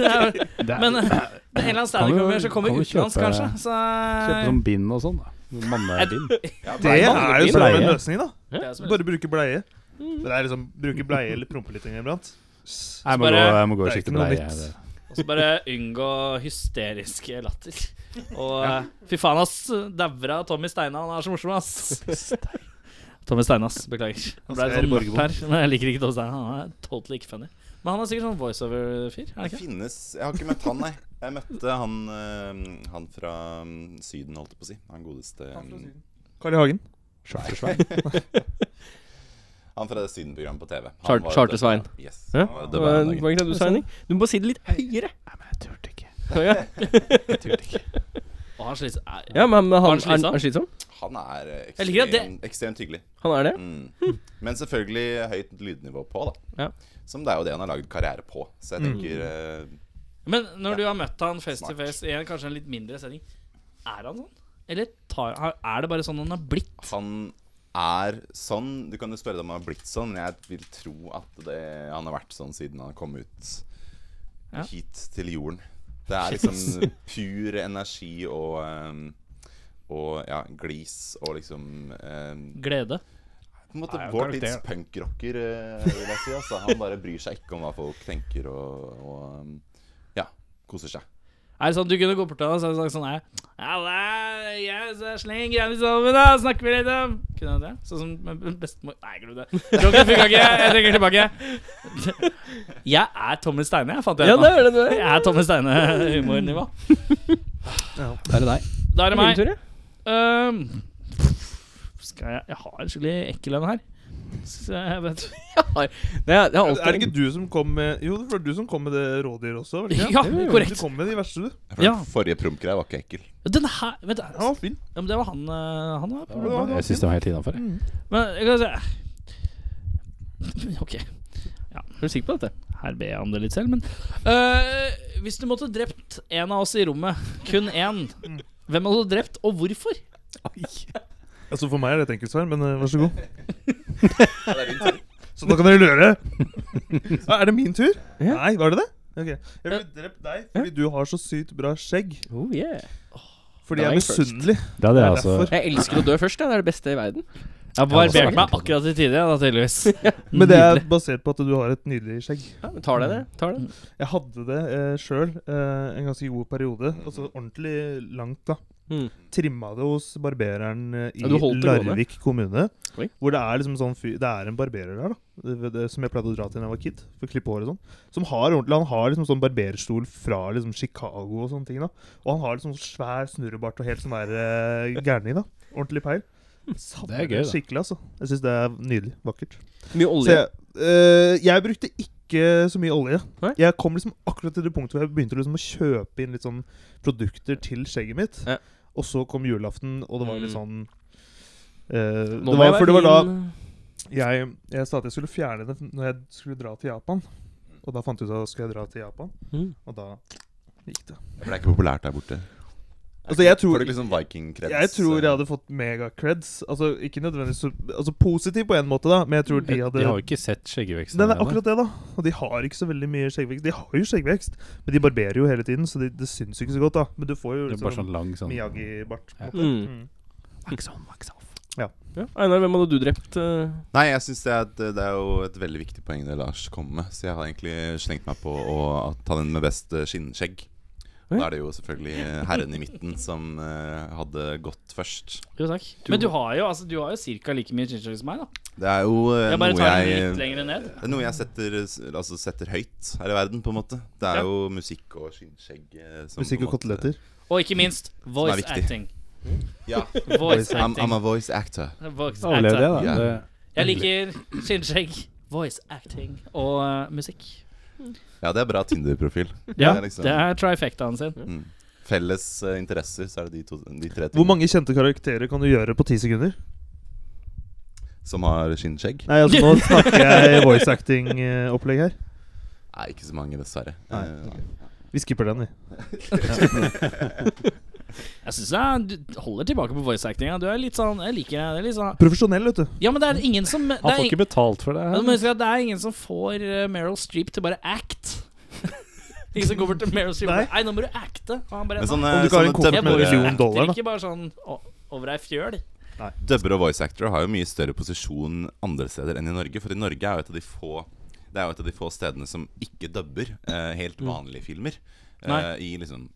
Speaker 3: jeg.
Speaker 5: Det er-
Speaker 3: Men eh, det er en eller annen standup-komiker som kommer
Speaker 5: Kan du- kan du
Speaker 3: utenlands,
Speaker 5: kjøpe-
Speaker 3: kanskje. Så eh,
Speaker 5: Kjøpe sånn bind og sånn. da Mannebind.
Speaker 7: Det er jo
Speaker 5: bleie.
Speaker 7: samme løsning, da.
Speaker 3: det er som helst.
Speaker 7: Bare bruke bleie. Men Det er liksom bruke bleie eller prompe litt iblant.
Speaker 5: Jeg må
Speaker 3: bare-
Speaker 5: gå, jeg må gå og
Speaker 7: Det er
Speaker 5: skifte
Speaker 7: ikke noe
Speaker 5: bleie.
Speaker 7: nytt.
Speaker 3: Og så bare unngå hysterisk latter. Og eh, fy faen, ass. Daura Tommy Steina, han er så morsom, ass. Tommy Steine, ass. Beklager. Han ble
Speaker 7: Asgeir
Speaker 3: sånn napp her. Men jeg liker ikke Tommy Steine. Han er totally ikke funny. Men han er sikkert sånn voiceover-fyr. er han
Speaker 6: Det
Speaker 3: ikke?
Speaker 6: finnes Jeg har ikke møtt han, nei. Jeg møtte han, eh, han fra mm, Syden, holdt jeg på å si. Han godeste mm,
Speaker 7: Carl I. Hagen.
Speaker 6: Han fra det Syden-programmet på TV. Han
Speaker 4: Chart-
Speaker 6: var jo
Speaker 4: Charter-Svein.
Speaker 6: død- Yes.
Speaker 4: Hæ? Eh,
Speaker 6: han var jo
Speaker 4: Det
Speaker 6: død
Speaker 4: var
Speaker 6: hver
Speaker 4: en
Speaker 6: dag.
Speaker 4: poeng til at du sa, Henning. Du må bare si det litt høyere.
Speaker 5: Jeg turte ikke.
Speaker 4: Ja,
Speaker 5: Jeg turte ikke.
Speaker 3: Og han sliter er-
Speaker 4: ja men, men han,
Speaker 3: han slitsom?
Speaker 4: er han slitsom?
Speaker 6: Han er eh,
Speaker 3: Jeg liker at det-
Speaker 6: ekstremt, ekstremt hyggelig.
Speaker 4: Han er det?
Speaker 6: Mm. Men selvfølgelig høyt lydnivå på, da.
Speaker 4: Ja. Mm.
Speaker 6: Som det er jo det han har lagd karriere på. Så jeg tenker eh,
Speaker 3: Men når du har møtt han face to
Speaker 6: Smart.
Speaker 3: face i en kanskje en litt mindre setting, er han sånn? Eller tar, er det bare sånn han har blitt?
Speaker 6: han er sånn. Du kan jo spørre deg om han har blitt sånn, men jeg vil tro at det, han har vært sånn siden han kom ut
Speaker 3: Ja.
Speaker 6: hit til jorden. Det er liksom pur energi og ehm, og ja, glis og liksom ehm,
Speaker 3: Glede?
Speaker 6: På en måte
Speaker 5: Nei,
Speaker 6: vår
Speaker 5: karakter.
Speaker 6: tids punkrocker, eh, vil jeg si. Altså. Han bare bryr seg ikke om hva folk tenker, og, og ehm, ja, koser seg.
Speaker 3: Er det sånn du kunne gå bort til han og så hadde du sagt sånn her Halla, jeg så sleng greiene sammen, da! Snakker vi litt om Kunne han det? Sånn som med bestemor Nei, glem det. Joken funka ikke, jeg trekker tilbake. Jeg er Tommy Steine, jeg fant jeg ut
Speaker 4: Ja, det
Speaker 3: nå.
Speaker 4: er det du er.
Speaker 3: Jeg er Tommy Steine-humornivå.
Speaker 5: Da er det deg.
Speaker 3: Da er det
Speaker 4: Min
Speaker 3: meg.
Speaker 4: tur, ja.
Speaker 3: Øhm, skal jeg Jeg har en skikkelig ekkel en her. Så jeg vet
Speaker 4: Det er, det er
Speaker 7: Er det
Speaker 4: alltid
Speaker 7: ikke du som kom med Jo, det var du som kom med det rådyret også? Var det ikke?
Speaker 3: Ja,
Speaker 7: Du
Speaker 3: korrekt.
Speaker 7: kom med de verste, du.
Speaker 6: For
Speaker 3: Ja.
Speaker 6: Den forrige prompgreia var ikke ekkel.
Speaker 3: Den her Vent, da.
Speaker 7: Han var fin.
Speaker 3: ja, men det var han eh, Han var problemet.
Speaker 7: var- det
Speaker 5: Jeg syns det var helt innafor.
Speaker 3: Mm. Men jeg kan se Ok,
Speaker 4: Er du sikker på dette?
Speaker 3: her ber jeg om det litt selv, men øh, Hvis du måtte drept en av oss i rommet, kun én, hvem hadde du drept, og hvorfor?
Speaker 7: Altså For meg er det et enkelt svar, men eh, vær så god.
Speaker 6: Ja, det er din tur.
Speaker 7: Så da kan dere lure. Ja, er det min tur? Nei, var det det? Ok Jeg ville drept deg fordi du har så sykt bra skjegg.
Speaker 4: Oh, yeah.
Speaker 7: Fordi jeg er
Speaker 4: Dying first.
Speaker 7: misunnelig.
Speaker 5: Det hadde jeg
Speaker 7: Det er
Speaker 5: altså.
Speaker 7: derfor.
Speaker 4: Jeg elsker å dø først. ja. Det er det beste i verden.
Speaker 3: Jeg
Speaker 5: barberte
Speaker 3: barberte
Speaker 5: meg
Speaker 3: meg akkurat i tide, da, tydeligvis.
Speaker 7: Men det er basert på at du har et nydelig skjegg.
Speaker 4: Ja, men tar det det? Tar det.
Speaker 5: Mm.
Speaker 7: Jeg hadde det eh, sjøl eh, en ganske god periode. Altså ordentlig langt, da.
Speaker 4: Mm.
Speaker 7: Trimma det hos barbereren eh, i
Speaker 4: Ja, du holdt det gående.
Speaker 7: Larvik kommune.
Speaker 4: Oi.
Speaker 7: Hvor det er liksom sånn fyr Det er en barberer der, da. Det, det, som jeg pleide å dra til da jeg var kid. For å klippe hår og sånn. Som har ordentlig Han har liksom sånn barberstol fra liksom Chicago sånn og sånne ting. da Og han har liksom svær snurrebart og helt sånn der eh, gærning, da. Ordentlig peil. Savner
Speaker 5: Det er gøy, da.
Speaker 7: Skikkelig, altså. Jeg syns det er nydelig. Vakkert.
Speaker 4: Mye
Speaker 7: Så
Speaker 4: olje.
Speaker 7: jeg, øh, jeg brukte ikke så mye olje.
Speaker 4: Nei?
Speaker 7: Jeg kom liksom akkurat til det punktet hvor jeg begynte liksom å kjøpe inn litt sånn produkter til skjegget mitt.
Speaker 4: Ja.
Speaker 7: Og så kom julaften, og det var litt
Speaker 4: Mm.
Speaker 7: sånn øh,
Speaker 4: Nå
Speaker 7: det
Speaker 4: må
Speaker 7: var,
Speaker 4: jeg
Speaker 7: for det var da
Speaker 4: være
Speaker 7: jeg, jeg sa at jeg skulle fjerne det når jeg skulle dra til Japan. Og da fant jeg ut at skal jeg dra til Japan,
Speaker 4: fin.
Speaker 7: og da gikk det.
Speaker 6: For det er ikke populært der borte.
Speaker 7: Altså, jeg tror-
Speaker 6: Får du liksom viking-kreds?
Speaker 7: Jeg tror jeg
Speaker 6: eh,
Speaker 7: hadde fått megacreds. Altså ikke nødvendigvis så- altså, positiv på en måte, da, men jeg
Speaker 4: Mm.
Speaker 7: tror de hadde
Speaker 5: De har jo ikke sett skjeggeveksten.
Speaker 7: Nei, det er
Speaker 5: ennå.
Speaker 7: akkurat det, da. Og de har ikke så veldig mye skjeggvekst. De har jo skjeggvekst, men de barberer jo hele tiden, så de, det syns jo ikke så godt, da. Men du får jo
Speaker 5: Det er
Speaker 7: liksom
Speaker 5: bare sånn lang sånn
Speaker 7: Miyagi-bart. på
Speaker 5: Ja.
Speaker 7: en måte.
Speaker 4: Mm.
Speaker 7: Mm.
Speaker 5: Wax on, wax off.
Speaker 4: Ja. Einar, hvem hadde du drept? eh?
Speaker 6: Nei, jeg synes det, er et- det er jo et veldig viktig poeng det Lars kommer med. Så jeg har egentlig slengt meg på å ta den med best eh, skinnskjegg. Og Da er det jo selvfølgelig eh, herren i midten som eh, hadde gått først.
Speaker 3: Jo, takk. Men du har jo, altså, du har jo ca. like mye chinchog som meg, da.
Speaker 6: Det er jo eh,
Speaker 3: Jeg bare
Speaker 6: noe
Speaker 3: tar den
Speaker 6: jeg
Speaker 3: litt lenger ned.
Speaker 6: Det er noe jeg setter, eh, s- altså setter høyt her i verden, på en måte. Det er
Speaker 3: Ja.
Speaker 6: jo musikk og skinnskjegg eh, som
Speaker 7: Musikk
Speaker 6: på
Speaker 5: sånn-
Speaker 6: en
Speaker 7: og
Speaker 6: måte-
Speaker 7: koteletter.
Speaker 3: Og ikke minst voice
Speaker 6: viktig.
Speaker 3: acting.
Speaker 6: Ja.
Speaker 3: Voice
Speaker 6: I'm, I'm
Speaker 3: acting.
Speaker 6: a voice actor.
Speaker 3: Voice
Speaker 5: Overlevde
Speaker 3: actor.
Speaker 5: jeg, da.
Speaker 6: Ja.
Speaker 5: Det,
Speaker 3: Jeg liker skinnskjegg, voice acting og eh, musikk.
Speaker 6: Ja, det er bra Tinder-profil.
Speaker 3: Ja,
Speaker 6: Det er liksom-
Speaker 3: det er trifectaen sin.
Speaker 6: Mm. Felles eh, interesser, så er det de, to, de tre
Speaker 7: Hvor
Speaker 6: tingene
Speaker 7: mange kjente karakterer kan du gjøre på ti sekunder?
Speaker 6: som har skinnskjegg.
Speaker 7: Nei, altså nå snakker jeg voice acting-opplegg her.
Speaker 6: Nei, ikke så mange, dessverre.
Speaker 7: Nei,
Speaker 6: Eh,
Speaker 7: ok. Vi skipper den, vi.
Speaker 3: Jeg syns jeg du holder tilbake på voice actinga. Du er litt sånn Jeg liker deg. Det er litt sånn
Speaker 7: Profesjonell, vet du.
Speaker 3: Ja, men det er ingen som det
Speaker 5: han
Speaker 3: er,
Speaker 5: får
Speaker 3: ing-
Speaker 5: ikke betalt for det
Speaker 3: Ja, du må
Speaker 5: her.
Speaker 3: huske at det er ingen som får eh, Meryl Streep til bare act. ingen som går bort til Meryl Streep og
Speaker 7: Nei.
Speaker 3: bare Nei, nå må du acte. Og han bare «Nei,
Speaker 6: Men sånn,
Speaker 7: Om du ikke har en
Speaker 3: Jeg
Speaker 7: kontakt med
Speaker 3: må
Speaker 7: en
Speaker 3: jo
Speaker 7: million
Speaker 3: ikke
Speaker 7: dollar,
Speaker 3: acte.
Speaker 7: da.
Speaker 3: Ikke bare sånn å- over ei fjøl.
Speaker 6: Dubber og voice actor har jo mye større posisjon andre steder enn i Norge. For i Norge er jo et av de få Det er jo et av de få stedene som ikke dubber eh, helt vanlige filmer. Eh,
Speaker 3: Mm. Nei.
Speaker 6: I liksom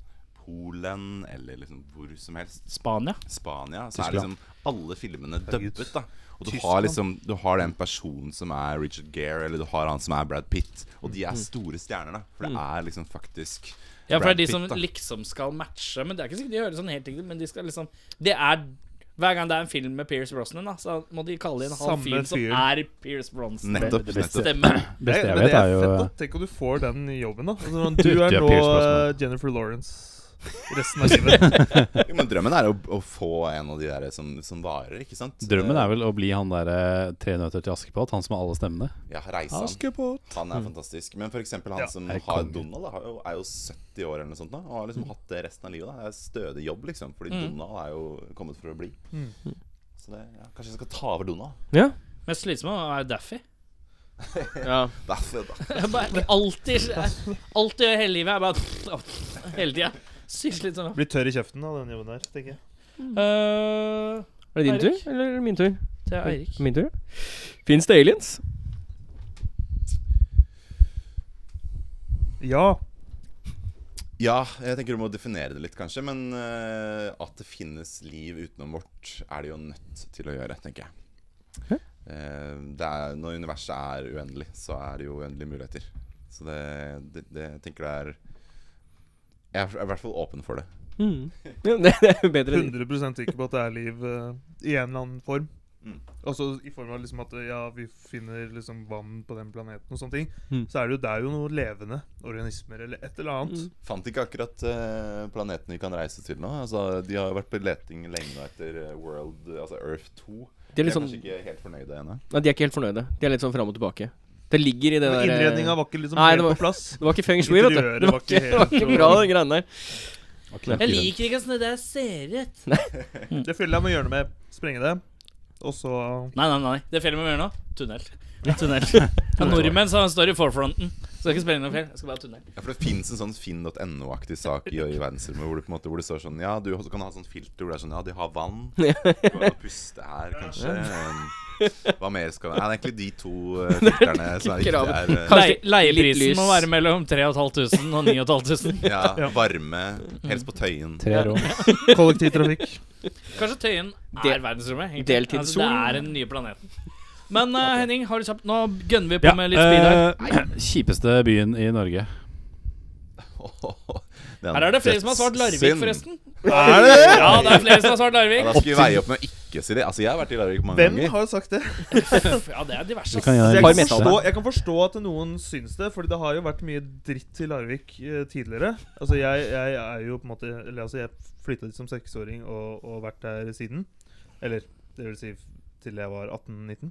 Speaker 6: Polen eller liksom hvor som helst.
Speaker 3: Spania.
Speaker 6: Spania. Så er liksom
Speaker 5: Tyskland.
Speaker 6: alle filmene dubbet, da. Og du har
Speaker 7: Tyskland.
Speaker 6: liksom Du har den personen som er Richard Gere, eller du har han som er Brad Pitt. Og de er store stjerner, da. For det er liksom faktisk
Speaker 3: Mm. Ja, for
Speaker 6: Brad
Speaker 3: det er de
Speaker 6: Pitt,
Speaker 3: som
Speaker 6: da.
Speaker 3: liksom skal matche. Men det er ikke sikkert de hører sånn helt riktig, men de skal liksom Det er hver gang det er en film med Pierce Brosnan, da, så må de kalle inn han
Speaker 7: Samme
Speaker 3: fyren som
Speaker 7: fyr.
Speaker 3: er Pierce Brosnan.
Speaker 6: Nettopp.
Speaker 5: Det beste.
Speaker 6: nettopp.
Speaker 3: Stemmer.
Speaker 5: Beste
Speaker 7: Nei,
Speaker 5: jeg
Speaker 7: men
Speaker 5: vet,
Speaker 7: det
Speaker 5: er jo
Speaker 7: fett, da. Tenk om du får den jobben, da. Altså, sånn,
Speaker 5: Du,
Speaker 7: du er
Speaker 5: du er
Speaker 7: nå
Speaker 5: Pierce Brosnan.
Speaker 7: eh, Jennifer Lawrence resten av livet.
Speaker 6: Jo, Men drømmen er jo å få en av de der som, som varer, ikke sant?
Speaker 5: eh, Drømmen er vel å bli han derre Tre nøtter til Askepott, han som har alle stemmene.
Speaker 6: Ja, Reisan. Han er fantastisk. Men for eksempel han
Speaker 7: Ja,
Speaker 6: som
Speaker 5: er
Speaker 6: har
Speaker 5: konge.
Speaker 6: Donald, da, har jo- er jo 70 år eller noe sånt da, og har liksom hatt det resten av livet. da. Det er stødig jobb, liksom, fordi Donald er jo kommet for å bli.
Speaker 7: Mm.
Speaker 6: Så det, ja, kanskje jeg skal ta over Donald.
Speaker 4: Ja.
Speaker 3: Mest slitsomme er jo Daffy.
Speaker 4: ja.
Speaker 6: Derfor, da.
Speaker 3: Jeg bare- Alltid Alt jeg gjør hele livet, er bare Hele tida. Sykt slitsomt.
Speaker 7: Blir tørr i kjeften av den jobben der, tenker jeg.
Speaker 3: Uh,
Speaker 4: Er det din
Speaker 3: Eirik?
Speaker 4: tur, eller er det min tur?
Speaker 3: det er Eirik.
Speaker 4: Min tur. Fins det aliens?
Speaker 7: Ja.
Speaker 6: Ja, jeg tenker du må definere det litt, kanskje. Men eh, at det finnes liv utenom vårt, er det jo nødt til å gjøre, tenker jeg. Eh, det er, når universet er uendelig, så er det jo uendelige muligheter. Så det, det, det jeg tenker det er Jeg er i hvert fall åpen for det.
Speaker 4: Mm. Ja, det, det er jo bedre enn
Speaker 7: 100 sikker på at det er liv eh, i en eller annen form.
Speaker 6: Mm.
Speaker 7: Også i form av liksom at eh, ja, vi finner liksom vann på den planeten og sånne ting.
Speaker 4: Mm.
Speaker 7: Så er det jo, det er jo noe levende organismer eller et eller annet.
Speaker 4: Mm.
Speaker 6: Fant ikke akkurat eh, planeten vi kan reise til nå. Altså, de har jo vært på leting lenge nå etter eh, World, altså Earth 2.
Speaker 4: De er
Speaker 6: De er
Speaker 4: litt sånn
Speaker 6: kanskje ikke helt fornøyde ennå.
Speaker 4: Nei, de er ikke helt fornøyde. De er litt sånn fram og tilbake. Det ligger i det der eh,
Speaker 7: Innredninga var ikke liksom
Speaker 4: Nei, det
Speaker 7: helt
Speaker 4: var-
Speaker 7: på plass.
Speaker 4: Det var ikke feng shui, vet du.
Speaker 7: Interiøret
Speaker 4: Det var ikke, det var ikke bra, de greiene der.
Speaker 3: Jeg liker ikke åssen det der ser ut.
Speaker 4: Mm.
Speaker 7: Det fyller jeg med å gjøre noe med. Sprenge det. Og så
Speaker 3: Nei, nei, nei. Det fjellet vi må gjøre nå, tunnel. Tunnel. Ja, nordmenn så han står i forfronten. Skal ikke spille inn noe fjell. Jeg skal bare ha tunnel.
Speaker 6: Ja, for det fins en sånn finn.no-aktig sak i, i verdensrommet hvor det, på en måte, hvor det står sånn Ja, du også kan ha sånn filter hvor det er sånn Ja, de har vann. Du kan jo puste her, kanskje. Um, Hva mer skal vi Nei, det er egentlig de to eh, filtrene som er
Speaker 4: Kravet.
Speaker 6: viktige her. eh.
Speaker 3: Lei,
Speaker 4: Kanskje litt
Speaker 3: leieprisen
Speaker 4: lys.
Speaker 3: må være mellom 3500 og 9500.
Speaker 6: Ja, varme. Helst på Tøyen.
Speaker 5: Tre rom.
Speaker 7: kollektivtrafikk.
Speaker 3: Kanskje Tøyen
Speaker 4: Del-
Speaker 3: er verdensrommet. egentlig. Altså,
Speaker 4: deltidssol.
Speaker 3: det er den nye planeten. Men eh, Henning, har du kjapt Nå gønner vi på
Speaker 5: Ja,
Speaker 3: med litt speed her.
Speaker 5: eh, kjipeste byen i Norge.
Speaker 6: Den
Speaker 3: Her er det flere som har svart Larvik,
Speaker 6: dødssynd.
Speaker 3: forresten.
Speaker 6: Er det det?
Speaker 3: Ja, det er flere som har svart
Speaker 6: Ja,
Speaker 3: Larvik.
Speaker 6: da skal vi veie opp med å ikke ikke si det. Altså, jeg har vært i Larvik mange
Speaker 7: Hvem
Speaker 6: ganger.
Speaker 7: har sagt det?
Speaker 3: Ja, det er diverse.
Speaker 5: Vi kan
Speaker 7: Så
Speaker 5: gjøre
Speaker 7: jeg,
Speaker 5: en
Speaker 6: Par
Speaker 7: kan
Speaker 5: liste.
Speaker 7: forstå, jeg kan forstå at noen syns det, Fordi det har jo vært mye dritt i Larvik eh, tidligere. Altså jeg, jeg er jo på en måte Eller altså jeg flytta dit som seksåring og, og vært der siden. Eller det vil si f- til jeg var 18-19.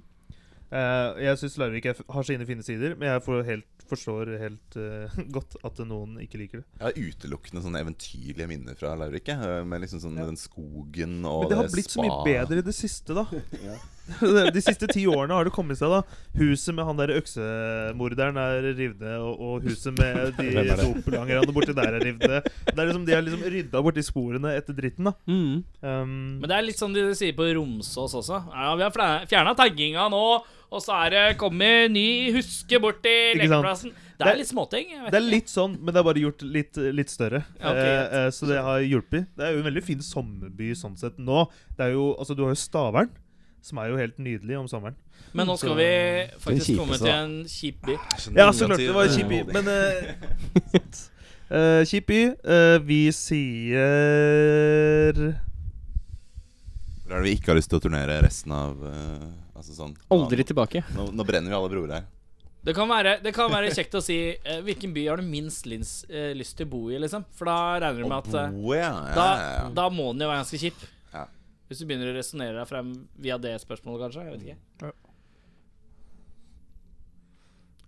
Speaker 7: Eh, jeg syns Larvik er, f- har sine fine sider, men jeg får helt, forstår helt eh, godt at noen ikke liker det.
Speaker 6: Jeg har utelukkende sånne eventyrlige minner fra Larvik. jeg, eh, Med liksom sånn
Speaker 7: Ja.
Speaker 6: den skogen og
Speaker 7: Men det har
Speaker 6: det
Speaker 7: blitt så mye
Speaker 6: spa.
Speaker 7: bedre i det siste, da. De siste ti årene har det kommet seg, da. Huset med han der øksemorderen er revet ned, og, og huset med de
Speaker 5: Hvem er det?
Speaker 7: dopelangerne borti der er revet ned. Det er liksom, de har liksom rydda borti sporene etter dritten, da.
Speaker 4: Mm.
Speaker 7: Um,
Speaker 3: Men det er litt sånn de sier på Romsås også. Ja, vi har fjerna tagginga nå, og så er det kommet ny huske bort til
Speaker 7: Ikke sant?
Speaker 3: lekeplassen. Det
Speaker 7: Det er-
Speaker 3: er litt småting. jeg vet
Speaker 7: det er
Speaker 3: ikke.
Speaker 7: litt sånn, men det er bare gjort litt, litt større.
Speaker 3: Ja, ok,
Speaker 7: Eh,
Speaker 3: greit.
Speaker 7: eh, så det har hjulpet. Det er jo en veldig fin sommerby sånn sett nå. Det er jo, altså, du har jo Stavern, som er jo helt nydelig om sommeren.
Speaker 3: Men nå skal vi faktisk
Speaker 5: Den kjipeste,
Speaker 3: komme til
Speaker 5: da.
Speaker 3: en kjip by.
Speaker 7: Ja, så klart. Det var en kjip by. Men eh, sant. Eh, Kjip by. Eh, vi sier
Speaker 6: Hvor er det vi ikke har lyst til å turnere resten av eh, Altså sånn
Speaker 4: Aldri tilbake.
Speaker 6: Nå, nå brenner vi alle broer her.
Speaker 3: Det kan være, det kan være kjekt å si eh, hvilken by har du minst lins, eh, lyst til å bo i, liksom. For da regner du med at eh,
Speaker 6: Å, ja, ja,
Speaker 3: da,
Speaker 6: ja, ja.
Speaker 3: da må den jo være ganske kjip.
Speaker 6: Ja.
Speaker 3: Hvis du begynner å resonnere deg frem via det spørsmålet, kanskje. Jeg vet ikke.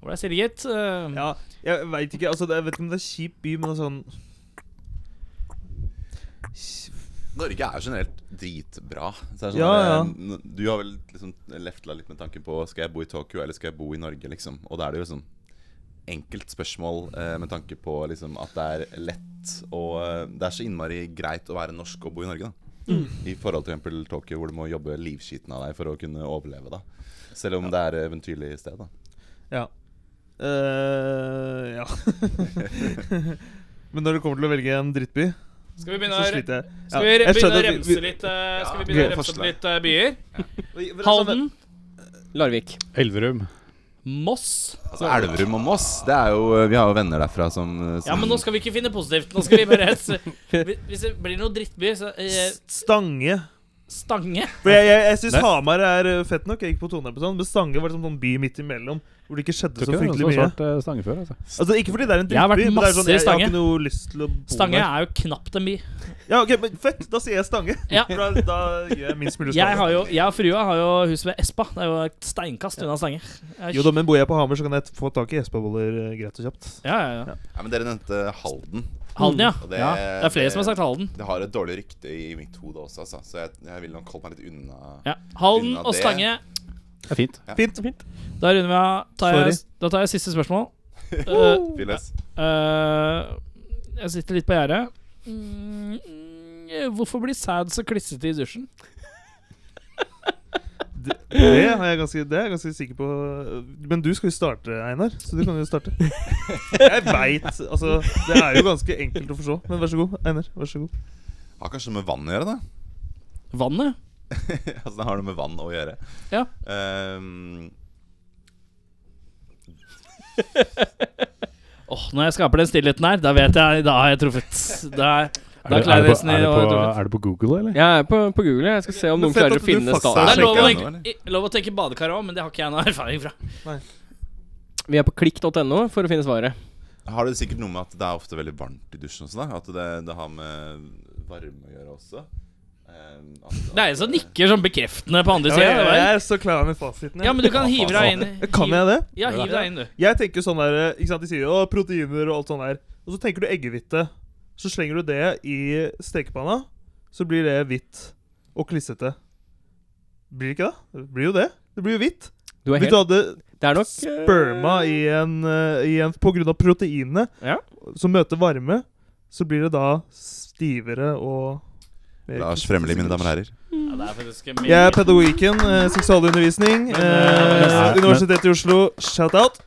Speaker 3: Hvor er Silje, gitt? Eh,
Speaker 7: Ja, jeg veit ikke. Altså, det, jeg vet ikke om det er kjip by, men sånn
Speaker 6: Norge er jo generelt dritbra. Så det er sånn, eh,
Speaker 7: Ja,
Speaker 6: n- Du har vel liksom lefla litt med tanken på Skal jeg bo i Tokyo eller skal jeg bo i Norge. liksom Og da er det jo sånn enkelt spørsmål eh, med tanke på liksom at det er lett og eh, Det er så innmari greit å være norsk og bo i Norge. da
Speaker 7: Mm.
Speaker 6: I forhold til eksempel Tokyo, hvor du må jobbe livskiten av deg for å kunne overleve. da Selv om det er eh, eventyrlig sted. da
Speaker 7: Ja. Eh, ja. men når det kommer til å velge en drittby,
Speaker 3: Skal vi begynne
Speaker 7: så
Speaker 3: å
Speaker 7: sliter jeg. Ja,
Speaker 3: Skal vi re- begynne
Speaker 7: jeg
Speaker 3: å
Speaker 7: skjønner at vi-
Speaker 3: remse
Speaker 7: vi-
Speaker 3: litt eh, Skal vi
Speaker 6: Ja,
Speaker 3: begynne å
Speaker 6: gode
Speaker 3: remse opp
Speaker 6: forslag.
Speaker 3: litt eh, byer?
Speaker 7: vi- vi-
Speaker 3: Halden,
Speaker 4: Larvik.
Speaker 5: Elverum.
Speaker 3: Moss
Speaker 6: Altså Elverum og Moss, det er jo eh, vi har jo venner derfra som, eh, som
Speaker 3: Ja, men nå skal vi ikke finne positivt. Nå skal vi bare Hvis det blir noe drittby, så eh,
Speaker 7: sånn Stange.
Speaker 3: Stange.
Speaker 7: For jeg, jeg, jeg syns
Speaker 5: Nei.
Speaker 7: Hamar er eh, fett nok. Jeg gikk på Toneepisoden, men Stange var liksom sånn by midt imellom. Hvor det ikke skjedde
Speaker 5: Tror
Speaker 7: så
Speaker 5: ikke det er noen
Speaker 7: fryktelig
Speaker 5: som
Speaker 7: mye.
Speaker 5: har svart eh, stange før. Altså.
Speaker 7: Altså Ikke fordi det er en
Speaker 3: Jeg har vært
Speaker 7: drittby, men det er
Speaker 3: masse
Speaker 7: sånn, jeg,
Speaker 3: i
Speaker 7: jeg har
Speaker 3: Stange.
Speaker 7: ikke noe lyst til å bo
Speaker 3: Stange
Speaker 7: der.
Speaker 3: er jo knapt en by.
Speaker 7: Ja, ok, men Fett, da sier jeg Stange.
Speaker 3: Ja.
Speaker 7: For da, da gjør jeg minst mulig
Speaker 3: Jeg,
Speaker 7: skade.
Speaker 3: har jo, jeg og frua har jo hus ved Espa. Det er jo et steinkast unna Stange. Jeg-
Speaker 7: Jo da, men bor jeg på Hamar, så kan jeg få tak i Espa-boller eh, greit og kjapt.
Speaker 3: Ja, ja, ja.
Speaker 6: ja, men Dere nevnte Halden.
Speaker 3: Halden,
Speaker 7: Mm.
Speaker 3: ja.
Speaker 6: Og det-
Speaker 3: ja. Det er flere som har sagt Halden.
Speaker 6: Det har et dårlig rykte i mitt hode også, altså. så jeg, jeg vil nok holde meg litt unna.
Speaker 3: Ja. Halden
Speaker 6: Unna
Speaker 3: og
Speaker 6: det-
Speaker 3: Stange.
Speaker 5: Det er fint.
Speaker 7: Fint. fint.
Speaker 3: Da runder vi av. Tar jeg,
Speaker 7: Sorry.
Speaker 3: da tar jeg siste spørsmål. Eh,
Speaker 6: Fylles.
Speaker 3: Eh, jeg sitter litt på gjerdet. Mm, mm, hvorfor blir sæd så klissete i dusjen?
Speaker 7: Det, det, har jeg ganske, det er jeg ganske sikker på. Men du skal jo starte, Einar. Så du kan jo starte. Jeg veit Altså, det er jo ganske enkelt å forstå. Men vær så god, Einar. Vær så god.
Speaker 6: Har kanskje med vann å gjøre, da.
Speaker 3: Vannet?
Speaker 6: altså, det har noe med vann å gjøre.
Speaker 3: Ja.
Speaker 6: Ehm,
Speaker 3: Åh, når jeg skaper den stillheten her, da vet jeg Da har jeg truffet. Da er,
Speaker 5: Er
Speaker 3: da
Speaker 5: det, er,
Speaker 3: klarer
Speaker 5: det
Speaker 3: jeg
Speaker 5: på,
Speaker 3: nesten i
Speaker 5: er, det
Speaker 3: å ha
Speaker 5: på,
Speaker 3: truffet.
Speaker 5: er det på Google, eller?
Speaker 4: Jeg er på, på Google. Jeg skal se om
Speaker 7: Men
Speaker 4: noen
Speaker 7: fett
Speaker 4: klarer
Speaker 7: at
Speaker 4: å
Speaker 7: du
Speaker 4: finne
Speaker 7: faktisk
Speaker 4: staden.
Speaker 3: Det er lov å,
Speaker 6: sjekker jeg nå,
Speaker 3: i- lov å tenke badekar òg, men det har ikke jeg noe erfaring fra.
Speaker 4: Vi er på klikk.no for å finne svaret.
Speaker 6: har det sikkert noe med at det er ofte veldig varmt i dusjen også, da? At det, det har med varme å gjøre også? Ehm, at,
Speaker 3: Det er en som nikker sånn bekreftende på andre
Speaker 7: Ja, jeg,
Speaker 3: sida.
Speaker 7: jeg er så klar med fasiten. jeg.
Speaker 3: Ja, men du kan hive deg inn. i-
Speaker 7: Kan jeg det?
Speaker 3: Ja, hiv deg inn, du.
Speaker 7: Jeg tenker sånn der Ikke sant, de sier jo «Å, proteiner og alt sånt der. Og så tenker du eggehvite. Så slenger du det i stekepanna, så blir det hvitt og klissete. Blir det ikke det? Det blir jo det. Det blir jo hvitt.
Speaker 4: Du er
Speaker 7: Hvis du
Speaker 4: helt
Speaker 7: hadde
Speaker 4: Det er nok eh,
Speaker 7: sperma i en, eh, i en På grunn av proteinene
Speaker 4: Ja.
Speaker 7: som møter varme, så blir det da stivere og mer
Speaker 6: Lars
Speaker 7: klissete,
Speaker 6: Fremli, mine
Speaker 7: sikkert.
Speaker 6: damer og herrer.
Speaker 3: Ja, det er faktisk
Speaker 7: Jeg er
Speaker 3: mye-
Speaker 7: pedagogikken, eh, seksualundervisning,
Speaker 5: eh,
Speaker 7: eh, Universitetet i Oslo, shout-out.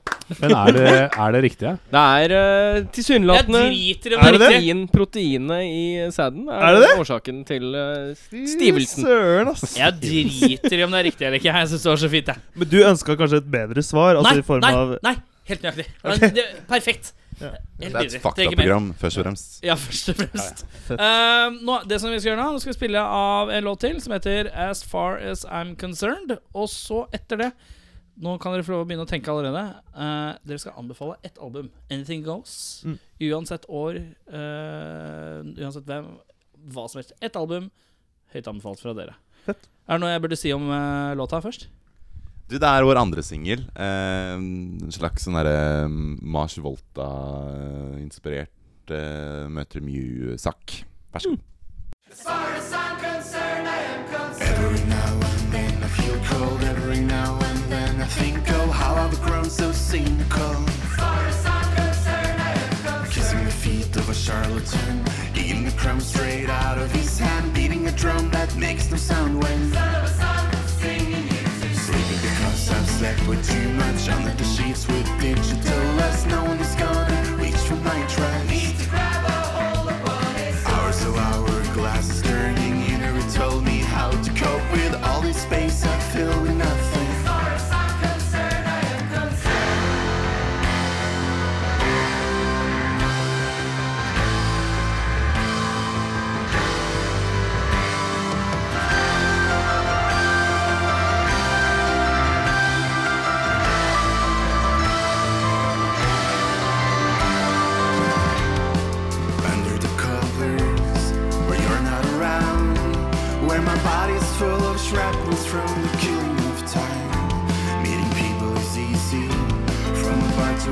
Speaker 5: Men er det, er det riktig? Ja?
Speaker 4: Det er eh,
Speaker 3: Jeg
Speaker 4: tilsynelatende
Speaker 3: driter i om
Speaker 7: Er det det?
Speaker 4: protein, proteinet i sæden
Speaker 7: Er det det?
Speaker 4: årsaken til eh, stivelsen.
Speaker 7: Søren, ass.
Speaker 3: Jeg driter i om det er riktig eller ikke. Jeg synes det var så fint, jeg.
Speaker 7: Men du ønska kanskje et bedre svar? Altså
Speaker 3: Nei,
Speaker 7: i form
Speaker 3: nei,
Speaker 7: av
Speaker 3: nei, Helt nøyaktig. Men det, perfekt.
Speaker 7: Ja.
Speaker 3: Helt
Speaker 6: Det er
Speaker 3: nydelig.
Speaker 6: et
Speaker 3: Trenger ikke mer.
Speaker 6: faktaprogram, først og fremst.
Speaker 3: Ja, først og fremst. Eh, nå, det som vi skal gjøre nå, nå skal vi spille av en låt til som heter As Far As I'm Concerned. Og så, etter det Nå kan dere få lov å begynne å tenke allerede. Eh, dere skal anbefale ett album. Anything Goes.
Speaker 7: Mm.
Speaker 3: Uansett år, eh, uansett hvem, hva som helst. Ett album. Høyt anbefalt fra dere.
Speaker 7: Fett.
Speaker 3: Er det noe jeg burde si om eh, låta først?
Speaker 6: Du, det er vår andre singel. Eh, en slags sånn derre eh, Mars Volta-inspirert eh, møter Mew-sak. Vær så god.
Speaker 8: Every now and then I feel cold. Every now and then I think, oh, how I've grown so cynical. Kissing the feet of a charlatan, eating the crumbs straight out of his hand, beating a drum that makes no sound when. Sleeping because I've slept with too much under the sheets with digital less. No one is gonna reach for my trash. Hours of hourglasses turning inner it told me how to cope with all this space I fill with nothing. As far Under the covers, where you're not around, where my body's full of shrapnels from the killing of time. Meeting people is easy, from a bar to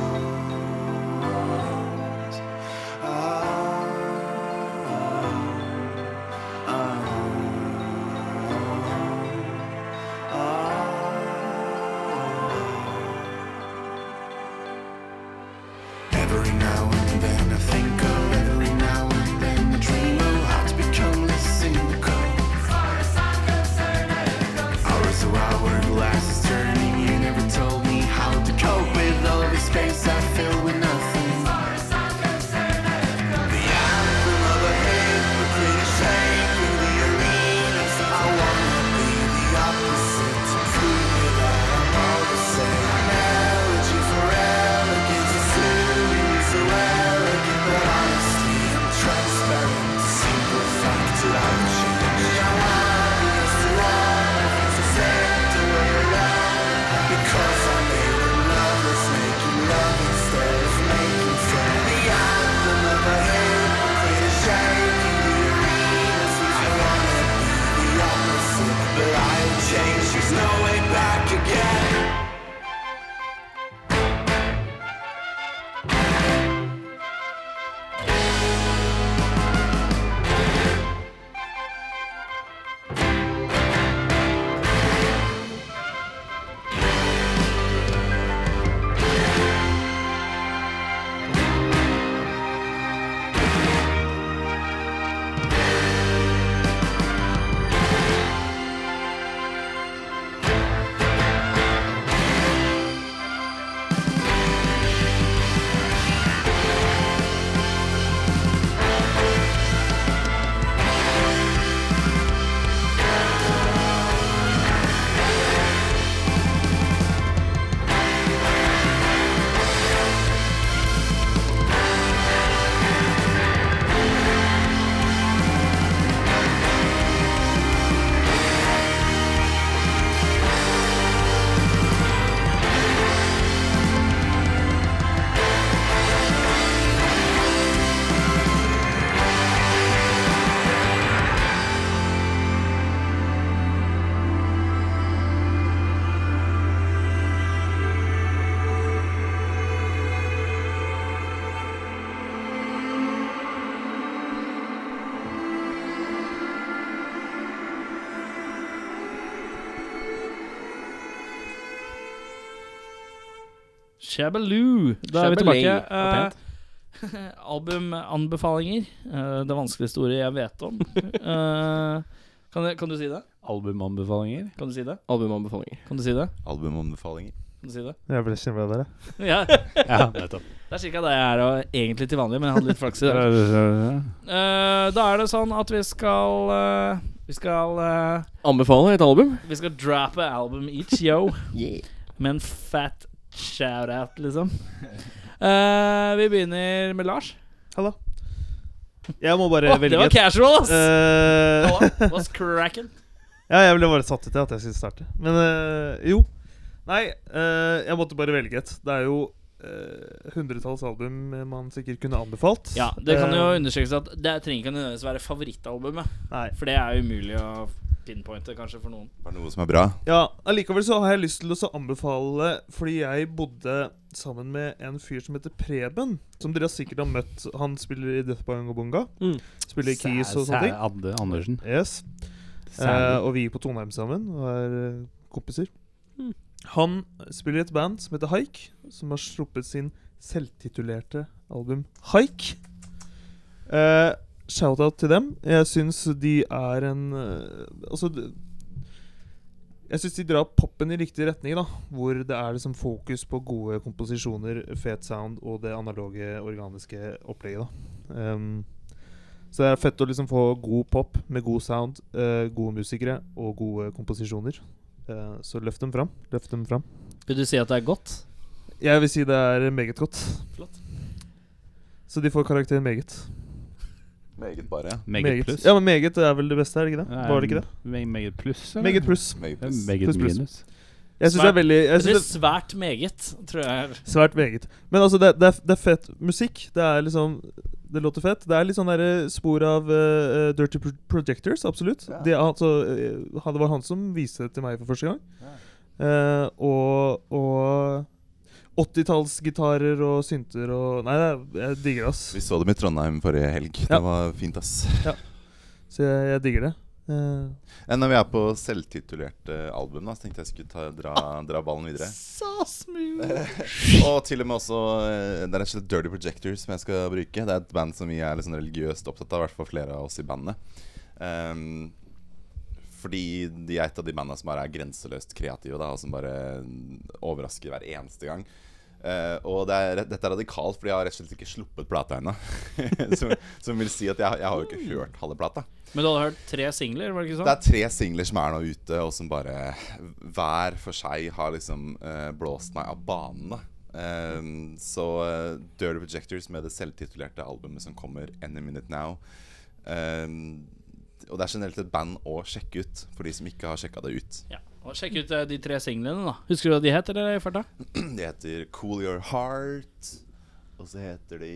Speaker 8: Ah. Every now and then I think of every now and then I dream of how to become less cynical. Hours of hourglasses turning, you never told me how to cope with all the space I fill with nothing. The anthem of a hypocrite shape in the arenas. I wanna be the opposite, to prove that I'm all the same. Analogy for elegance, assuming it's so elegant, but honestly, I'm transparent. Simple fact that I've changed. I wanna be as you are, as I said, the way around. Because I'm made of lovers, making love instead of making friends. The anthem of a hypocrite is shaking the arenas. I wanna be the opposite, but I've changed. There's no way back again.
Speaker 3: Shabaloo. Da er vi
Speaker 4: Shabalay.
Speaker 3: tilbake.
Speaker 4: Ja, pent.
Speaker 3: Eh, Albumanbefalinger. Eh, det vanskeligste ordet jeg vet om. Eh, kan, jeg- kan du si det?
Speaker 5: Albumanbefalinger?
Speaker 3: Kan du si det?
Speaker 4: Albumanbefalinger.
Speaker 3: Kan du si det?
Speaker 6: Albumanbefalinger.
Speaker 3: Kan du si det?
Speaker 7: Jeg ble kjempa der, jeg.
Speaker 3: Ja,
Speaker 5: Ja, nettopp.
Speaker 3: Det er cirka det jeg er og egentlig til vanlig, men jeg hadde litt flaks i dag. Eh, da er det sånn at vi skal eh, Vi skal eh,
Speaker 4: Anbefaler et album.
Speaker 3: Vi skal droppe album each, yo.
Speaker 4: Yeah.
Speaker 3: Med en fat shout-out, liksom. Eh, vi begynner med Lars.
Speaker 7: Hallo. Jeg må bare
Speaker 3: Å, det
Speaker 7: velge
Speaker 3: var
Speaker 7: et
Speaker 3: casual, ass!
Speaker 7: Eh,
Speaker 3: Halla, what's cracking?
Speaker 7: Ja, jeg ble bare satt ut til at jeg skulle starte. Men eh, jo. Nei, eh, jeg måtte bare velge et. Det er jo eh, hundretalls album man sikkert kunne anbefalt.
Speaker 3: Ja, det kan jo
Speaker 7: Eh,
Speaker 3: understrekes at det trenger ikke nødvendigvis være favorittalbumet.
Speaker 7: Nei.
Speaker 3: For det er umulig å pinpointe, kanskje, for noen.
Speaker 6: Det er noe som er bra.
Speaker 7: Ja, allikevel så har jeg lyst til å så anbefale Fordi jeg bodde sammen med en fyr som heter Preben. Som dere sikkert har møtt. Han spiller i Death by Ungabunga.
Speaker 4: Mm.
Speaker 7: Spiller i Keys og sånne ting.
Speaker 5: Adde Andersen.
Speaker 7: Yes. Eh,
Speaker 5: Sæle.
Speaker 7: og vi gikk på Trondheim sammen og er eh, kompiser.
Speaker 4: Mm.
Speaker 7: Han spiller i et band som heter Haik, som har sluppet sin selvtitulerte album Haik. Eh, Shout-out til dem. Jeg syns de er en eh, Altså d- Jeg syns de drar poppen i riktig retning, da. Hvor det er liksom fokus på gode komposisjoner, fet sound og det analoge, organiske opplegget, da. Um, så det er fett å liksom få god pop med god sound, eh, gode musikere og gode komposisjoner. Eh, så løft dem fram. Løft dem fram.
Speaker 3: Vil du si at det er godt?
Speaker 7: Jeg vil si det er meget godt.
Speaker 3: Flott.
Speaker 7: Så de får karakteren meget.
Speaker 6: Meget bare.
Speaker 5: Meget pluss.
Speaker 7: Ja, men meget er vel det beste, er det ikke det?
Speaker 5: Nei,
Speaker 7: Var det ikke det?
Speaker 5: me- Meget pluss, eller?
Speaker 7: Meget pluss.
Speaker 6: Meget
Speaker 5: Ja,
Speaker 6: pluss.
Speaker 5: Meget
Speaker 7: Pluss, pluss.
Speaker 5: minus.
Speaker 7: Jeg syns det er veldig jeg
Speaker 3: Eller
Speaker 7: synes
Speaker 3: svært meget, tror jeg. er-
Speaker 7: det er Svært meget. Men altså, det, det, er, det er fett musikk. Det er liksom Det låter fett. Det er litt sånn derre spor av eh, eh, Dirty Pro Projectors, absolutt.
Speaker 6: Ja.
Speaker 7: Det, er altså, eh, han- det var han som viste det til meg for første gang.
Speaker 6: Ja.
Speaker 7: Eh, og og 80-tallsgitarer og synter og Nei, det er- jeg digger det, ass.
Speaker 6: Vi så dem i Trondheim forrige helg.
Speaker 7: Ja.
Speaker 6: Det var fint, ass.
Speaker 7: Så jeg, jeg digger det. Eh,
Speaker 6: Ja, når vi er på selvtitulerte album, da, så tenkte jeg skulle ta, dra, dra ballen videre.
Speaker 3: Så smooth!
Speaker 6: Og til og med også eh, Det er rett og slett Dirty Projectors som jeg skal bruke. Det er et band som vi er litt sånn religiøst opptatt av, i hvert fall flere av oss i bandet. Ehm, fordi de er et av de bandene som bare er grenseløst kreative, da, og som bare eh, overrasker hver eneste gang. Eh, og det er, dette er radikalt, fordi jeg har rett og slett ikke sluppet plata ennå. som, som vil si at jeg, jeg har jo ikke hørt halve plata.
Speaker 3: Men du hadde hørt tre singler, var det ikke
Speaker 6: Det
Speaker 3: sånn?
Speaker 6: er tre singler som er nå ute, og som bare hver for seg har liksom eh, blåst meg av banen. da. Ehm, så eh, Dirty Projectors med det selvtitulerte albumet som kommer Any Minute Now. Ehm, og det er generelt et band å sjekke ut, for de som ikke har sjekka det ut.
Speaker 3: Ja. Og sjekk ut eh, de tre singlene, da. Husker du hva de het, eller, i farta?
Speaker 6: De heter Cool Your Heart, og så heter de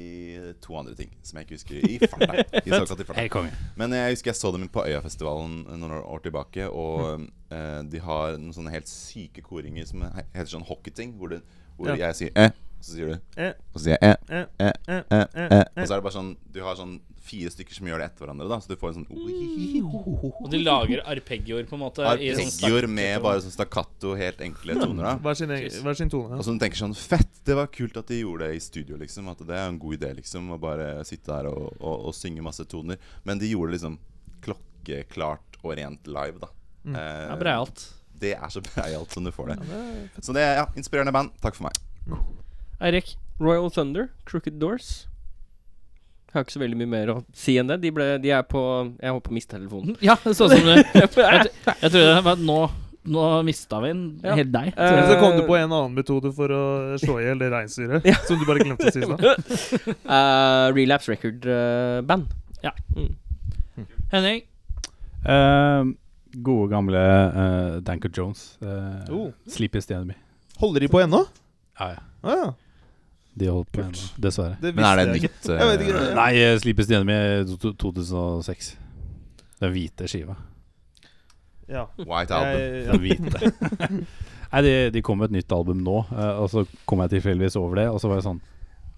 Speaker 6: to andre ting som jeg ikke husker i farta. I såkalt i farta.
Speaker 5: Hei, konge.
Speaker 6: Men jeg husker jeg så dem på Øyafestivalen noen år- år tilbake, og eh, de har noen sånne helt syke koringer som he- heter sånn hockeyting, hvor, det, hvor
Speaker 7: Ja.
Speaker 6: jeg sier eh, og så sier du
Speaker 7: Eh.
Speaker 6: og så sier jeg eh,
Speaker 7: eh,
Speaker 6: eh,
Speaker 7: eh,
Speaker 6: eh,
Speaker 7: eh,
Speaker 6: eh.
Speaker 7: eh.
Speaker 6: Og så er det bare sånn Du har sånn fire stykker som gjør det etter hverandre, da, så du får en sånn
Speaker 7: Mm.
Speaker 6: oh,
Speaker 3: Og de lager arpeggioer, på en måte. i sånn
Speaker 6: Arpeggioer med
Speaker 3: stakk-
Speaker 6: bare sånn stakkato, helt enkle toner, da.
Speaker 7: Hver sin, egen- hver sin tone.
Speaker 6: Og
Speaker 7: Ja.
Speaker 6: så du tenker sånn Fett, det var kult at de gjorde det i studio, liksom. At det er en god idé, liksom. Å bare sitte her og, og, og synge masse toner. Men de gjorde det liksom klokkeklart og rent live, da. Eh,
Speaker 3: Ja, breialt.
Speaker 6: det er så breialt som du får det. Så det er ja, inspirerende band. Takk for meg.
Speaker 3: Eirik.
Speaker 4: Royal Thunder, Crooked Doors. Jeg har ikke så veldig mye mer å si enn det. De, ble, de er på Jeg holdt på å miste telefonen. Eh,
Speaker 3: Ja, det så ut som det. Jeg, tr- jeg trodde det var nå nå mista vi en
Speaker 4: Ja.
Speaker 3: helt deg.
Speaker 4: Eh,
Speaker 7: Men så kom du på en annen metode for å slå i hjel det reinsdyret, som du bare glemte å si i stad.
Speaker 4: Eh, Relapse Record eh, Band.
Speaker 3: Henning.
Speaker 5: Ehm, gode gamle eh, Danko Jones. Uh,
Speaker 7: Oh.
Speaker 5: Sleepiest Enemy.
Speaker 7: Holder de på ennå?
Speaker 5: Ja, ja.
Speaker 7: Ah, ja.
Speaker 5: De holdt på ennå, dessverre.
Speaker 7: Det
Speaker 6: Men er det
Speaker 7: visste jeg ikke.
Speaker 6: nytt?
Speaker 7: Jeg vet ikke.
Speaker 6: eh,
Speaker 5: Nei, uh, Sleepiest Enemy to- to- 2006. Den hvite skiva.
Speaker 7: Ja.
Speaker 6: White Album.
Speaker 7: Jeg,
Speaker 5: Den hvite. Nei, de, de kom med et nytt album nå, eh, og så kom jeg tilfeldigvis over det, og så var jeg sånn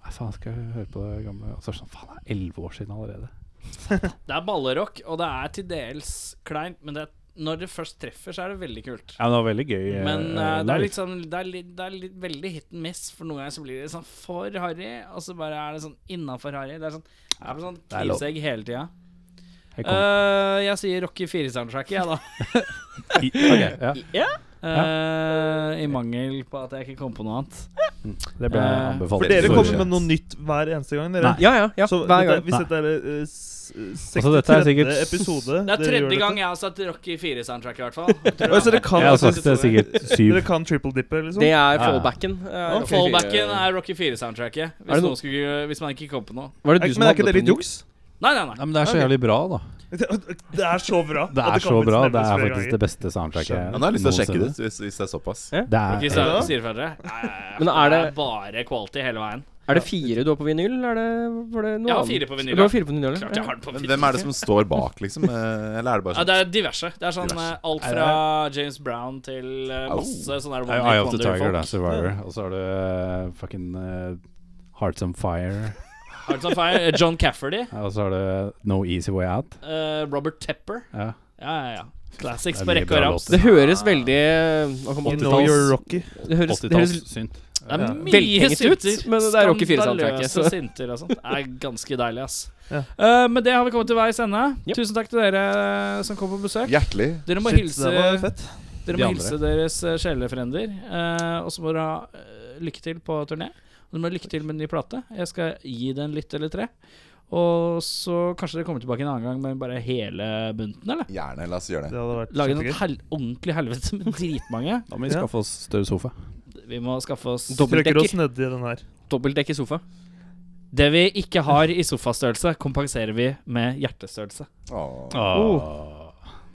Speaker 5: Hva faen skal jeg høre på det gamle Og så er det sånn Faen, det er elleve år siden allerede.
Speaker 3: Det er ballerock, og det er til dels kleint, men det er, når det først treffer, så er det veldig kult.
Speaker 5: Ja, men det var veldig gøy. eh,
Speaker 3: Men eh, det
Speaker 5: live.
Speaker 3: er liksom Det er, litt, det er litt, veldig hit and miss, for noen ganger så blir det sånn for harry, og så bare er det sånn innafor harry. Det er sånn, det er på sånn
Speaker 5: Det er lov.
Speaker 3: knivsegg hele Eh, tida.
Speaker 5: Helt konge.
Speaker 3: Eh, jeg sier Rocky 4-soundtracket, jeg, da.
Speaker 5: I- ok, ja.
Speaker 3: Eh, I mangel på at jeg ikke kom på noe annet.
Speaker 5: Det ble
Speaker 3: Eh,
Speaker 5: anbefalt.
Speaker 7: For dere
Speaker 5: Så-
Speaker 7: kommer med noe nytt hver eneste gang? Dere.
Speaker 4: Ja, ja. ja
Speaker 7: Så
Speaker 4: hver
Speaker 7: dette-
Speaker 4: gang.
Speaker 5: Nei.
Speaker 7: hvis dette er eh, s- eh, 63.
Speaker 5: Altså, dette er sikkert-
Speaker 3: Det
Speaker 7: episode
Speaker 3: er
Speaker 7: dere gjør
Speaker 3: tredje
Speaker 7: dette.
Speaker 3: gang jeg har sett Rocky 4-soundtrack, i hvert fall.
Speaker 7: Oi, så dere kan,
Speaker 5: Jeg har
Speaker 7: altså,
Speaker 5: sagt det sikkert syv.
Speaker 7: dere kan triple dippe, liksom?
Speaker 4: Det er
Speaker 5: ja.
Speaker 4: fallbacken. eh,
Speaker 7: Ok.
Speaker 3: Fallbacken er Rocky 4-soundtracket.
Speaker 4: Er
Speaker 3: Hvis,
Speaker 4: det noe-
Speaker 3: noen skulle- hvis man ikke kom på noe.
Speaker 4: Var det
Speaker 7: Er-
Speaker 4: du som
Speaker 7: men
Speaker 4: hadde
Speaker 7: er ikke det
Speaker 4: på
Speaker 7: litt
Speaker 4: den?
Speaker 7: juks?
Speaker 3: Nei, nei, nei.
Speaker 5: Ja, men det er så jævlig bra, da.
Speaker 7: Det det er så bra.
Speaker 5: Det
Speaker 7: at
Speaker 5: er så
Speaker 7: kommer
Speaker 5: bra.
Speaker 7: snart
Speaker 5: Det er
Speaker 7: flere
Speaker 5: faktisk
Speaker 7: ganger.
Speaker 5: det beste soundtracket
Speaker 6: Ja, nå har jeg lyst til å sjekke det ut, hvis, hvis det er såpass.
Speaker 5: Det
Speaker 3: Rocky
Speaker 5: er,
Speaker 3: Soundtrack sier dere. Nei, nei, nei.
Speaker 4: Men er det-
Speaker 3: er bare quality hele veien.
Speaker 4: Er det fire du har på vinyl? eller Er det, var det
Speaker 3: Jeg
Speaker 4: noe
Speaker 3: har
Speaker 4: annet?
Speaker 3: fire på vinyl,
Speaker 4: Du
Speaker 3: ja.
Speaker 4: har fire på vinyl, eller?
Speaker 3: Klart jeg har det på
Speaker 6: Men
Speaker 3: film.
Speaker 6: hvem er det som står bak, liksom? Eh, Eller er det bare
Speaker 3: Ja,
Speaker 6: sånn
Speaker 3: det er diverse. Det er sånn eh, alt
Speaker 5: Er det-
Speaker 3: fra James Brown til eh,
Speaker 6: Au.
Speaker 3: masse sånne
Speaker 5: det er jo Eye of the Tiger, da.
Speaker 3: Wonder-folk.
Speaker 5: Survivor. Og så har du eh, fucking eh, Hearts on Fire.
Speaker 3: Hearts on Fire, eh, John Cafferty,
Speaker 5: Ja, Og så har du No Easy Way Out.
Speaker 3: eh, Robert Tepper.
Speaker 5: Ja.
Speaker 3: Ja, ja, ja. Classics
Speaker 5: Det er
Speaker 3: på
Speaker 5: mye
Speaker 3: rekke og
Speaker 5: bra
Speaker 3: raps.
Speaker 4: Det høres veldig eh, hva kan man-
Speaker 7: You know you're Rocky.
Speaker 4: Det høres, det høres
Speaker 5: 80-tallssynt.
Speaker 3: Det er mye
Speaker 4: velhengt ut,
Speaker 3: synter.
Speaker 4: men det er Rocky 4-soundtracket,
Speaker 3: Skandaløse
Speaker 4: så-
Speaker 3: synter og sånt. Det er ganske deilig, ass.
Speaker 7: Ja.
Speaker 3: Eh, med det har vi kommet til veis ende.
Speaker 4: Yep.
Speaker 3: Tusen takk til dere eh, som kom på besøk.
Speaker 6: sånn? Hjertelig.
Speaker 3: Dere må
Speaker 7: Shit,
Speaker 3: hilse,
Speaker 7: det var fett.
Speaker 3: dere
Speaker 5: De
Speaker 3: må
Speaker 5: andre.
Speaker 3: hilse deres eh, sjelefrender. eh, og så må dere ha eh, lykke til på turné. Og dere må ha lykke til med en ny plate. Jeg skal gi det en lytt eller tre. Og så kanskje dere kommer tilbake en annen gang med bare hele bunten, eller?
Speaker 6: Gjerne, la oss gjøre
Speaker 7: Det
Speaker 6: det.
Speaker 7: hadde vært
Speaker 3: Lage noe
Speaker 7: kjempegøy.
Speaker 3: hel ordentlig helvete med dritmange.
Speaker 5: Da må vi skaffe oss større sofa.
Speaker 3: Vi må skaffe oss
Speaker 7: Strøker oss
Speaker 4: dobbeltdekker.
Speaker 7: nedi den her.
Speaker 4: Dobbeltdekk i sofa.
Speaker 3: Det vi ikke har i sofastørrelse, kompenserer vi med hjertestørrelse.
Speaker 6: Åh.
Speaker 5: Åh